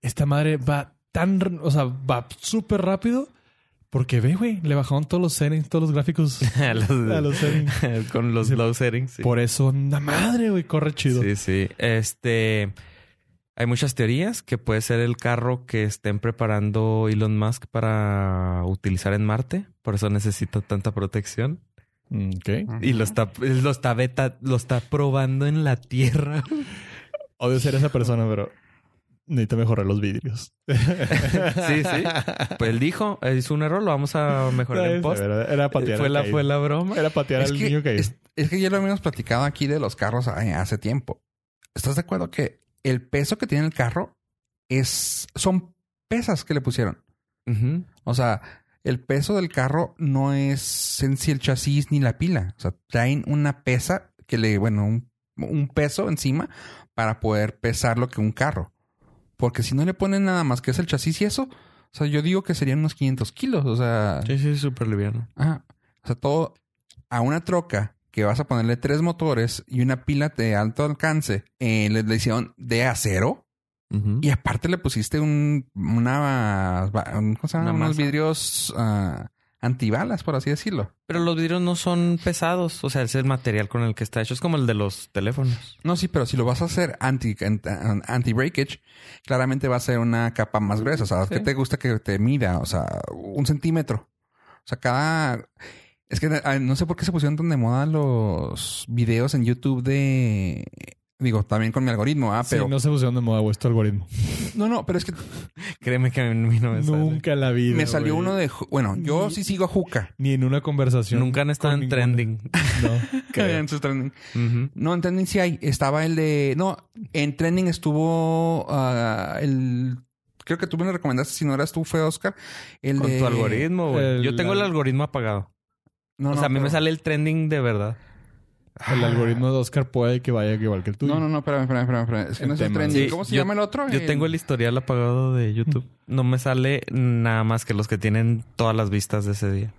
[SPEAKER 2] esta madre va tan... r- O sea, va súper rápido. Porque ve, güey, le bajaron todos los settings, todos los gráficos
[SPEAKER 3] A los-
[SPEAKER 2] a los settings.
[SPEAKER 3] Con los low settings. sí.
[SPEAKER 2] Por eso, la madre, güey, corre chido.
[SPEAKER 3] Sí, sí. Este. Hay muchas teorías que puede ser el carro que estén preparando Elon Musk para utilizar en Marte. Por eso necesita tanta protección.
[SPEAKER 2] Mm, Ok.
[SPEAKER 1] Ajá.
[SPEAKER 3] Y lo está, lo está beta, lo está probando en la Tierra.
[SPEAKER 2] Odio ser esa persona, pero necesito mejorar los vidrios.
[SPEAKER 3] Sí, sí. Pues él dijo, es un error, lo vamos a mejorar en post. Eh,
[SPEAKER 2] Era, era
[SPEAKER 1] Eh,
[SPEAKER 2] patear.
[SPEAKER 3] Fue
[SPEAKER 2] al
[SPEAKER 3] la,
[SPEAKER 2] caído.
[SPEAKER 3] fue la broma.
[SPEAKER 2] Era patear
[SPEAKER 1] Es
[SPEAKER 2] al
[SPEAKER 1] que,
[SPEAKER 2] niño caído.
[SPEAKER 1] es, es que ya lo habíamos platicado aquí de los carros ay, hace tiempo. ¿Estás de acuerdo que el peso que tiene el carro es son pesas que le pusieron?
[SPEAKER 3] Ujú.
[SPEAKER 1] O sea, el peso del carro no es en sí el chasis ni la pila. O sea, traen una pesa que le, bueno, un, un peso encima para poder pesar lo que un carro. Porque si no le ponen nada más que es el chasis y eso, o sea, yo digo que serían unos 500 kilos. O sea,
[SPEAKER 3] Sí, sí, súper liviano.
[SPEAKER 1] Ajá. O sea, todo a una troca que vas a ponerle tres motores y una pila de alto alcance, eh, le, le hicieron de acero
[SPEAKER 3] Ujú.
[SPEAKER 1] y aparte le pusiste un, una, va- un- ¿cómo se llama?
[SPEAKER 3] Una
[SPEAKER 1] unos
[SPEAKER 3] masa.
[SPEAKER 1] vidrios ah, antibalas, por así decirlo.
[SPEAKER 3] Pero los vidrios no son pesados. O sea, es el material con el que está hecho. Es como el de los teléfonos.
[SPEAKER 1] No, sí, pero si lo vas a hacer anti, ant- anti-breakage, claramente va a ser una capa más gruesa. O sea, ¿qué
[SPEAKER 3] Sí.
[SPEAKER 1] te gusta que te mida? O sea, un centímetro. O sea, cada... Es que ah, no sé por qué se pusieron tan de moda los videos en YouTube de... Digo, también con mi algoritmo, ah,
[SPEAKER 2] Sí,
[SPEAKER 1] pero...
[SPEAKER 2] no se pusieron de moda, güey, este algoritmo.
[SPEAKER 1] no, no, pero es que
[SPEAKER 3] Créeme que a mí no me sale.
[SPEAKER 2] Nunca en la vida.
[SPEAKER 1] me salió
[SPEAKER 2] güey.
[SPEAKER 1] uno de... Ju- Bueno, yo
[SPEAKER 2] Ni-
[SPEAKER 1] sí sigo a Juca.
[SPEAKER 2] Ni en una conversación.
[SPEAKER 3] Nunca han estado
[SPEAKER 2] con
[SPEAKER 3] en
[SPEAKER 2] ninguna.
[SPEAKER 3] trending.
[SPEAKER 2] No.
[SPEAKER 3] creo.
[SPEAKER 1] En sus trending.
[SPEAKER 3] Ujú.
[SPEAKER 1] No, en trending sí hay. Estaba el de... No, en trending estuvo ah, el... Creo que tú me lo recomendaste, si no eras tú, fue Oscar. El
[SPEAKER 3] Con
[SPEAKER 1] de-
[SPEAKER 3] tu algoritmo, güey.
[SPEAKER 2] el-
[SPEAKER 3] Yo tengo el algoritmo apagado.
[SPEAKER 1] No,
[SPEAKER 3] o
[SPEAKER 1] no,
[SPEAKER 3] sea, a mí
[SPEAKER 1] pero-
[SPEAKER 3] me sale el trending de verdad.
[SPEAKER 2] El algoritmo de Oscar puede que vaya igual que el tuyo.
[SPEAKER 1] No, no, no, espérame, espérame, espérame. espérame. Es que
[SPEAKER 2] El
[SPEAKER 1] no es el
[SPEAKER 2] tema.
[SPEAKER 1] trending.
[SPEAKER 3] Sí,
[SPEAKER 1] ¿Cómo se
[SPEAKER 3] yo-
[SPEAKER 1] llama el otro?
[SPEAKER 3] Yo tengo el historial apagado de YouTube. No me sale nada más que los que tienen todas las vistas de ese día.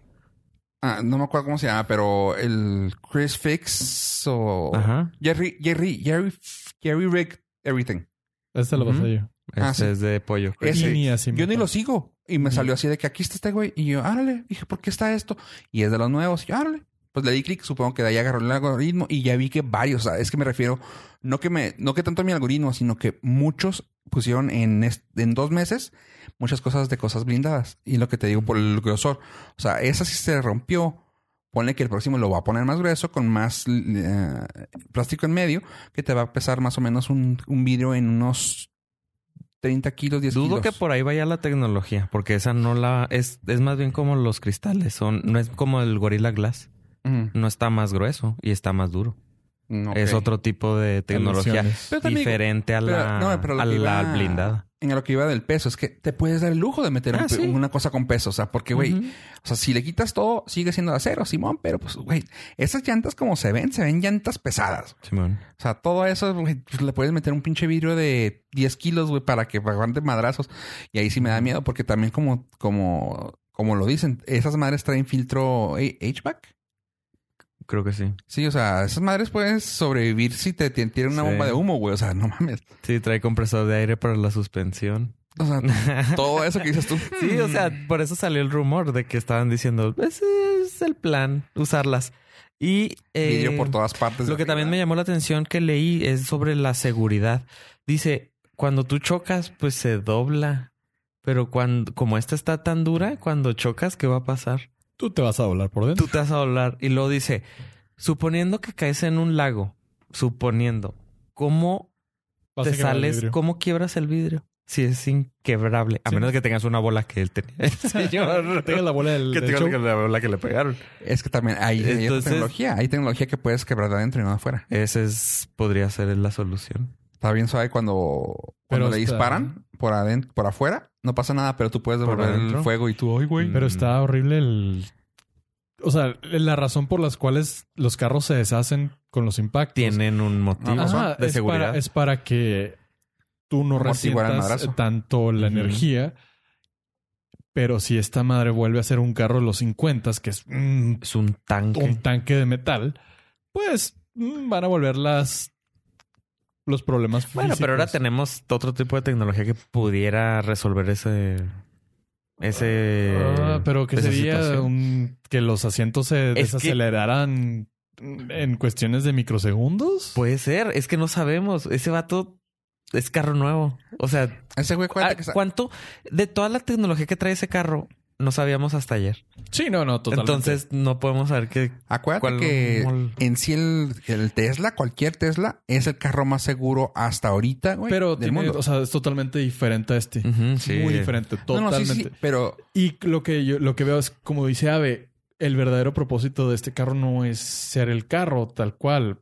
[SPEAKER 1] Ah, no me acuerdo cómo se llama, pero el Chris Fix o...
[SPEAKER 3] Ajá.
[SPEAKER 1] Jerry, Jerry, Jerry, Jerry Rick, everything.
[SPEAKER 2] Este lo pasé
[SPEAKER 3] Ujú.
[SPEAKER 2] yo.
[SPEAKER 3] Este
[SPEAKER 1] Ah, sí.
[SPEAKER 3] es de pollo. creo.
[SPEAKER 1] Ese.
[SPEAKER 2] Y ni así me
[SPEAKER 1] Yo ni
[SPEAKER 2] acuerdo.
[SPEAKER 1] lo sigo. Y me
[SPEAKER 2] Ujú.
[SPEAKER 1] salió así de que aquí está este güey. Y yo, árale. Dije, ¿por qué está esto? Y es de los nuevos. Y yo, árale. Pues le di clic, supongo que de ahí agarró el algoritmo y ya vi que varios, o sea, es que me refiero, no que me, no que tanto mi algoritmo, sino que muchos pusieron en, est- en dos meses muchas cosas de cosas blindadas. Y lo que te digo por el grosor, o sea, esa sí se rompió, ponle que el próximo lo va a poner más grueso, con más eh, plástico en medio, que te va a pesar más o menos un, un vidrio en unos 30 kilos, 10
[SPEAKER 3] Dudo
[SPEAKER 1] kilos.
[SPEAKER 3] que por ahí vaya la tecnología, porque esa no la es es más bien como los cristales, son no es como el Gorilla Glass,
[SPEAKER 1] Ujú.
[SPEAKER 3] no está más grueso y está más duro.
[SPEAKER 1] Mm,
[SPEAKER 3] Es
[SPEAKER 1] ok.
[SPEAKER 3] otro tipo de tecnología
[SPEAKER 2] Alusiones.
[SPEAKER 1] Pero también-
[SPEAKER 3] diferente a
[SPEAKER 1] pero-
[SPEAKER 3] la
[SPEAKER 1] no, pero lo
[SPEAKER 3] a
[SPEAKER 1] que
[SPEAKER 3] la
[SPEAKER 1] iba-
[SPEAKER 3] blindada.
[SPEAKER 1] En lo que iba del peso, es que te puedes dar el lujo de meter un
[SPEAKER 3] Ah,
[SPEAKER 1] pe-
[SPEAKER 3] sí.
[SPEAKER 1] una cosa con peso. O sea, porque, güey,
[SPEAKER 3] Ujú.
[SPEAKER 1] o sea, si le quitas todo, sigue siendo de acero, Simón, pero pues, güey, esas llantas como se ven, se ven llantas pesadas.
[SPEAKER 3] Simón.
[SPEAKER 1] O sea, todo eso, güey, pues, le puedes meter un pinche vidrio de 10 kilos, güey, para que aguante madrazos. Y ahí sí me da miedo, porque también como, como, como lo dicen, esas madres traen filtro eh, HVAC.
[SPEAKER 3] Creo que sí.
[SPEAKER 1] Sí, o sea, esas madres pueden sobrevivir si te te tiran una
[SPEAKER 3] Sí.
[SPEAKER 1] bomba de humo, güey. O sea, no mames.
[SPEAKER 3] Sí, trae compresor de aire para la suspensión.
[SPEAKER 1] O sea, todo eso que dices tú.
[SPEAKER 3] Sí, o sea, por eso salió el rumor de que estaban diciendo, ese es el plan, usarlas. Y eh,
[SPEAKER 1] vidrio por todas
[SPEAKER 2] Pues
[SPEAKER 1] partes.
[SPEAKER 3] lo que también me
[SPEAKER 1] llama.
[SPEAKER 3] llamó la atención que leí es sobre la seguridad. Dice, cuando tú chocas, pues se dobla. Pero cuando, como esta está tan dura, cuando chocas, ¿qué va a pasar?
[SPEAKER 2] Tú te vas a doblar por dentro.
[SPEAKER 3] Tú te vas a doblar. Y luego dice, suponiendo que caes en un lago, suponiendo, ¿cómo
[SPEAKER 2] Vas a
[SPEAKER 3] te
[SPEAKER 2] quebrar el
[SPEAKER 3] sales?
[SPEAKER 2] vidrio.
[SPEAKER 3] ¿Cómo quiebras el vidrio? sí es inquebrable. A
[SPEAKER 2] Sí.
[SPEAKER 3] menos que tengas una bola que él tenía. El señor.
[SPEAKER 2] Tenga la bola del,
[SPEAKER 3] que
[SPEAKER 2] del
[SPEAKER 3] tengas
[SPEAKER 2] show.
[SPEAKER 3] la bola que le pegaron.
[SPEAKER 1] Es que también hay, hay otra
[SPEAKER 3] Entonces-
[SPEAKER 1] tecnología. Hay tecnología que puedes quebrar de adentro y no de afuera.
[SPEAKER 3] Esa es, podría ser la solución.
[SPEAKER 1] Está bien suave cuando, cuando
[SPEAKER 2] Pero
[SPEAKER 1] le
[SPEAKER 2] está-
[SPEAKER 1] disparan por adentro, por afuera. No pasa nada, pero tú puedes
[SPEAKER 3] Por
[SPEAKER 1] devolver el
[SPEAKER 3] adentro.
[SPEAKER 1] fuego y tú, ay, güey.
[SPEAKER 2] Pero está horrible el... O sea, la razón por las cuales los carros se deshacen con los impactos.
[SPEAKER 3] Tienen un motivo
[SPEAKER 1] Ajá,
[SPEAKER 2] Ajá,
[SPEAKER 3] de
[SPEAKER 2] es
[SPEAKER 3] seguridad.
[SPEAKER 2] Para, es para que tú no
[SPEAKER 1] Amortiguar el
[SPEAKER 2] resientas
[SPEAKER 1] madrazo.
[SPEAKER 2] tanto la
[SPEAKER 3] Ujú.
[SPEAKER 2] energía. Pero si esta madre vuelve a ser un carro de los 50, que es un,
[SPEAKER 3] Es un tanque.
[SPEAKER 2] un tanque de metal, pues mm, van a volver las los problemas físicos.
[SPEAKER 3] Bueno, pero ahora tenemos otro tipo de tecnología que pudiera resolver ese. Ese.
[SPEAKER 2] Ah, pero que
[SPEAKER 3] Eh, pues, esa
[SPEAKER 2] sería
[SPEAKER 3] situación.
[SPEAKER 2] un- que los asientos se
[SPEAKER 3] que-
[SPEAKER 2] desaceleraran en cuestiones de microsegundos.
[SPEAKER 3] Puede ser, es que no sabemos. Ese vato es carro nuevo. O sea,
[SPEAKER 1] Ese güey, acuérdate
[SPEAKER 3] ah,
[SPEAKER 1] que está-
[SPEAKER 3] ¿cuánto de toda la tecnología que trae ese carro no sabíamos hasta ayer?
[SPEAKER 2] sí, no, no, totalmente.
[SPEAKER 3] Entonces no podemos saber qué.
[SPEAKER 1] acuérdate
[SPEAKER 3] cuál-
[SPEAKER 1] que
[SPEAKER 3] mol-
[SPEAKER 1] en sí el, el Tesla, cualquier Tesla, es el carro más seguro hasta ahorita, güey.
[SPEAKER 2] pero
[SPEAKER 1] del
[SPEAKER 2] tiene-
[SPEAKER 1] mundo.
[SPEAKER 2] o sea, es totalmente diferente a este.
[SPEAKER 3] Ujú, sí.
[SPEAKER 2] Muy diferente,
[SPEAKER 1] No, no,
[SPEAKER 2] totalmente.
[SPEAKER 1] sí, sí, pero
[SPEAKER 2] Y lo que yo lo que veo es como dice Ave, el verdadero propósito de este carro no es ser el carro tal cual.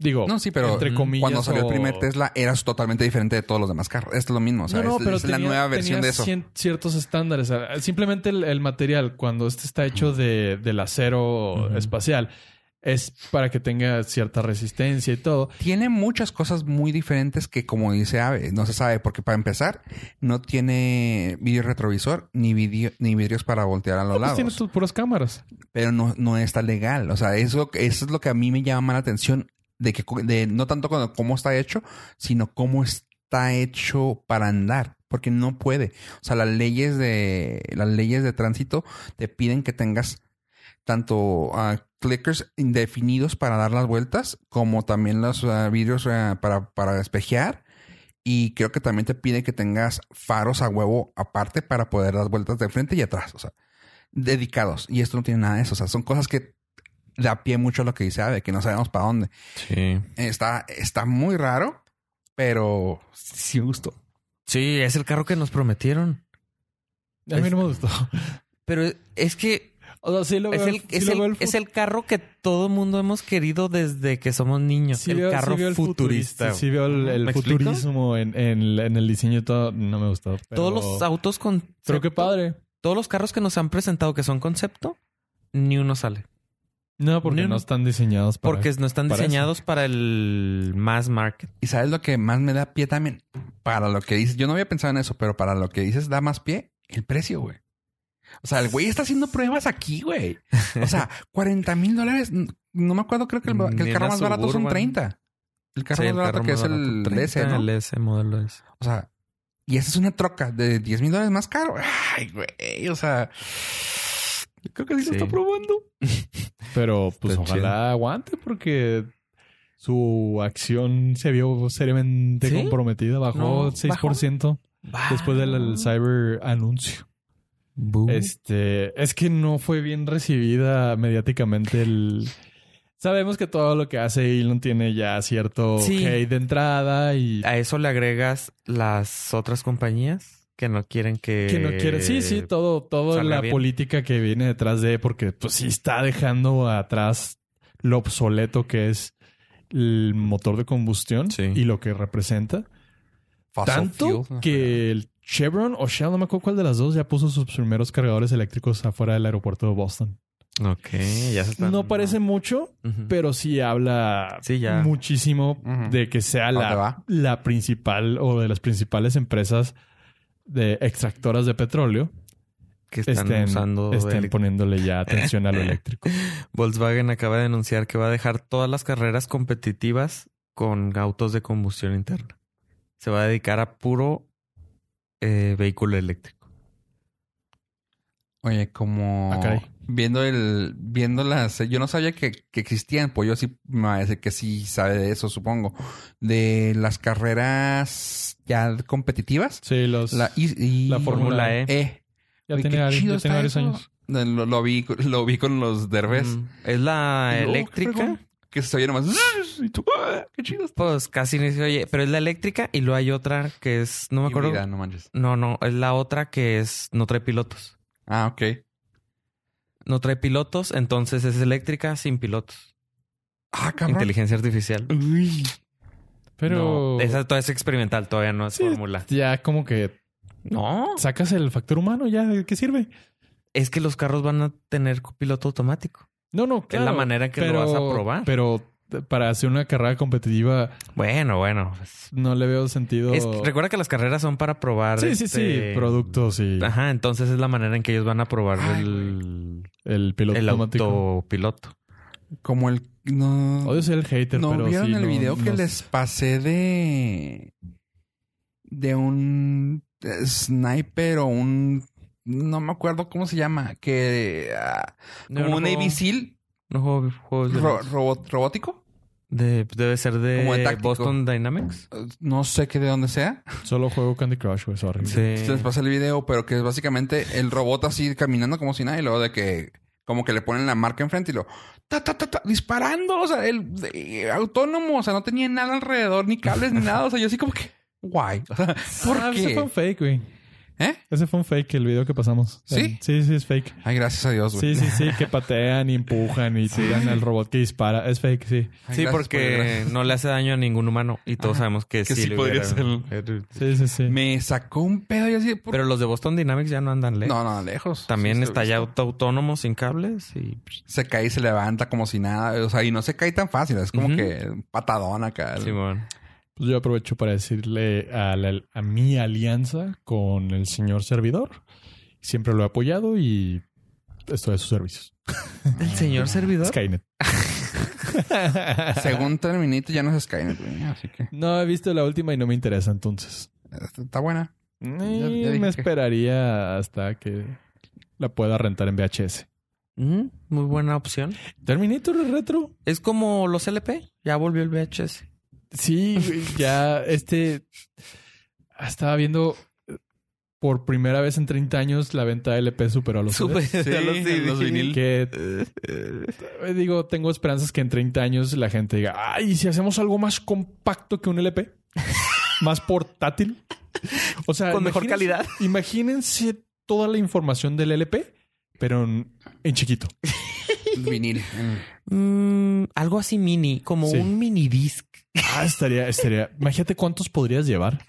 [SPEAKER 2] Digo,
[SPEAKER 1] No, sí, pero mm,
[SPEAKER 2] entre comillas
[SPEAKER 1] cuando salió
[SPEAKER 2] o-
[SPEAKER 1] el primer Tesla eras totalmente diferente de todos los demás carros. Esto es lo mismo, o sea,
[SPEAKER 2] No, no,
[SPEAKER 1] es,
[SPEAKER 2] pero
[SPEAKER 1] es la
[SPEAKER 2] tenía-
[SPEAKER 1] nueva versión
[SPEAKER 2] tenía
[SPEAKER 1] de eso.
[SPEAKER 2] cien- ciertos estándares. Ah, Simplemente el, el material, cuando este está hecho de, del acero
[SPEAKER 3] Ujú.
[SPEAKER 2] espacial, es para que tenga cierta resistencia y todo.
[SPEAKER 1] Tiene muchas cosas muy diferentes que, como dice Ave, no se sabe, porque para empezar, no tiene vidrio retrovisor ni, vidrio- ni vidrios para voltear a los
[SPEAKER 2] No, pues
[SPEAKER 1] lados.
[SPEAKER 2] tiene tus puras cámaras.
[SPEAKER 1] Pero no, no está legal. O sea, eso, eso es lo que a mí me llama más la atención de que cu- de, no tanto cuando, cómo está hecho, sino cómo está hecho para andar. Porque no puede. O sea, las leyes de las leyes de tránsito te piden que tengas tanto ah, clickers indefinidos para dar las vueltas, como también los ah, vidrios ah, para, para despejear. Y creo que también te pide que tengas faros a huevo aparte para poder dar vueltas de frente y atrás. O sea, dedicados. Y esto no tiene nada de eso. O sea, son cosas que da pie mucho a lo que dice Ave, que no sabemos para dónde.
[SPEAKER 3] Sí.
[SPEAKER 1] Está, está muy raro, pero sí me gustó.
[SPEAKER 3] Sí, es el carro que nos prometieron.
[SPEAKER 2] A mí no me gustó.
[SPEAKER 3] Pero es que
[SPEAKER 2] O sea, sí lo
[SPEAKER 3] es
[SPEAKER 2] veo.
[SPEAKER 3] el,
[SPEAKER 2] sí
[SPEAKER 3] es,
[SPEAKER 2] lo
[SPEAKER 3] el,
[SPEAKER 2] veo el
[SPEAKER 3] es el carro que todo mundo hemos querido desde que somos niños.
[SPEAKER 2] Sí
[SPEAKER 3] el
[SPEAKER 2] veo- sí
[SPEAKER 3] carro
[SPEAKER 2] veo el
[SPEAKER 3] futurista.
[SPEAKER 2] Sí, veo el, el
[SPEAKER 3] ¿Me explico?
[SPEAKER 2] futurismo en, en- en el diseño y todo. No me gustó. pero-
[SPEAKER 3] Todos los autos con.
[SPEAKER 2] Pero qué padre.
[SPEAKER 3] Todos los carros que nos han presentado que son concepto, ni uno sale.
[SPEAKER 2] No, porque
[SPEAKER 3] Ni un-
[SPEAKER 2] no están diseñados para...
[SPEAKER 3] Porque no están
[SPEAKER 2] para eso.
[SPEAKER 3] diseñados para el mass market.
[SPEAKER 1] Y sabes lo que más me da pie también para lo que dices. Yo no había pensado en eso, pero para lo que dices da más pie el precio, güey. O sea, el güey está haciendo pruebas aquí, güey. O sea, 40 mil dólares. n- No me acuerdo, creo que el, ba- que el
[SPEAKER 3] Ni
[SPEAKER 1] carro
[SPEAKER 3] una
[SPEAKER 1] más barato son
[SPEAKER 3] Suburban.
[SPEAKER 1] 30. El carro
[SPEAKER 3] Sí,
[SPEAKER 1] más barato
[SPEAKER 3] carro
[SPEAKER 1] que
[SPEAKER 3] más
[SPEAKER 1] es el
[SPEAKER 3] barato,
[SPEAKER 1] 13,
[SPEAKER 3] 30,
[SPEAKER 1] ¿no?
[SPEAKER 3] El S modelo S.
[SPEAKER 1] O sea, y esa es una troca de 10 mil dólares más caro. Ay, güey. O sea, yo creo que sí, se
[SPEAKER 3] Sí.
[SPEAKER 1] está probando.
[SPEAKER 2] Pero pues
[SPEAKER 3] Está
[SPEAKER 2] ojalá aguante porque su acción se vio seriamente
[SPEAKER 3] ¿Sí?
[SPEAKER 2] comprometida. Bajó
[SPEAKER 3] No, Ah.
[SPEAKER 2] 6% después del el cyber anuncio.
[SPEAKER 3] Boo.
[SPEAKER 2] Este, es que no fue bien recibida mediáticamente el... Sabemos que todo lo que hace Elon tiene ya cierto
[SPEAKER 3] Sí. Ah,
[SPEAKER 2] hate de entrada y...
[SPEAKER 3] A eso le agregas las otras compañías que no quieren que.
[SPEAKER 2] Que no quiere. Sí, sí, todo, todo
[SPEAKER 3] Eh, salga
[SPEAKER 2] la
[SPEAKER 3] bien.
[SPEAKER 2] política que viene detrás de, porque pues sí está dejando atrás lo obsoleto que es el motor de combustión
[SPEAKER 3] Sí.
[SPEAKER 2] y lo que representa.
[SPEAKER 1] Fossil
[SPEAKER 2] Tanto
[SPEAKER 1] fuel.
[SPEAKER 2] que el Chevron o Shell, no me acuerdo cuál de las dos, ya puso sus primeros cargadores eléctricos afuera del aeropuerto de Boston.
[SPEAKER 3] Ok, ya se están-
[SPEAKER 2] No parece mucho,
[SPEAKER 3] Ujú.
[SPEAKER 2] pero sí habla
[SPEAKER 3] Sí, ya.
[SPEAKER 2] muchísimo
[SPEAKER 1] Ujú.
[SPEAKER 2] de que sea
[SPEAKER 1] dónde
[SPEAKER 2] la,
[SPEAKER 1] va?
[SPEAKER 2] la principal o de las principales empresas de extractoras de petróleo
[SPEAKER 3] que están
[SPEAKER 2] estén,
[SPEAKER 3] usando.
[SPEAKER 2] estén
[SPEAKER 3] el-
[SPEAKER 2] poniéndole ya atención a lo eléctrico.
[SPEAKER 3] Volkswagen acaba de anunciar que va a dejar todas las carreras competitivas con autos de combustión interna. Se va a dedicar a puro eh, vehículo eléctrico.
[SPEAKER 1] Oye, como
[SPEAKER 2] Ah, caray.
[SPEAKER 1] viendo el, viendo las, yo no sabía que, que existían, pues yo sí me va a decir que sí sabe de eso, supongo. De las carreras ya competitivas.
[SPEAKER 2] Sí, los...
[SPEAKER 1] La, y, y-
[SPEAKER 2] La Fórmula
[SPEAKER 3] Fórmula E.
[SPEAKER 1] E.
[SPEAKER 2] ya
[SPEAKER 1] Oye,
[SPEAKER 2] tiene,
[SPEAKER 1] qué
[SPEAKER 2] vari- ya
[SPEAKER 1] chido
[SPEAKER 2] tiene
[SPEAKER 1] está
[SPEAKER 2] varios
[SPEAKER 1] eso.
[SPEAKER 2] años.
[SPEAKER 1] Mm. Lo, lo vi, lo vi con los derbes.
[SPEAKER 3] Mm. Es la Ah, eléctrica
[SPEAKER 1] que se oye nomás. "Zzz", Y tú, "Ah, qué chido está.
[SPEAKER 3] Pues casi ni se oye, pero es la eléctrica y luego hay otra que es, no me acuerdo.
[SPEAKER 1] Híbrida, no manches.
[SPEAKER 3] No, no, es la otra que es, no trae pilotos.
[SPEAKER 1] Ah, ok.
[SPEAKER 3] No trae pilotos, entonces es eléctrica sin pilotos.
[SPEAKER 1] Ah, cabrón.
[SPEAKER 3] Inteligencia artificial.
[SPEAKER 1] Uy.
[SPEAKER 2] Pero
[SPEAKER 3] No, esa todavía es experimental, todavía no es
[SPEAKER 2] Sí.
[SPEAKER 3] fórmula.
[SPEAKER 2] ya como que
[SPEAKER 3] No,
[SPEAKER 2] sacas el factor humano, ya ¿de qué sirve?
[SPEAKER 3] es que los carros van a tener piloto automático.
[SPEAKER 2] No, no,
[SPEAKER 3] Es la
[SPEAKER 2] claro,
[SPEAKER 3] manera en que lo vas a probar.
[SPEAKER 2] Pero para hacer una carrera competitiva
[SPEAKER 3] Bueno, bueno. pues,
[SPEAKER 2] no le veo sentido.
[SPEAKER 3] es- recuerda que las carreras son para probar.
[SPEAKER 2] sí, sí,
[SPEAKER 3] este, Ah,
[SPEAKER 2] sí, productos y
[SPEAKER 3] Ajá, entonces es la manera en que ellos van a probar
[SPEAKER 1] Ay,
[SPEAKER 3] el,
[SPEAKER 2] el piloto
[SPEAKER 3] el
[SPEAKER 2] automático.
[SPEAKER 3] autopiloto.
[SPEAKER 1] Como el. No.
[SPEAKER 2] Odio ser el hater,
[SPEAKER 1] ¿No
[SPEAKER 2] pero
[SPEAKER 1] vieron
[SPEAKER 2] sí,
[SPEAKER 1] el
[SPEAKER 2] no-
[SPEAKER 1] video que
[SPEAKER 2] no-
[SPEAKER 1] les pasé de. de un eh, sniper o un. No me acuerdo cómo se llama. Que. ah,
[SPEAKER 3] No,
[SPEAKER 1] como
[SPEAKER 3] no
[SPEAKER 1] un
[SPEAKER 3] juego-
[SPEAKER 1] Navy Seal
[SPEAKER 3] no juego juegos de
[SPEAKER 1] ro-
[SPEAKER 3] los-
[SPEAKER 1] robot- robótico.
[SPEAKER 3] de- debe ser de
[SPEAKER 1] Como de táctico.
[SPEAKER 3] Boston Dynamics.
[SPEAKER 1] Eh, No sé qué de dónde sea.
[SPEAKER 2] Solo juego Candy Crush, güey, sorry.
[SPEAKER 3] Sí.
[SPEAKER 1] Se les pasé el video, pero que es básicamente el robot así caminando como si nada. Y luego de que. Como que le ponen la marca enfrente y lo. Ta, ta, ta, ta, disparando. O sea, el de- autónomo. O sea, no tenía nada alrededor, ni cables, ni nada. O sea, yo así como que. Guay. O sea, ¿por
[SPEAKER 2] Ah, Ese fue un
[SPEAKER 1] qué?
[SPEAKER 2] fake, güey.
[SPEAKER 1] ¿Eh?
[SPEAKER 2] Ese fue un fake, el video que pasamos.
[SPEAKER 1] ¿Sí?
[SPEAKER 2] Sí, sí, es fake.
[SPEAKER 1] Ay, gracias a Dios, güey.
[SPEAKER 2] Sí, sí, sí, que patean y empujan y tiran al robot que dispara. Es fake, sí.
[SPEAKER 1] Ay,
[SPEAKER 3] Sí,
[SPEAKER 1] gracias por el
[SPEAKER 3] porque no le hace daño a ningún humano y todos
[SPEAKER 1] Ajá.
[SPEAKER 3] sabemos que,
[SPEAKER 1] Que
[SPEAKER 3] sí,
[SPEAKER 1] sí
[SPEAKER 3] le
[SPEAKER 1] podría
[SPEAKER 3] hubiera-
[SPEAKER 2] Sí, sí, sí.
[SPEAKER 1] gran- Me sacó un pedo y así. ¿por-
[SPEAKER 3] Pero los de Boston Dynamics ya no andan lejos.
[SPEAKER 1] No, no, lejos.
[SPEAKER 3] También
[SPEAKER 1] Sí, se-
[SPEAKER 3] está ya auto autónomo sin cables y pues,
[SPEAKER 1] Se cae y se levanta como si nada. O sea, y no se cae tan fácil. Es como
[SPEAKER 3] Ujú.
[SPEAKER 1] que patadón acá.
[SPEAKER 3] Sí, bueno.
[SPEAKER 2] Pues yo aprovecho para decirle a, la- a mi alianza con el señor servidor. Siempre lo he apoyado y estoy a sus servicios.
[SPEAKER 3] El señor servidor.
[SPEAKER 2] Skynet.
[SPEAKER 1] Según Terminito ya no es Skynet, güey. Así que
[SPEAKER 2] No he visto la última y no me interesa entonces.
[SPEAKER 1] está está buena. Mm, ya
[SPEAKER 2] Y
[SPEAKER 1] dije
[SPEAKER 2] me
[SPEAKER 1] que-
[SPEAKER 2] esperaría hasta que la pueda rentar en VHS.
[SPEAKER 3] Mm, muy buena opción.
[SPEAKER 2] Terminator retro.
[SPEAKER 3] Es como los LP. Ya volvió el VHS.
[SPEAKER 2] Sí, güey, ya este ah, estaba viendo eh, por primera vez en 30 años la venta de LP superó a los
[SPEAKER 3] Super-
[SPEAKER 2] CDs.
[SPEAKER 3] a los CD.
[SPEAKER 2] Que eh, digo, tengo esperanzas que en 30 años la gente diga, ay, ¿y si hacemos algo más compacto que un LP, más portátil, o sea,
[SPEAKER 3] Con mejor
[SPEAKER 2] imagínense-
[SPEAKER 3] calidad.
[SPEAKER 2] Imagínense toda la información del LP, pero en, en chiquito.
[SPEAKER 1] Vinil. Mm.
[SPEAKER 3] Mm, algo así mini, como
[SPEAKER 2] Sí.
[SPEAKER 3] un mini disc.
[SPEAKER 2] Ah, estaría, estaría. Imagínate cuántos podrías llevar.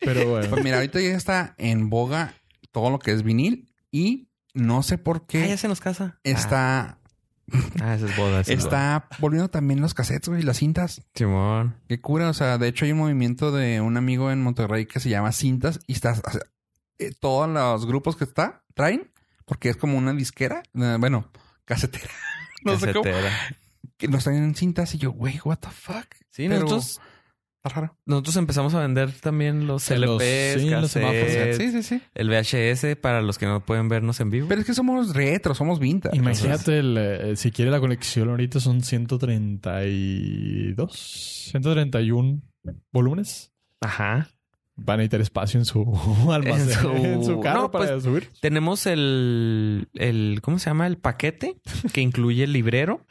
[SPEAKER 2] Pero bueno.
[SPEAKER 1] Pues mira, ahorita ya está en boga todo lo que es vinil. Y no sé por
[SPEAKER 3] Ah, ya
[SPEAKER 1] qué
[SPEAKER 3] se nos casa.
[SPEAKER 1] está,
[SPEAKER 3] Ah, esa es boda. esa es boda.
[SPEAKER 1] está volviendo también los cassettes, güey, las cintas.
[SPEAKER 3] Simón.
[SPEAKER 1] Qué cura, o sea, de hecho hay un movimiento de un amigo en Monterrey que se llama Cintas y estás, o sea, eh, todos los grupos que está traen, porque es como una disquera, eh, bueno, casetera, no sé cómo,
[SPEAKER 3] Casetera.
[SPEAKER 1] que nos traen en cintas y yo, güey, what the fuck.
[SPEAKER 3] Sí,
[SPEAKER 1] Pero-
[SPEAKER 3] nosotros,
[SPEAKER 1] Está raro.
[SPEAKER 3] nosotros empezamos a vender también los
[SPEAKER 2] En los-
[SPEAKER 3] LPs,
[SPEAKER 2] sí, en los semáforos.
[SPEAKER 3] cassettes,
[SPEAKER 1] Sí, sí, sí.
[SPEAKER 3] el VHS para los que no pueden vernos en vivo.
[SPEAKER 1] Pero es que somos retro, somos vintage.
[SPEAKER 2] Imagínate, el, eh, si quiere la colección ahorita son 132, 131 volúmenes.
[SPEAKER 3] Ajá.
[SPEAKER 2] Van a necesitar espacio en su almacén, en
[SPEAKER 3] su-
[SPEAKER 2] su, carro
[SPEAKER 3] No, pues,
[SPEAKER 2] para subir.
[SPEAKER 3] Tenemos el, el, ¿cómo se llama? El paquete que incluye el librero.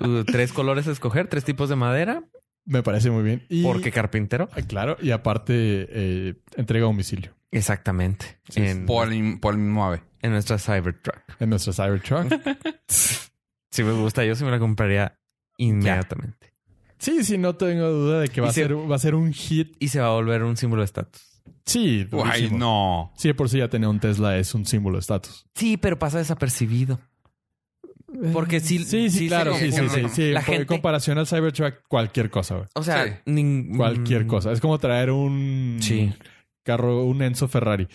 [SPEAKER 3] Uh, tres colores a escoger, tres tipos de madera,
[SPEAKER 2] Me parece muy bien. Y,
[SPEAKER 3] porque carpintero.
[SPEAKER 2] Ah, Claro, y aparte eh, entrega a domicilio
[SPEAKER 3] Exactamente. en,
[SPEAKER 1] Por el, mismo- por el mismo ave.
[SPEAKER 3] en nuestra Cybertruck.
[SPEAKER 2] en nuestro Cybertruck.
[SPEAKER 3] Si me gusta, yo sí me la compraría inmediatamente.
[SPEAKER 2] sí, sí, no tengo duda de que va,
[SPEAKER 3] Y
[SPEAKER 2] a,
[SPEAKER 3] se-
[SPEAKER 2] ser, va a ser un hit.
[SPEAKER 3] Y se va a volver un símbolo de estatus.
[SPEAKER 2] Sí,
[SPEAKER 1] Ay,
[SPEAKER 2] durísimo.
[SPEAKER 1] no.
[SPEAKER 2] Sí, de por sí ya tener un Tesla es un símbolo de estatus.
[SPEAKER 3] Sí, pero pasa desapercibido. Porque sí-
[SPEAKER 2] sí,
[SPEAKER 3] sí
[SPEAKER 2] sí,
[SPEAKER 3] se
[SPEAKER 2] claro, sí, sí,
[SPEAKER 1] confunde,
[SPEAKER 2] sí,
[SPEAKER 1] ¿no?
[SPEAKER 2] sí.
[SPEAKER 3] La
[SPEAKER 2] Por-
[SPEAKER 3] gente-
[SPEAKER 2] En comparación al Cybertruck, cualquier cosa, güey.
[SPEAKER 3] O sea,
[SPEAKER 1] Sí.
[SPEAKER 3] nin-
[SPEAKER 2] Cualquier
[SPEAKER 3] mm,
[SPEAKER 2] cosa. Es como traer un
[SPEAKER 3] Sí.
[SPEAKER 2] carro, un Enzo Ferrari.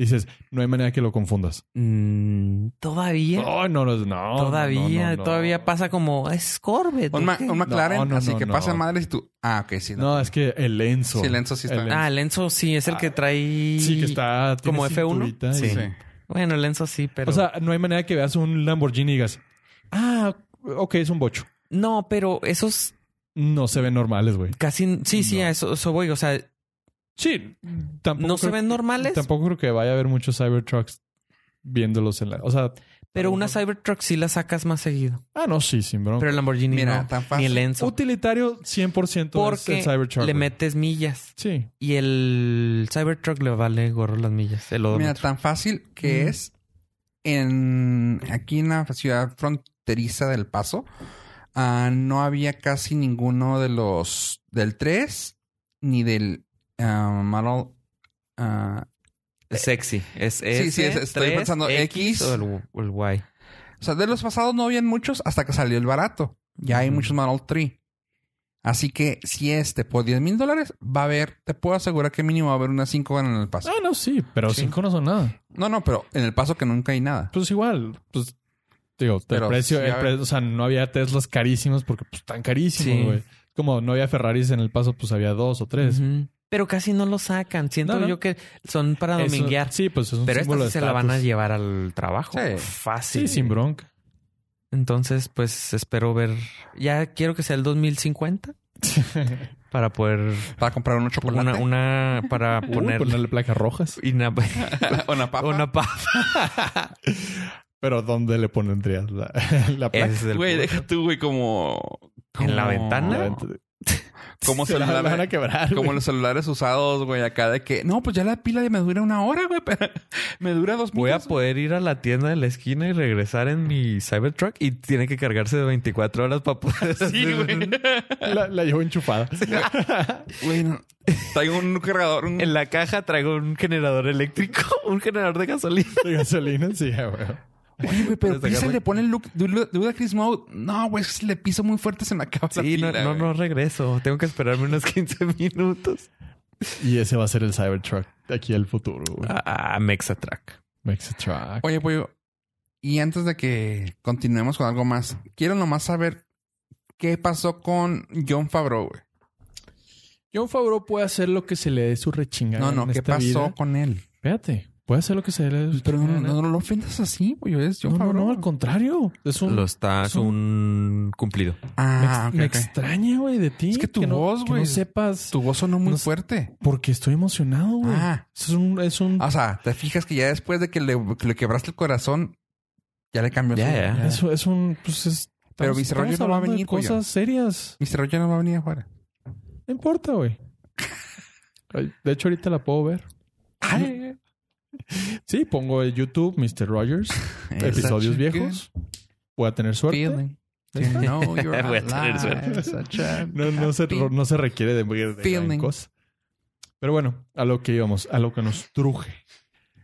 [SPEAKER 2] Dices, no hay manera que lo confundas.
[SPEAKER 3] Mm, todavía.
[SPEAKER 2] No, no, no, no.
[SPEAKER 3] todavía,
[SPEAKER 2] no, no, no.
[SPEAKER 3] todavía pasa como es Corvette.
[SPEAKER 1] Un,
[SPEAKER 3] ¿o
[SPEAKER 1] Ma-
[SPEAKER 3] qué?"
[SPEAKER 1] un McLaren,
[SPEAKER 2] No, no,
[SPEAKER 1] así
[SPEAKER 2] no,
[SPEAKER 1] que
[SPEAKER 2] no.
[SPEAKER 1] pasa madres y tú. Ah, ok, sí.
[SPEAKER 2] No, es que el Enzo.
[SPEAKER 1] Sí, el Enzo sí está.
[SPEAKER 2] El-
[SPEAKER 3] Ah, Lenzo sí, es el que trae.
[SPEAKER 2] Sí, que está. tiene
[SPEAKER 3] como F1.
[SPEAKER 2] cinturita y-
[SPEAKER 3] Sí.
[SPEAKER 1] Sí.
[SPEAKER 3] Bueno, Lenzo sí, pero.
[SPEAKER 2] O sea, no hay manera que veas un Lamborghini y digas, ah, ok, es un bocho.
[SPEAKER 3] no, pero esos
[SPEAKER 2] No se ven normales, güey.
[SPEAKER 3] casi. Sí, sí,
[SPEAKER 2] No.
[SPEAKER 3] a eso, eso voy. O sea,
[SPEAKER 2] Sí, tampoco.
[SPEAKER 3] no se
[SPEAKER 2] creo
[SPEAKER 3] ven normales.
[SPEAKER 2] Tampoco creo que vaya a haber muchos Cybertrucks viéndolos en la. O sea,
[SPEAKER 3] Pero una Cybertruck sí la sacas más seguido.
[SPEAKER 2] Ah, no, sí, sin bronca.
[SPEAKER 3] Pero el Lamborghini
[SPEAKER 1] Mira,
[SPEAKER 3] no.
[SPEAKER 1] tan
[SPEAKER 3] Ni
[SPEAKER 1] fácil.
[SPEAKER 3] el Enzo.
[SPEAKER 2] Utilitario 100% es
[SPEAKER 3] Porque
[SPEAKER 2] el Cybertruck.
[SPEAKER 3] le
[SPEAKER 2] güey.
[SPEAKER 3] metes millas.
[SPEAKER 2] Sí.
[SPEAKER 3] Y el Cybertruck le vale gorro las millas. El
[SPEAKER 1] Mira,
[SPEAKER 3] odómetro.
[SPEAKER 1] tan fácil que
[SPEAKER 2] Mm.
[SPEAKER 1] es en aquí en la ciudad fronteriza del Paso. ah, no había casi ninguno de los del 3 ni del ah, model, ah,
[SPEAKER 3] Sexy. Es
[SPEAKER 1] Sí, sí, es- estoy
[SPEAKER 3] S3,
[SPEAKER 1] pensando X.
[SPEAKER 3] o el, o el Y.
[SPEAKER 1] o sea, de los pasados no habían muchos hasta que salió el barato. Ya hay
[SPEAKER 3] Ujú.
[SPEAKER 1] muchos Model 3. Así que si este por 10 mil dólares va a haber, te puedo asegurar que mínimo va a haber unas 5 en el paso.
[SPEAKER 2] Ah, no, sí. Pero
[SPEAKER 3] Sí.
[SPEAKER 2] cinco no son nada.
[SPEAKER 1] No, no, pero en el paso que nunca hay nada.
[SPEAKER 2] Pues igual. Pues, digo, el
[SPEAKER 1] Pero
[SPEAKER 2] precio...
[SPEAKER 1] sí,
[SPEAKER 2] el
[SPEAKER 1] a ver.
[SPEAKER 2] precio- o sea, no había Teslas carísimos porque pues tan carísimos,
[SPEAKER 3] Sí.
[SPEAKER 2] güey. Como no había Ferraris en el paso, pues había dos o tres.
[SPEAKER 3] Ujú. Pero casi no lo sacan. Siento
[SPEAKER 2] No, no.
[SPEAKER 3] yo que son para
[SPEAKER 2] Eso-
[SPEAKER 3] dominguear.
[SPEAKER 2] sí, pues es un
[SPEAKER 3] Pero
[SPEAKER 2] símbolo
[SPEAKER 3] estas sí
[SPEAKER 2] de
[SPEAKER 3] se la van a
[SPEAKER 2] estatus.
[SPEAKER 3] llevar al trabajo.
[SPEAKER 1] Sí.
[SPEAKER 2] Sí,
[SPEAKER 3] Fácil.
[SPEAKER 2] sin bronca.
[SPEAKER 3] Entonces, pues espero ver. Ya quiero que sea el 2050 para poder.
[SPEAKER 1] Para comprar unos chocolates.
[SPEAKER 3] Una, una para
[SPEAKER 2] Uy,
[SPEAKER 3] poner.
[SPEAKER 2] ponerle placas rojas.
[SPEAKER 3] y una-
[SPEAKER 1] una papa.
[SPEAKER 3] una pa-
[SPEAKER 2] Pero ¿dónde le pondrías la, la placa?
[SPEAKER 3] Ese es el
[SPEAKER 1] Güey,
[SPEAKER 3] punto.
[SPEAKER 1] deja tú, güey, como...
[SPEAKER 3] ¿En la
[SPEAKER 1] como-
[SPEAKER 3] ventana?
[SPEAKER 2] La venta-
[SPEAKER 1] Como
[SPEAKER 2] Se la- la van a
[SPEAKER 1] celulares...
[SPEAKER 2] quebrar.
[SPEAKER 1] Como
[SPEAKER 2] güey.
[SPEAKER 1] los celulares usados, güey, acá de que... No, pues ya la pila me dura una hora, güey, pero me dura dos
[SPEAKER 3] Voy a
[SPEAKER 1] minutos.
[SPEAKER 3] poder ir a la tienda de la esquina y regresar en mi Cybertruck y tiene que cargarse de 24 horas para poder.
[SPEAKER 1] Sí, güey.
[SPEAKER 2] La, la llevo enchufada.
[SPEAKER 1] Güey, no. Traigo un cargador, un-
[SPEAKER 3] En la caja traigo un generador eléctrico, un generador de gasolina.
[SPEAKER 2] De gasolina, sí, güey.
[SPEAKER 1] Oye, güey, pero
[SPEAKER 3] Puedes sacar,
[SPEAKER 1] Pisa
[SPEAKER 3] güey.
[SPEAKER 1] le pone el look... du- Duda Chris Mode. No, güey, es que si le piso muy fuerte se me acaba la
[SPEAKER 3] Sí, no,
[SPEAKER 1] pila,
[SPEAKER 3] no,
[SPEAKER 1] güey.
[SPEAKER 3] no regreso. Tengo que esperarme unos 15 minutos.
[SPEAKER 2] Y ese va a ser el Cybertruck de aquí al futuro, güey.
[SPEAKER 3] Ah, ah, Mexatrack.
[SPEAKER 2] Mexatrack.
[SPEAKER 1] Oye, pollo, y antes de que continuemos con algo más, quiero nomás saber qué pasó con John Favreau, güey.
[SPEAKER 2] John Favreau puede hacer lo que se le dé su rechingada.
[SPEAKER 1] No, no,
[SPEAKER 2] en
[SPEAKER 1] ¿qué
[SPEAKER 2] esta
[SPEAKER 1] pasó
[SPEAKER 2] vida.
[SPEAKER 1] con él?
[SPEAKER 2] Espérate, puede hacer lo que se le dé su
[SPEAKER 1] Pero no,
[SPEAKER 2] chingada
[SPEAKER 1] no, no lo ofendas así, pollo, es John
[SPEAKER 2] No, no,
[SPEAKER 1] Favreau.
[SPEAKER 2] no, al contrario. Es un.
[SPEAKER 3] Lo está, es
[SPEAKER 2] es
[SPEAKER 3] un cumplido.
[SPEAKER 2] Me, ex-
[SPEAKER 1] Ah, ok,
[SPEAKER 2] me
[SPEAKER 1] ok.
[SPEAKER 2] extraña, güey, de ti.
[SPEAKER 1] Es que tu
[SPEAKER 2] no-
[SPEAKER 1] voz,
[SPEAKER 2] que
[SPEAKER 1] güey,
[SPEAKER 2] No sepas
[SPEAKER 1] Tu voz sonó muy
[SPEAKER 2] No sé.
[SPEAKER 1] fuerte.
[SPEAKER 2] porque estoy emocionado, güey.
[SPEAKER 1] Ah.
[SPEAKER 2] Es un. Es un
[SPEAKER 1] O sea, te fijas que ya después de que le, que le quebraste el corazón, ya le cambió.
[SPEAKER 3] Ya,
[SPEAKER 1] su-
[SPEAKER 3] ya.
[SPEAKER 2] es, es un. Pues es.
[SPEAKER 1] Pero
[SPEAKER 2] estamos-
[SPEAKER 1] Mr. Roger
[SPEAKER 2] estamos
[SPEAKER 1] no va a
[SPEAKER 2] hablando de
[SPEAKER 1] venir,
[SPEAKER 2] Cosas
[SPEAKER 1] Pollo.
[SPEAKER 2] serias.
[SPEAKER 1] Mr. Roger no va a venir afuera.
[SPEAKER 2] No importa, güey. Ay, De hecho, ahorita la puedo ver. Sí, pongo en YouTube Mr. Rogers,
[SPEAKER 1] Such
[SPEAKER 2] episodios
[SPEAKER 1] a
[SPEAKER 2] viejos. Voy a tener
[SPEAKER 1] good
[SPEAKER 2] suerte.
[SPEAKER 1] feeling to know you're
[SPEAKER 3] Voy a tener
[SPEAKER 1] alive,
[SPEAKER 3] suerte.
[SPEAKER 1] such a
[SPEAKER 2] No, no, se,
[SPEAKER 1] happy-
[SPEAKER 2] no se requiere de, de gran
[SPEAKER 1] Feeling.
[SPEAKER 2] cosa. Pero bueno, a lo que íbamos, a lo que nos truje.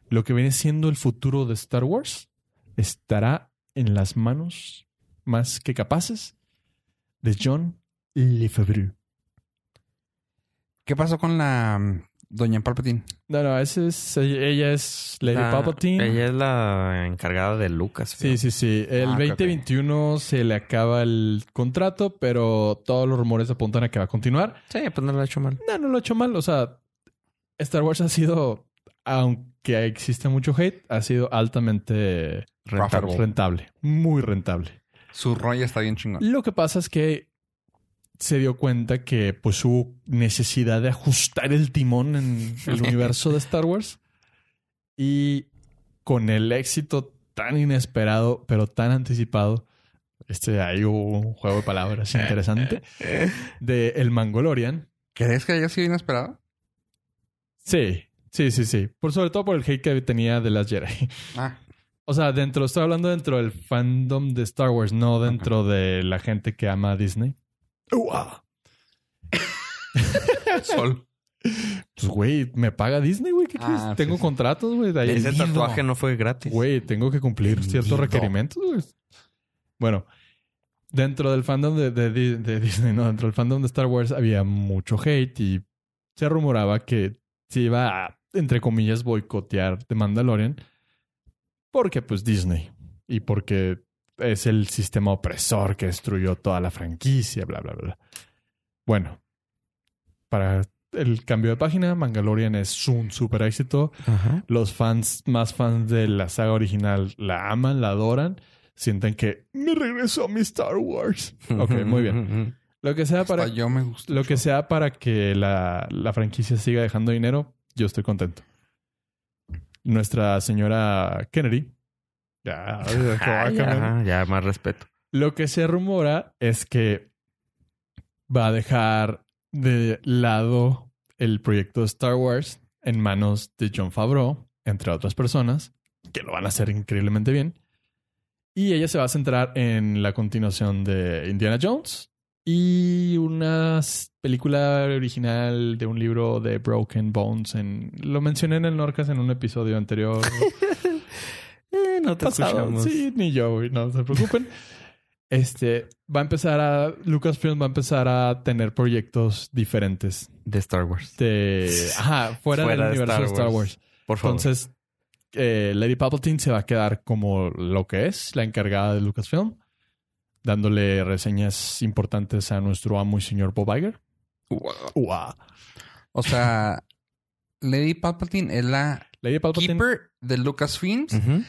[SPEAKER 2] Lo que viene siendo el futuro de Star Wars estará en las manos más que capaces de John Lefebvre.
[SPEAKER 1] ¿Qué pasó con la mm, Doña Palpatine?
[SPEAKER 2] No, no, ese es, ella es Lady
[SPEAKER 1] Ah,
[SPEAKER 3] La-
[SPEAKER 2] Palpatine.
[SPEAKER 3] Ella es la encargada de Lucas.
[SPEAKER 2] Sí, sí, sí. El
[SPEAKER 1] Ah, ok, ok.
[SPEAKER 2] 2021 se le acaba el contrato, pero todos los rumores apuntan a que va a continuar.
[SPEAKER 3] Sí, pues no lo ha hecho mal.
[SPEAKER 2] No, no lo ha hecho mal. O sea, Star Wars ha sido, aunque existe mucho hate, ha sido altamente
[SPEAKER 1] Profitable.
[SPEAKER 2] rentable. Muy rentable.
[SPEAKER 1] Su rollo está bien chingón.
[SPEAKER 2] Lo que pasa es que se dio cuenta que pues hubo necesidad de ajustar el timón en el universo de Star Wars y con el éxito tan inesperado pero tan anticipado este ahí hubo un juego de palabras interesante de el Mangolorian
[SPEAKER 1] ¿Crees que haya sido inesperado?
[SPEAKER 2] sí sí sí sí por sobre todo por el hate que tenía de las Jedi
[SPEAKER 1] Ah,
[SPEAKER 2] o sea dentro estoy hablando dentro del fandom de Star Wars no dentro de la gente que ama a Disney ¡Uah!
[SPEAKER 1] sol.
[SPEAKER 2] Pues, güey, me paga Disney, güey. ¿Qué
[SPEAKER 1] Ah,
[SPEAKER 2] quieres?
[SPEAKER 1] sí,
[SPEAKER 2] tengo
[SPEAKER 1] sí.
[SPEAKER 2] contratos, güey. de ahí.
[SPEAKER 3] Ese
[SPEAKER 1] Vendido.
[SPEAKER 3] tatuaje no fue gratis.
[SPEAKER 2] Güey, tengo que cumplir
[SPEAKER 1] Vendido.
[SPEAKER 2] ciertos requerimientos, güey. Bueno, dentro del fandom de, de Di- de Disney, no, dentro del fandom de Star Wars había mucho hate y se rumoraba que se iba a, entre comillas, boicotear The Mandalorian porque, pues, Disney y porque es el sistema opresor que destruyó toda la franquicia, bla, bla, bla. Bueno, para el cambio de página, Mandalorian es un super éxito.
[SPEAKER 3] Ajá.
[SPEAKER 2] Los fans más fans de la saga original la aman, la adoran, sienten que me regreso a mi Star Wars. Ok, muy bien. Lo que sea para,
[SPEAKER 1] Hasta yo me gusta.
[SPEAKER 2] lo que, sea para que la, la franquicia siga dejando dinero, yo estoy contento. Nuestra señora Kennedy Ya, ay, que va a
[SPEAKER 3] Ah,
[SPEAKER 2] cambiar.
[SPEAKER 3] ya, ya, más respeto.
[SPEAKER 2] Lo que se rumora es que va a dejar de lado el proyecto de Star Wars en manos de John Favreau, entre otras personas, que lo van a hacer increíblemente bien. Y ella se va a centrar en la continuación de Indiana Jones y una s- película original de un libro de Broken Bones. En, lo mencioné en el Norcas en un episodio anterior
[SPEAKER 3] Eh, no te
[SPEAKER 2] pasado.
[SPEAKER 3] escuchamos.
[SPEAKER 2] Sí, ni yo, güey, no se preocupen. Este va a empezar a Lucasfilm va a empezar a tener proyectos diferentes
[SPEAKER 3] De Star Wars.
[SPEAKER 2] de ajá, fuera,
[SPEAKER 3] Fuera
[SPEAKER 2] del
[SPEAKER 3] de
[SPEAKER 2] universo
[SPEAKER 3] Star
[SPEAKER 2] de Star
[SPEAKER 3] Wars.
[SPEAKER 2] Wars.
[SPEAKER 3] Por favor.
[SPEAKER 2] Entonces, eh, Lady Palpatine se va a quedar como lo que es, la encargada de Lucasfilm, dándole reseñas importantes a nuestro amo y señor Bob Iger. Uah.
[SPEAKER 1] O sea, Lady Palpatine es la
[SPEAKER 2] Lady Palpatine.
[SPEAKER 1] keeper de Lucasfilms,
[SPEAKER 3] Ujú.
[SPEAKER 2] mm,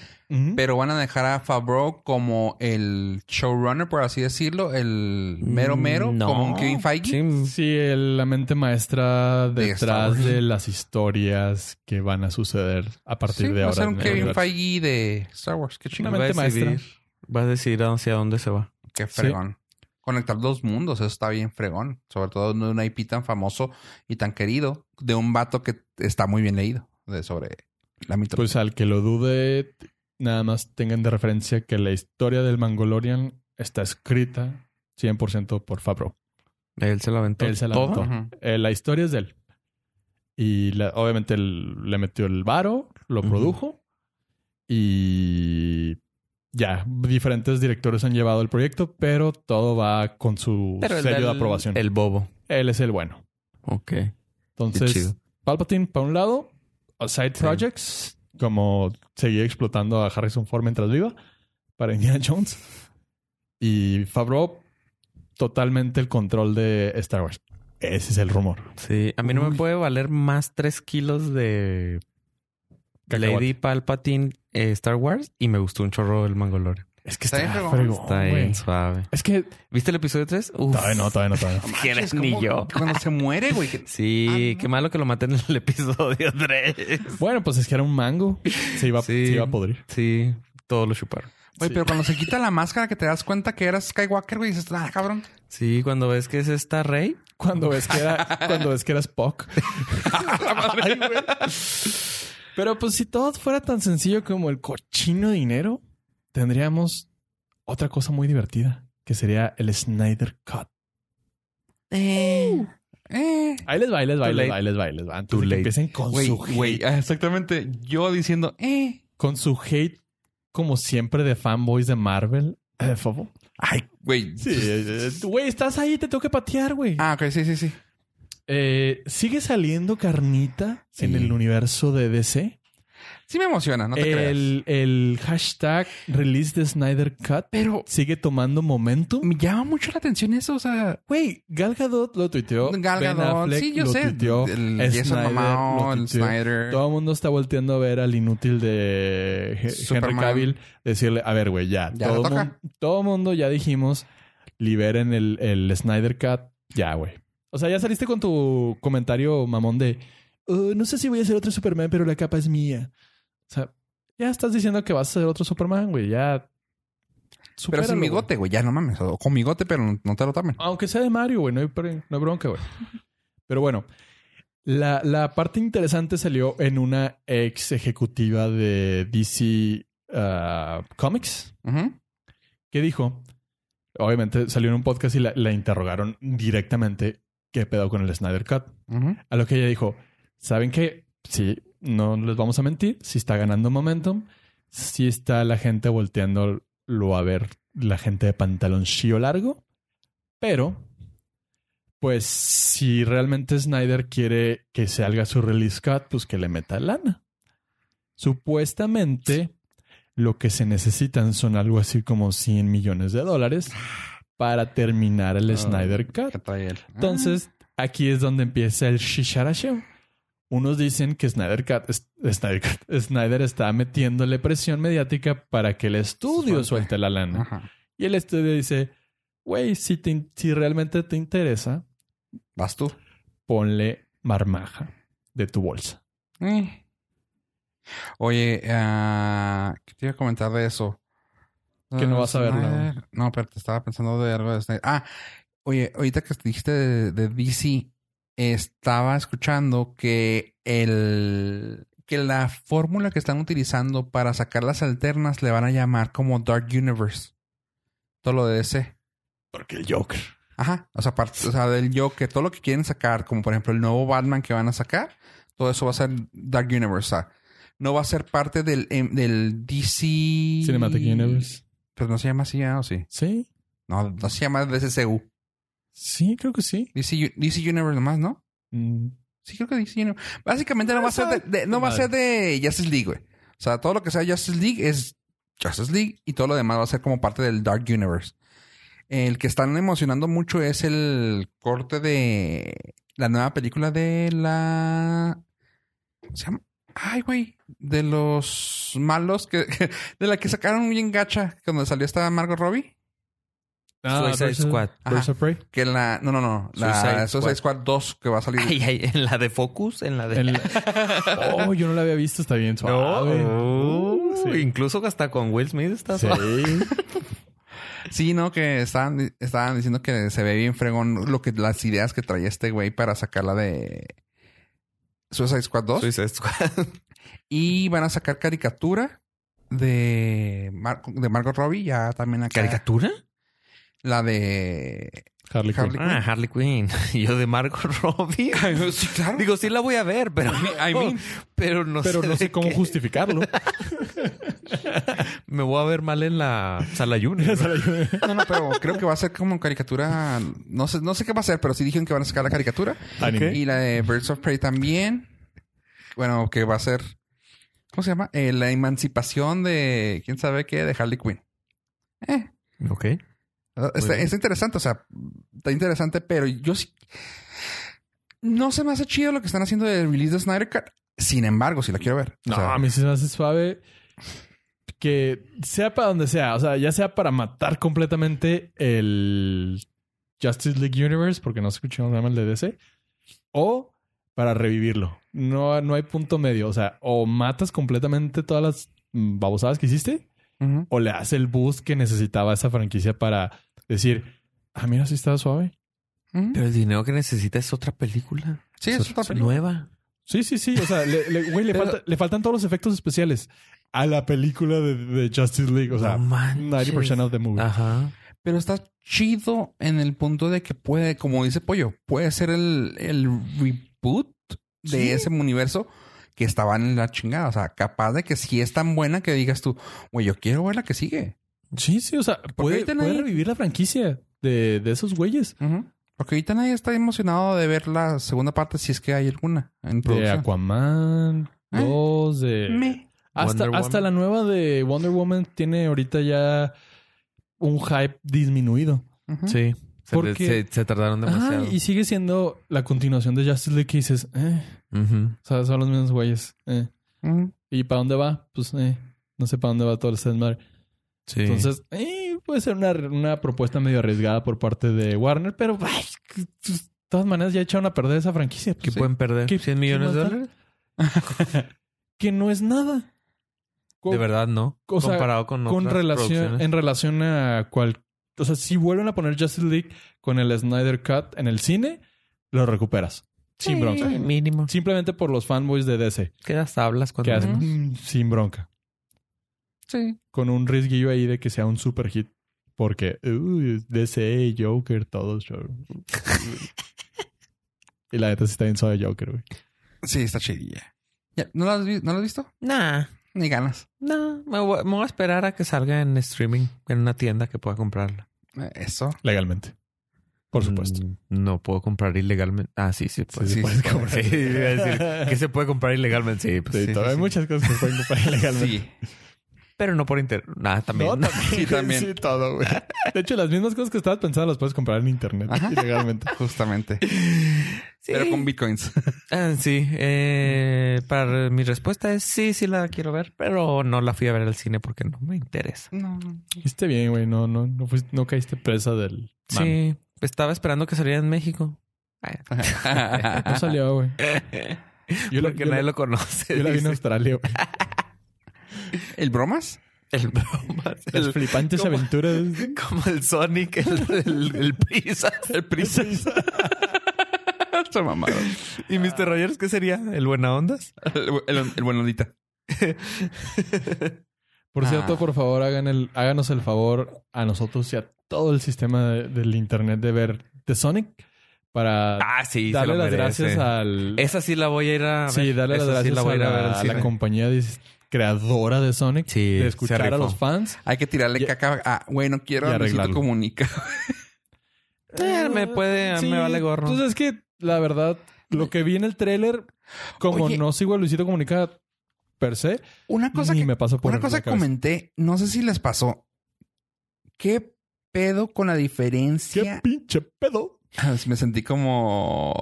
[SPEAKER 2] Ujú.
[SPEAKER 1] pero van a dejar a Favreau como el showrunner, por así decirlo, el mero mero,
[SPEAKER 3] No.
[SPEAKER 1] como un Kevin Feige.
[SPEAKER 3] Sí.
[SPEAKER 2] Sí, el- la mente maestra
[SPEAKER 1] De Star
[SPEAKER 2] detrás
[SPEAKER 1] Wars.
[SPEAKER 2] de las historias que van a suceder a partir
[SPEAKER 1] Sí, va
[SPEAKER 2] de
[SPEAKER 1] a
[SPEAKER 2] ahora.
[SPEAKER 1] ser un
[SPEAKER 2] en el
[SPEAKER 1] Kevin
[SPEAKER 2] universo.
[SPEAKER 1] Feige de Star Wars. Qué chingón.
[SPEAKER 2] Una mente
[SPEAKER 3] va a decidir, va a decidir hacia dónde se va.
[SPEAKER 1] Qué
[SPEAKER 2] Sí.
[SPEAKER 1] fregón. Conectar dos mundos, eso está bien fregón. Sobre todo de un IP tan famoso y tan querido, de un vato que está muy bien leído de sobre la mitología.
[SPEAKER 2] Pues al que lo dude, nada más tengan de referencia que la historia del Mangolorian está escrita 100% por Fabro.
[SPEAKER 3] Él se la aventó.
[SPEAKER 2] Él se la
[SPEAKER 3] todo.
[SPEAKER 2] aventó.
[SPEAKER 1] Ujú.
[SPEAKER 2] la historia es de él. Y la- obviamente él le metió el varo, lo
[SPEAKER 3] Ujú.
[SPEAKER 2] produjo y ya, diferentes directores han llevado el proyecto, pero todo va con su
[SPEAKER 3] Pero el
[SPEAKER 2] sello de
[SPEAKER 3] del-
[SPEAKER 2] aprobación.
[SPEAKER 3] El bobo.
[SPEAKER 2] Él es el bueno.
[SPEAKER 3] Ok. Qué
[SPEAKER 2] Entonces,
[SPEAKER 3] chido.
[SPEAKER 2] Palpatine para un lado, a side
[SPEAKER 3] Sí.
[SPEAKER 2] projects, como seguir explotando a Harrison Ford mientras viva, para Indiana Jones. Y Favreau, totalmente el control de Star Wars. Ese es el rumor.
[SPEAKER 3] Sí. A mí no
[SPEAKER 1] Uy.
[SPEAKER 3] me puede valer más tres kilos de
[SPEAKER 2] Cacahuate.
[SPEAKER 3] Lady Palpatine eh, Star Wars y me gustó un chorro el Mangolore.
[SPEAKER 2] Es que
[SPEAKER 1] Está
[SPEAKER 2] está,
[SPEAKER 1] bien fregón.
[SPEAKER 2] fregón,
[SPEAKER 3] Está
[SPEAKER 2] Oh, güey.
[SPEAKER 3] bien suave.
[SPEAKER 2] Es que
[SPEAKER 3] ¿Viste el episodio 3? Uf.
[SPEAKER 2] todavía no, todavía no, todavía no.
[SPEAKER 3] quieres
[SPEAKER 1] Manches,
[SPEAKER 3] ni
[SPEAKER 1] ¿cómo-
[SPEAKER 3] yo.
[SPEAKER 1] Cuando se muere, güey. que-
[SPEAKER 3] Sí,
[SPEAKER 1] Ah, no.
[SPEAKER 3] qué malo que lo maten en el episodio 3.
[SPEAKER 2] Bueno, pues es que era un mango. Se iba,
[SPEAKER 3] Sí.
[SPEAKER 2] se iba a podrir.
[SPEAKER 3] Sí, todos lo chuparon.
[SPEAKER 1] Güey,
[SPEAKER 2] Sí.
[SPEAKER 1] pero cuando se quita la máscara que te das cuenta que eras Skywalker, güey, dices, ah, cabrón.
[SPEAKER 3] Sí, cuando ves que es esta rey.
[SPEAKER 2] Cuando ves que era, cuando ves que era Spock. Ay, güey. Pero pues si todo fuera tan sencillo como el cochino dinero, tendríamos otra cosa muy divertida, que sería el Snyder Cut.
[SPEAKER 1] Eh.
[SPEAKER 2] Ahí les va, ahí les va,
[SPEAKER 3] Too
[SPEAKER 2] ahí les
[SPEAKER 3] late.
[SPEAKER 2] va, ahí les va, ahí les va. Antes
[SPEAKER 3] Too
[SPEAKER 2] de que
[SPEAKER 3] late.
[SPEAKER 2] empiecen con
[SPEAKER 1] Güey,
[SPEAKER 2] su hate.
[SPEAKER 1] güey, ah, exactamente. Yo diciendo, eh.
[SPEAKER 2] Con su hate, como siempre, de fanboys de Marvel. Eh, fofo.
[SPEAKER 1] Ay, güey.
[SPEAKER 2] Sí, eh, eh, güey, estás ahí, te tengo que patear, güey.
[SPEAKER 1] Ah, ok, sí, sí, sí.
[SPEAKER 2] Eh, ¿Sigue saliendo carnita
[SPEAKER 3] Sí.
[SPEAKER 2] en el universo de DC?
[SPEAKER 1] Sí me emociona, no te creas.
[SPEAKER 2] el, el hashtag release de Snyder Cut
[SPEAKER 1] Pero
[SPEAKER 2] sigue tomando momentum.
[SPEAKER 1] me llama mucho la atención eso, o sea...
[SPEAKER 2] Güey, Gal Gadot lo tuiteó.
[SPEAKER 1] Gal
[SPEAKER 2] Ben
[SPEAKER 1] Gadot,
[SPEAKER 2] Affleck
[SPEAKER 1] sí, yo
[SPEAKER 2] lo
[SPEAKER 1] sé.
[SPEAKER 2] tuiteó,
[SPEAKER 1] El
[SPEAKER 2] Snyder
[SPEAKER 1] Jason Mamao,
[SPEAKER 2] lo
[SPEAKER 1] el
[SPEAKER 2] tuiteó.
[SPEAKER 1] Snyder.
[SPEAKER 2] Todo el mundo está volteando a ver al inútil de He- Henry
[SPEAKER 1] Superman.
[SPEAKER 2] Cavill. Decirle, a ver, güey, ya.
[SPEAKER 1] Ya
[SPEAKER 2] todo,
[SPEAKER 1] le toca.
[SPEAKER 2] mun- todo mundo ya dijimos, liberen el, el Snyder Cut. Ya, güey. O sea, ya saliste con tu comentario mamón de, "Uh, no sé si voy a ser otro Superman, pero la capa es mía. O sea, ya estás diciendo que vas a ser otro Superman, güey. Ya.
[SPEAKER 1] Pero sin
[SPEAKER 2] supéralo, güey.
[SPEAKER 1] migote, güey. Ya no mames. O con migote, pero no, no te lo tomen.
[SPEAKER 2] Aunque sea de Mario, güey, no hay, pre- no hay bronca, güey. Pero bueno, la, la parte interesante salió en una ex ejecutiva de DC ah, Comics
[SPEAKER 1] Ujú.
[SPEAKER 2] que dijo, obviamente salió en un podcast y la, la interrogaron directamente qué pedo con el Snyder Cut.
[SPEAKER 1] Ujú.
[SPEAKER 2] A lo que ella dijo, ¿saben qué? Sí, no les vamos a mentir, si está ganando momentum, si está la gente volteándolo a ver, la gente de pantaloncillo largo, pero pues si realmente Snyder quiere que salga su release cut, pues que le meta lana. Supuestamente lo que se necesitan son algo así como 100 millones de dólares para terminar el
[SPEAKER 1] Ah.
[SPEAKER 2] Snyder Cut.
[SPEAKER 1] ¿Qué trae él?
[SPEAKER 2] Entonces,
[SPEAKER 3] Ah.
[SPEAKER 2] aquí es donde empieza el shisharashu. Unos dicen que Snyder, Cut- es- Snyder, Cut- Snyder está metiéndole presión mediática para que el estudio
[SPEAKER 1] Suelte.
[SPEAKER 2] suelte la
[SPEAKER 1] Ah,
[SPEAKER 2] lana.
[SPEAKER 1] Ajá.
[SPEAKER 2] Y el estudio dice, güey, si, te in- si realmente te interesa,
[SPEAKER 1] Vas tú.
[SPEAKER 2] ponle marmaja de tu bolsa.
[SPEAKER 1] Eh. Oye, ah, ¿qué te iba a comentar de eso?
[SPEAKER 2] Que no vas a verlo.
[SPEAKER 1] Snyder. No, pero te estaba pensando de algo de Snyder. Ah, oye, ahorita que dijiste de, de DC, estaba escuchando que el que la fórmula que están utilizando para sacar las alternas le van a llamar como Dark Universe. Todo lo de DC.
[SPEAKER 2] Porque el Joker.
[SPEAKER 1] Ajá. O sea, aparte, o sea, del Joker, todo lo que quieren sacar, como por ejemplo el nuevo Batman que van a sacar, todo eso va a ser Dark Universe. O sea, no va a ser parte del, em, del DC.
[SPEAKER 2] Cinematic Universe.
[SPEAKER 1] Pero no se llama así, ¿ah? ¿o sí?
[SPEAKER 2] Sí.
[SPEAKER 1] No, no se llama DCCU.
[SPEAKER 2] Sí, creo que sí.
[SPEAKER 1] DC, U- DC Universe nomás, ¿no?
[SPEAKER 2] Mm.
[SPEAKER 1] Sí, creo que DC Universe. Básicamente no va a ser de, de- no va a ser de Justice League, güey. O sea, todo lo que sea Justice League es Justice League y todo lo demás va a ser como parte del Dark Universe. El que están emocionando mucho es el corte de la nueva película de la. ¿Cómo se llama? Ay, güey. De los malos que. De la que sacaron bien gacha cuando salió esta Margot Robbie.
[SPEAKER 3] Suicide
[SPEAKER 2] versus-
[SPEAKER 3] Squad.
[SPEAKER 1] Ajá.
[SPEAKER 2] versus Ah, Prey.
[SPEAKER 1] Que la. No, no, no. La
[SPEAKER 3] Suicide
[SPEAKER 1] Suicide Squad 2 que va a salir.
[SPEAKER 3] Ay, ay, en la de Focus, en la de.
[SPEAKER 2] El- Oh, yo no la había visto. Está bien suave.
[SPEAKER 3] No.
[SPEAKER 2] Sí.
[SPEAKER 3] uh, Incluso hasta con Will Smith está
[SPEAKER 2] Sí.
[SPEAKER 3] suave.
[SPEAKER 1] Sí, no, que estaban, estaban diciendo que se ve bien fregón lo que las ideas que traía este güey para sacarla de Suicide Squad 2.
[SPEAKER 3] Suicide Squad.
[SPEAKER 1] Y van a sacar caricatura de, Mar- de Margot Robbie, ya también acá.
[SPEAKER 3] ¿Caricatura?
[SPEAKER 1] La de.
[SPEAKER 2] Harley Quinn.
[SPEAKER 1] Harley-
[SPEAKER 3] Ah, Harley Quinn. Y Yo de Margot Robbie.
[SPEAKER 1] sí, claro.
[SPEAKER 3] Digo, sí la voy a ver, pero.
[SPEAKER 1] I mean.
[SPEAKER 3] pero no
[SPEAKER 2] Pero
[SPEAKER 3] sé.
[SPEAKER 2] no
[SPEAKER 3] de
[SPEAKER 2] sé cómo
[SPEAKER 3] qué.
[SPEAKER 2] justificarlo.
[SPEAKER 3] Me voy a ver mal en la sala junior.
[SPEAKER 1] No, no, pero creo que va a ser como caricatura. No sé, no sé qué va a ser, pero sí dijeron que van a sacar la caricatura.
[SPEAKER 2] Anime.
[SPEAKER 1] Y la de Birds of Prey también. Bueno, que va a ser. ¿Cómo se llama? Eh, la emancipación de. ¿Quién sabe qué? De Harley Quinn. Eh,
[SPEAKER 3] ok.
[SPEAKER 1] está,
[SPEAKER 2] Ah,
[SPEAKER 3] bien.
[SPEAKER 1] está interesante, o sea, está interesante, pero yo sí. No se me hace chido lo que están haciendo de release de Snyder Cut. Sin embargo, si la quiero ver. O
[SPEAKER 2] No,
[SPEAKER 1] sea,
[SPEAKER 2] a mí se me hace suave que sea para donde sea, o sea, ya sea para matar completamente el Justice League Universe, porque no escuchamos nada más el de DC, o para revivirlo. No, no hay punto medio, o sea, o matas completamente todas las mm, babosadas que hiciste,
[SPEAKER 1] ujú.
[SPEAKER 2] o le haces el boost que necesitaba esa franquicia para decir, ah, mira, sí está suave.
[SPEAKER 1] Ujú.
[SPEAKER 3] Pero el dinero que necesita es otra película.
[SPEAKER 1] Sí, es otra película.
[SPEAKER 3] Nueva.
[SPEAKER 2] Sí, sí, sí, o sea, le, le- güey, le,
[SPEAKER 3] Pero-
[SPEAKER 2] falta- le faltan todos los efectos especiales a la película de, de Justice League, o sea,
[SPEAKER 3] No manches. Ah.
[SPEAKER 2] 90% of the movie.
[SPEAKER 3] Ajá.
[SPEAKER 1] Pero está chido en el punto de que puede, como dice Pollo, puede ser el, el reboot de
[SPEAKER 2] Sí.
[SPEAKER 1] ese universo que estaba en la chingada. O sea, capaz de que si es tan buena que digas tú, güey, yo quiero ver la que sigue.
[SPEAKER 2] Sí, sí, o sea, puede,
[SPEAKER 1] ahorita
[SPEAKER 2] puede
[SPEAKER 1] nadie-
[SPEAKER 2] revivir la franquicia de, de esos güeyes.
[SPEAKER 1] Porque ahorita nadie está emocionado de ver la segunda parte si es que hay alguna en
[SPEAKER 2] De
[SPEAKER 1] producción.
[SPEAKER 2] Aquaman,
[SPEAKER 1] Ah.
[SPEAKER 2] dos, de...
[SPEAKER 1] Me.
[SPEAKER 2] Hasta,
[SPEAKER 3] Wonder
[SPEAKER 2] hasta
[SPEAKER 3] Woman.
[SPEAKER 2] la nueva de Wonder Woman tiene ahorita ya un hype disminuido.
[SPEAKER 1] Ujú.
[SPEAKER 3] Sí. Se,
[SPEAKER 2] Porque-
[SPEAKER 3] le- se- se tardaron demasiado.
[SPEAKER 2] Ajá, y sigue siendo la continuación de Justice League que dices, eh,
[SPEAKER 3] Ujú.
[SPEAKER 2] o sea, son los mismos güeyes. eh.
[SPEAKER 1] Ujú.
[SPEAKER 2] ¿Y para dónde va? Pues eh, no sé para dónde va todo el Sandmar.
[SPEAKER 3] Sí.
[SPEAKER 2] Entonces, eh, puede ser una, una propuesta medio arriesgada por parte de Warner, pero ay, que- de todas maneras ya echaron a perder esa franquicia.
[SPEAKER 3] ¿Qué
[SPEAKER 2] pues, sí.
[SPEAKER 3] pueden perder?
[SPEAKER 2] ¿Qué-
[SPEAKER 3] ¿100 millones
[SPEAKER 2] qué
[SPEAKER 3] de
[SPEAKER 2] más da?
[SPEAKER 3] dólares?
[SPEAKER 2] que no es nada. Co-
[SPEAKER 3] De verdad, no.
[SPEAKER 2] o sea,
[SPEAKER 3] Comparado con
[SPEAKER 2] Con
[SPEAKER 3] otras
[SPEAKER 2] relación,
[SPEAKER 3] producciones.
[SPEAKER 2] en relación a cual... O sea, si vuelven a poner Justice League con el Snyder Cut en el cine, lo recuperas. Sin bronca.
[SPEAKER 3] Sí, Mínimo.
[SPEAKER 2] Simplemente por los fanboys de DC.
[SPEAKER 3] Quedas tablas cuando
[SPEAKER 2] Que hacen
[SPEAKER 3] menos.
[SPEAKER 2] mm, sin bronca.
[SPEAKER 1] Sí.
[SPEAKER 2] Con un riesguillo ahí de que sea un super hit. Porque uy, DC, Joker, todos. yo- y la neta sí está bien suave Joker, güey.
[SPEAKER 1] Sí, está chidilla. Ya, ¿No la has, vi- no la has visto?
[SPEAKER 3] Nah.
[SPEAKER 1] Ni ganas.
[SPEAKER 3] Nah. Me voy, me voy a esperar a que salga en streaming. En una tienda que pueda comprarla.
[SPEAKER 1] Eh, Eso.
[SPEAKER 2] Legalmente. Por supuesto.
[SPEAKER 3] Mm, No puedo comprar ilegalmente. Ah, sí, sí. Pues,
[SPEAKER 1] Sí,
[SPEAKER 3] sí,
[SPEAKER 1] sí,
[SPEAKER 3] puedes
[SPEAKER 1] sí.
[SPEAKER 3] comprar. Sí, iba a decir, que se puede comprar ilegalmente. Sí, pues,
[SPEAKER 2] Sí,
[SPEAKER 3] sí,
[SPEAKER 2] todavía hay
[SPEAKER 3] sí, sí.
[SPEAKER 2] muchas cosas que se pueden comprar ilegalmente.
[SPEAKER 1] Sí.
[SPEAKER 3] Pero no por internet. Nah, también.
[SPEAKER 2] No,
[SPEAKER 1] Sí, también.
[SPEAKER 2] Sí, todo, güey. De hecho, las mismas cosas que estabas pensando las puedes comprar en internet
[SPEAKER 1] Ajá.
[SPEAKER 2] ilegalmente.
[SPEAKER 1] Justamente.
[SPEAKER 3] Sí.
[SPEAKER 1] Pero con bitcoins.
[SPEAKER 3] Ah, sí, eh, para mi respuesta es sí, sí la quiero ver, pero no la fui a ver al cine porque no me interesa.
[SPEAKER 1] No.
[SPEAKER 2] Hiciste bien, güey. No, no, no, fuiste- no caíste presa del. mame.
[SPEAKER 3] Sí, estaba esperando que saliera en México.
[SPEAKER 2] No salió, güey. Yo la-
[SPEAKER 3] porque
[SPEAKER 2] yo la-
[SPEAKER 3] nadie lo conoce.
[SPEAKER 2] Yo la vi en
[SPEAKER 3] dice.
[SPEAKER 2] Australia, güey.
[SPEAKER 1] ¿El bromas?
[SPEAKER 3] El bromas.
[SPEAKER 2] Las
[SPEAKER 3] el-
[SPEAKER 2] flipantes
[SPEAKER 3] ¿cómo?
[SPEAKER 2] aventuras.
[SPEAKER 3] Como el Sonic, el, el, el Prisa. El Prisa.
[SPEAKER 1] Esta mamada.
[SPEAKER 3] ¿Y Mr. Rogers qué sería? ¿El Buena Ondas?
[SPEAKER 1] El, bu- el, el buen Lolita.
[SPEAKER 2] Por
[SPEAKER 1] Ah.
[SPEAKER 2] cierto, por favor, hagan el, háganos el favor a nosotros y a todo el sistema de- del internet de ver The Sonic para
[SPEAKER 3] Ah, sí, se
[SPEAKER 2] darle
[SPEAKER 3] lo
[SPEAKER 2] las
[SPEAKER 3] merece.
[SPEAKER 2] gracias al...
[SPEAKER 3] Esa sí la voy a ir a ver.
[SPEAKER 2] sí, darle las
[SPEAKER 3] Esa sí
[SPEAKER 2] gracias
[SPEAKER 3] voy
[SPEAKER 2] a,
[SPEAKER 3] ir
[SPEAKER 2] la,
[SPEAKER 3] ver al
[SPEAKER 2] a la
[SPEAKER 3] cine.
[SPEAKER 2] compañía dis- creadora de Sonic
[SPEAKER 3] Sí,
[SPEAKER 2] de
[SPEAKER 3] se
[SPEAKER 2] escuchar a
[SPEAKER 3] rifó.
[SPEAKER 2] los fans.
[SPEAKER 1] Hay que tirarle
[SPEAKER 2] Y-
[SPEAKER 1] caca. Ah, güey, no quiero.
[SPEAKER 2] y
[SPEAKER 1] a Luisito
[SPEAKER 2] arreglarlo.
[SPEAKER 1] comunica.
[SPEAKER 3] Eh, me puede- me vale gorro.
[SPEAKER 2] Entonces pues es que la verdad, lo que vi en el tráiler, como
[SPEAKER 1] Oye.
[SPEAKER 2] no sigo a Luisito Comunica per se,
[SPEAKER 1] Una cosa
[SPEAKER 2] ni
[SPEAKER 1] que
[SPEAKER 2] me pasó por
[SPEAKER 1] Una
[SPEAKER 2] la
[SPEAKER 1] cosa que
[SPEAKER 2] cabeza.
[SPEAKER 1] comenté, no sé si les pasó. ¿Qué pedo con la
[SPEAKER 2] ¡Qué
[SPEAKER 1] diferencia? Ah,
[SPEAKER 2] pinche pedo!
[SPEAKER 1] Me sentí como.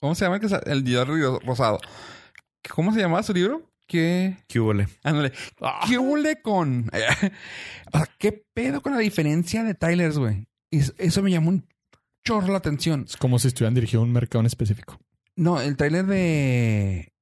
[SPEAKER 1] ¿Cómo se llama el, que sa- el Jordi Rosado? ¿Cómo se llamaba su libro? ¿Qué?
[SPEAKER 3] ¿Qué hubo, le?
[SPEAKER 1] Ándale.
[SPEAKER 2] Ah,
[SPEAKER 1] ¿Qué hule con? o sea, ¿qué pedo con la diferencia de Tyler's, güey? Y es- Eso me llamó un chorro la atención.
[SPEAKER 2] Es como si estuvieran dirigiendo un mercado en específico.
[SPEAKER 1] No, el tráiler de.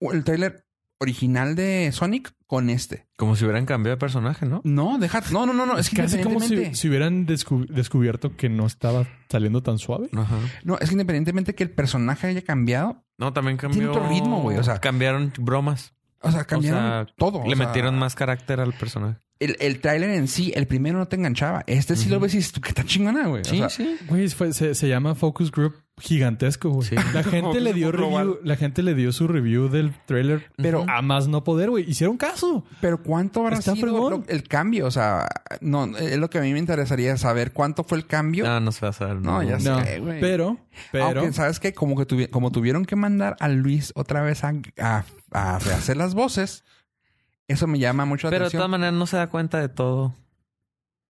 [SPEAKER 1] El tráiler original de Sonic con este.
[SPEAKER 3] Como si hubieran cambiado de personaje, ¿no?
[SPEAKER 1] No, deja. No, no, no, no. Es que
[SPEAKER 2] Casi como si,
[SPEAKER 1] independientemente-
[SPEAKER 2] si hubieran descu- descubierto que no estaba saliendo tan suave.
[SPEAKER 3] Ajá.
[SPEAKER 1] No, es que independientemente que el personaje haya cambiado,
[SPEAKER 3] No, también cambió.
[SPEAKER 1] Tiene otro ritmo, güey, o sea-
[SPEAKER 3] cambiaron bromas.
[SPEAKER 1] o sea, cambiaron
[SPEAKER 3] O sea,
[SPEAKER 1] todo.
[SPEAKER 3] Le
[SPEAKER 1] o sea,
[SPEAKER 3] metieron más carácter al personaje.
[SPEAKER 1] El, el tráiler en sí, el primero no te enganchaba. Este sí lo
[SPEAKER 3] Ujú.
[SPEAKER 1] ves y dices, tú que está chingona, güey. O sea,
[SPEAKER 3] sí.
[SPEAKER 2] Güey, fue- se, se llama Focus Group gigantesco, güey.
[SPEAKER 3] Sí.
[SPEAKER 2] La gente le dio
[SPEAKER 1] Focus Group
[SPEAKER 2] review, la gente le dio su review del tráiler, pero
[SPEAKER 1] Ujú.
[SPEAKER 2] a más no poder, güey. Hicieron caso.
[SPEAKER 1] Pero ¿cuánto habrá
[SPEAKER 2] Está
[SPEAKER 1] sido
[SPEAKER 2] fregón.
[SPEAKER 1] lo- el cambio? O sea, no, es lo que a mí me interesaría saber cuánto fue el cambio.
[SPEAKER 3] Ah, No, no se va a saber.
[SPEAKER 1] No, ya
[SPEAKER 2] No,
[SPEAKER 1] sé, güey.
[SPEAKER 2] pero, pero.
[SPEAKER 1] Aunque, ¿sabes qué? Como que tuvi- como tuvieron que mandar a Luis otra vez a, a- a rehacer las voces, eso me llama mucho la
[SPEAKER 3] Pero de todas
[SPEAKER 1] atención.
[SPEAKER 3] maneras no se da cuenta de todo.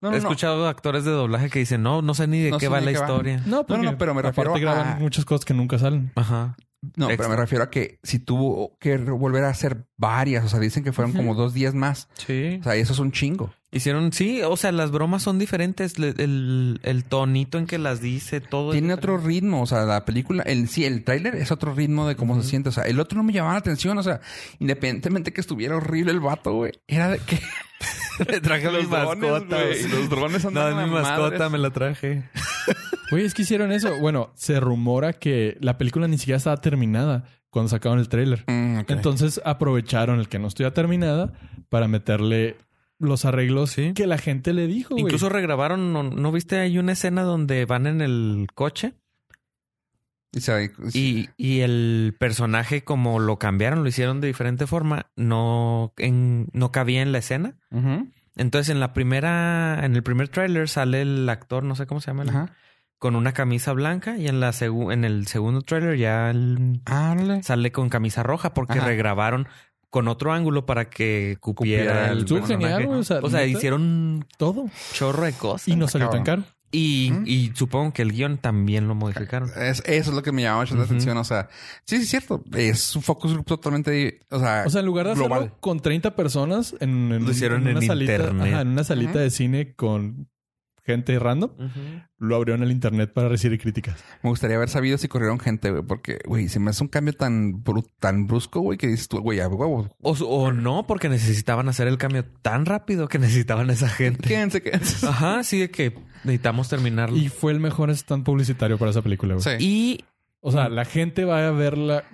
[SPEAKER 1] No, no,
[SPEAKER 3] He
[SPEAKER 1] no.
[SPEAKER 3] escuchado actores de doblaje que dicen, no, no sé ni de
[SPEAKER 1] No
[SPEAKER 3] qué
[SPEAKER 1] sé
[SPEAKER 3] va
[SPEAKER 1] ni
[SPEAKER 3] la
[SPEAKER 1] de qué va".
[SPEAKER 3] historia.
[SPEAKER 2] No, porque
[SPEAKER 1] no, pero me refiero
[SPEAKER 2] aparte graban
[SPEAKER 1] a-
[SPEAKER 2] muchas cosas que nunca salen.
[SPEAKER 3] Ajá.
[SPEAKER 1] No, pero
[SPEAKER 3] Extra.
[SPEAKER 1] me refiero a que si tuvo que volver a hacer varias, o sea, dicen que fueron como dos días más.
[SPEAKER 3] Sí.
[SPEAKER 1] O sea, eso es un chingo.
[SPEAKER 3] Hicieron, sí, o sea, las bromas son diferentes. Le- El, el tonito en que las dice, todo. es
[SPEAKER 1] Tiene otro
[SPEAKER 3] diferente.
[SPEAKER 1] ritmo, o sea, la película, el sí, el tráiler es otro ritmo de cómo se siente. O sea, el otro no me llamaba la atención, o sea, independientemente que estuviera horrible el vato, güey, era de que
[SPEAKER 3] Me traje mi mascota. güey.
[SPEAKER 1] los drones
[SPEAKER 3] No,
[SPEAKER 1] andan
[SPEAKER 3] es
[SPEAKER 1] a
[SPEAKER 3] mi mascota,
[SPEAKER 1] madres.
[SPEAKER 3] me la traje.
[SPEAKER 2] Güey, es que hicieron eso. Bueno, se rumora que la película ni siquiera estaba terminada cuando sacaron el tráiler.
[SPEAKER 1] Mm, ok.
[SPEAKER 2] Entonces aprovecharon el que no estuviera terminada para meterle los arreglos
[SPEAKER 3] Sí.
[SPEAKER 2] que la gente le dijo. güey.
[SPEAKER 3] Incluso regrabaron, ¿no, no viste? Hay una escena donde van en el coche
[SPEAKER 1] Y se-
[SPEAKER 3] y, y el personaje, como lo cambiaron, lo hicieron de diferente forma, no, en, no cabía en la escena.
[SPEAKER 1] Ujú.
[SPEAKER 3] Entonces, en la primera, en el primer tráiler sale el actor, no sé cómo se llama, el-
[SPEAKER 1] Ajá.
[SPEAKER 3] con una camisa blanca y en la segu- en el segundo tráiler ya el-
[SPEAKER 1] Ándale.
[SPEAKER 3] sale con camisa roja porque
[SPEAKER 1] Ajá.
[SPEAKER 3] regrabaron con otro ángulo para que
[SPEAKER 1] Cupiera
[SPEAKER 3] cupiera el
[SPEAKER 2] Estuvo
[SPEAKER 3] personaje.
[SPEAKER 2] genial, güey, o sea,
[SPEAKER 3] O sea,
[SPEAKER 2] neta.
[SPEAKER 3] hicieron un
[SPEAKER 2] todo.
[SPEAKER 3] chorro de cosas.
[SPEAKER 2] Y no salió tan caro.
[SPEAKER 3] Y,
[SPEAKER 1] ¿Mm?
[SPEAKER 3] y supongo que el guión también lo modificaron.
[SPEAKER 1] Es- eso es lo que me llamaba mucho la
[SPEAKER 3] Ujú.
[SPEAKER 1] atención. O sea, sí, sí, es cierto. Es un focus group totalmente. O sea,
[SPEAKER 2] O sea, en lugar de hacerlo
[SPEAKER 1] Global.
[SPEAKER 2] con 30 personas en, en
[SPEAKER 3] Lo hicieron
[SPEAKER 2] una
[SPEAKER 3] en
[SPEAKER 2] salita,
[SPEAKER 3] internet.
[SPEAKER 2] ajá, en una salita
[SPEAKER 1] Ajá.
[SPEAKER 2] de cine con gente random,
[SPEAKER 3] Ujú.
[SPEAKER 2] lo abrieron el internet para recibir críticas.
[SPEAKER 1] me gustaría haber sabido si corrieron gente, güey, porque, güey, se me hace un cambio tan, bru- tan brusco, güey, que dices tú, güey, a huevo.
[SPEAKER 3] O, su- o no, porque necesitaban hacer el cambio tan rápido que necesitaban esa gente.
[SPEAKER 1] Quédense, quédense.
[SPEAKER 3] Ajá, sí, de que necesitamos terminarlo.
[SPEAKER 2] Y fue el mejor stand publicitario para esa película, güey.
[SPEAKER 1] Sí.
[SPEAKER 3] Y
[SPEAKER 2] O sea, la gente va a verla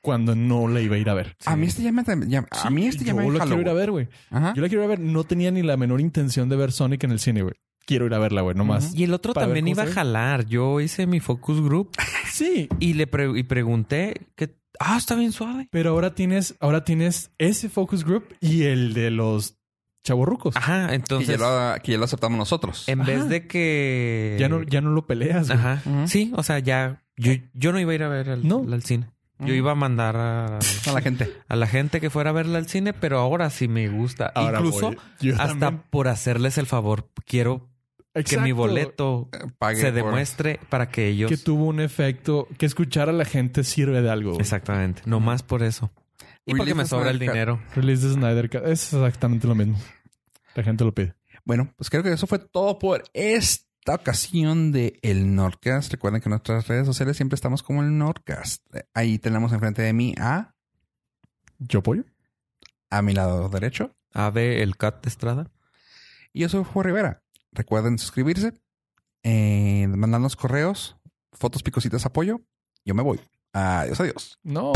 [SPEAKER 2] cuando no la iba a ir a ver.
[SPEAKER 1] A mí este llama, tam- llama- a mí este
[SPEAKER 2] Yo
[SPEAKER 1] llama
[SPEAKER 2] la
[SPEAKER 1] en
[SPEAKER 2] quiero ir a
[SPEAKER 1] Halloween.
[SPEAKER 2] ver, güey.
[SPEAKER 1] Ajá.
[SPEAKER 2] Yo la quiero ir a ver. No tenía ni la menor intención de ver Sonic en el cine, güey. Quiero ir a verla, güey, nomás.
[SPEAKER 3] Y el otro
[SPEAKER 2] Para ver
[SPEAKER 3] también
[SPEAKER 2] cómo
[SPEAKER 3] iba a
[SPEAKER 2] se ve.
[SPEAKER 3] jalar. Yo hice mi focus group
[SPEAKER 2] Sí.
[SPEAKER 3] y le pre- y pregunté que ah, está bien suave.
[SPEAKER 2] Pero ahora tienes, ahora tienes ese focus group y el de los chavorrucos.
[SPEAKER 3] Ajá,
[SPEAKER 1] Que ya,
[SPEAKER 3] entonces
[SPEAKER 1] lo, que ya lo aceptamos nosotros.
[SPEAKER 3] en vez
[SPEAKER 2] Ajá.
[SPEAKER 3] de que
[SPEAKER 2] Ya no, ya no lo peleas, güey.
[SPEAKER 3] Ajá.
[SPEAKER 1] Ujú.
[SPEAKER 3] Sí, o sea, ya yo, yo no iba a ir a ver al,
[SPEAKER 2] No. Mm.
[SPEAKER 3] al cine. Yo
[SPEAKER 1] Ujú.
[SPEAKER 3] iba a mandar a,
[SPEAKER 1] Mm. Pues, A la gente.
[SPEAKER 3] a la gente que fuera a verla al cine, pero ahora sí me gusta.
[SPEAKER 2] Ahora
[SPEAKER 3] Incluso
[SPEAKER 2] voy. Yo
[SPEAKER 3] hasta
[SPEAKER 2] también.
[SPEAKER 3] por hacerles el favor, quiero
[SPEAKER 2] Exacto.
[SPEAKER 3] que mi boleto
[SPEAKER 1] Pague
[SPEAKER 3] se
[SPEAKER 1] por-
[SPEAKER 3] demuestre para que ellos
[SPEAKER 2] que tuvo un efecto, que escuchar a la gente sirve de algo. güey.
[SPEAKER 3] Exactamente, nomás por eso. Y porque
[SPEAKER 1] Release
[SPEAKER 3] me
[SPEAKER 1] of
[SPEAKER 3] sobra el
[SPEAKER 1] Snyder Cut.
[SPEAKER 3] dinero.
[SPEAKER 2] Release de Snyder Cut. es exactamente lo mismo. La gente lo pide.
[SPEAKER 1] Bueno, pues creo que eso fue todo por este esta ocasión de el Nordcast. Recuerden que en nuestras redes sociales siempre estamos como el Nordcast. Ahí tenemos enfrente de mí a,
[SPEAKER 2] ¿Yo pollo?
[SPEAKER 1] a mi lado derecho.
[SPEAKER 3] Ave el Cat Estrada.
[SPEAKER 1] Y yo soy Juan Rivera. Recuerden suscribirse, eh, mandarnos correos, fotos, picositas, apoyo. Yo me voy. Adiós, adiós.
[SPEAKER 2] No.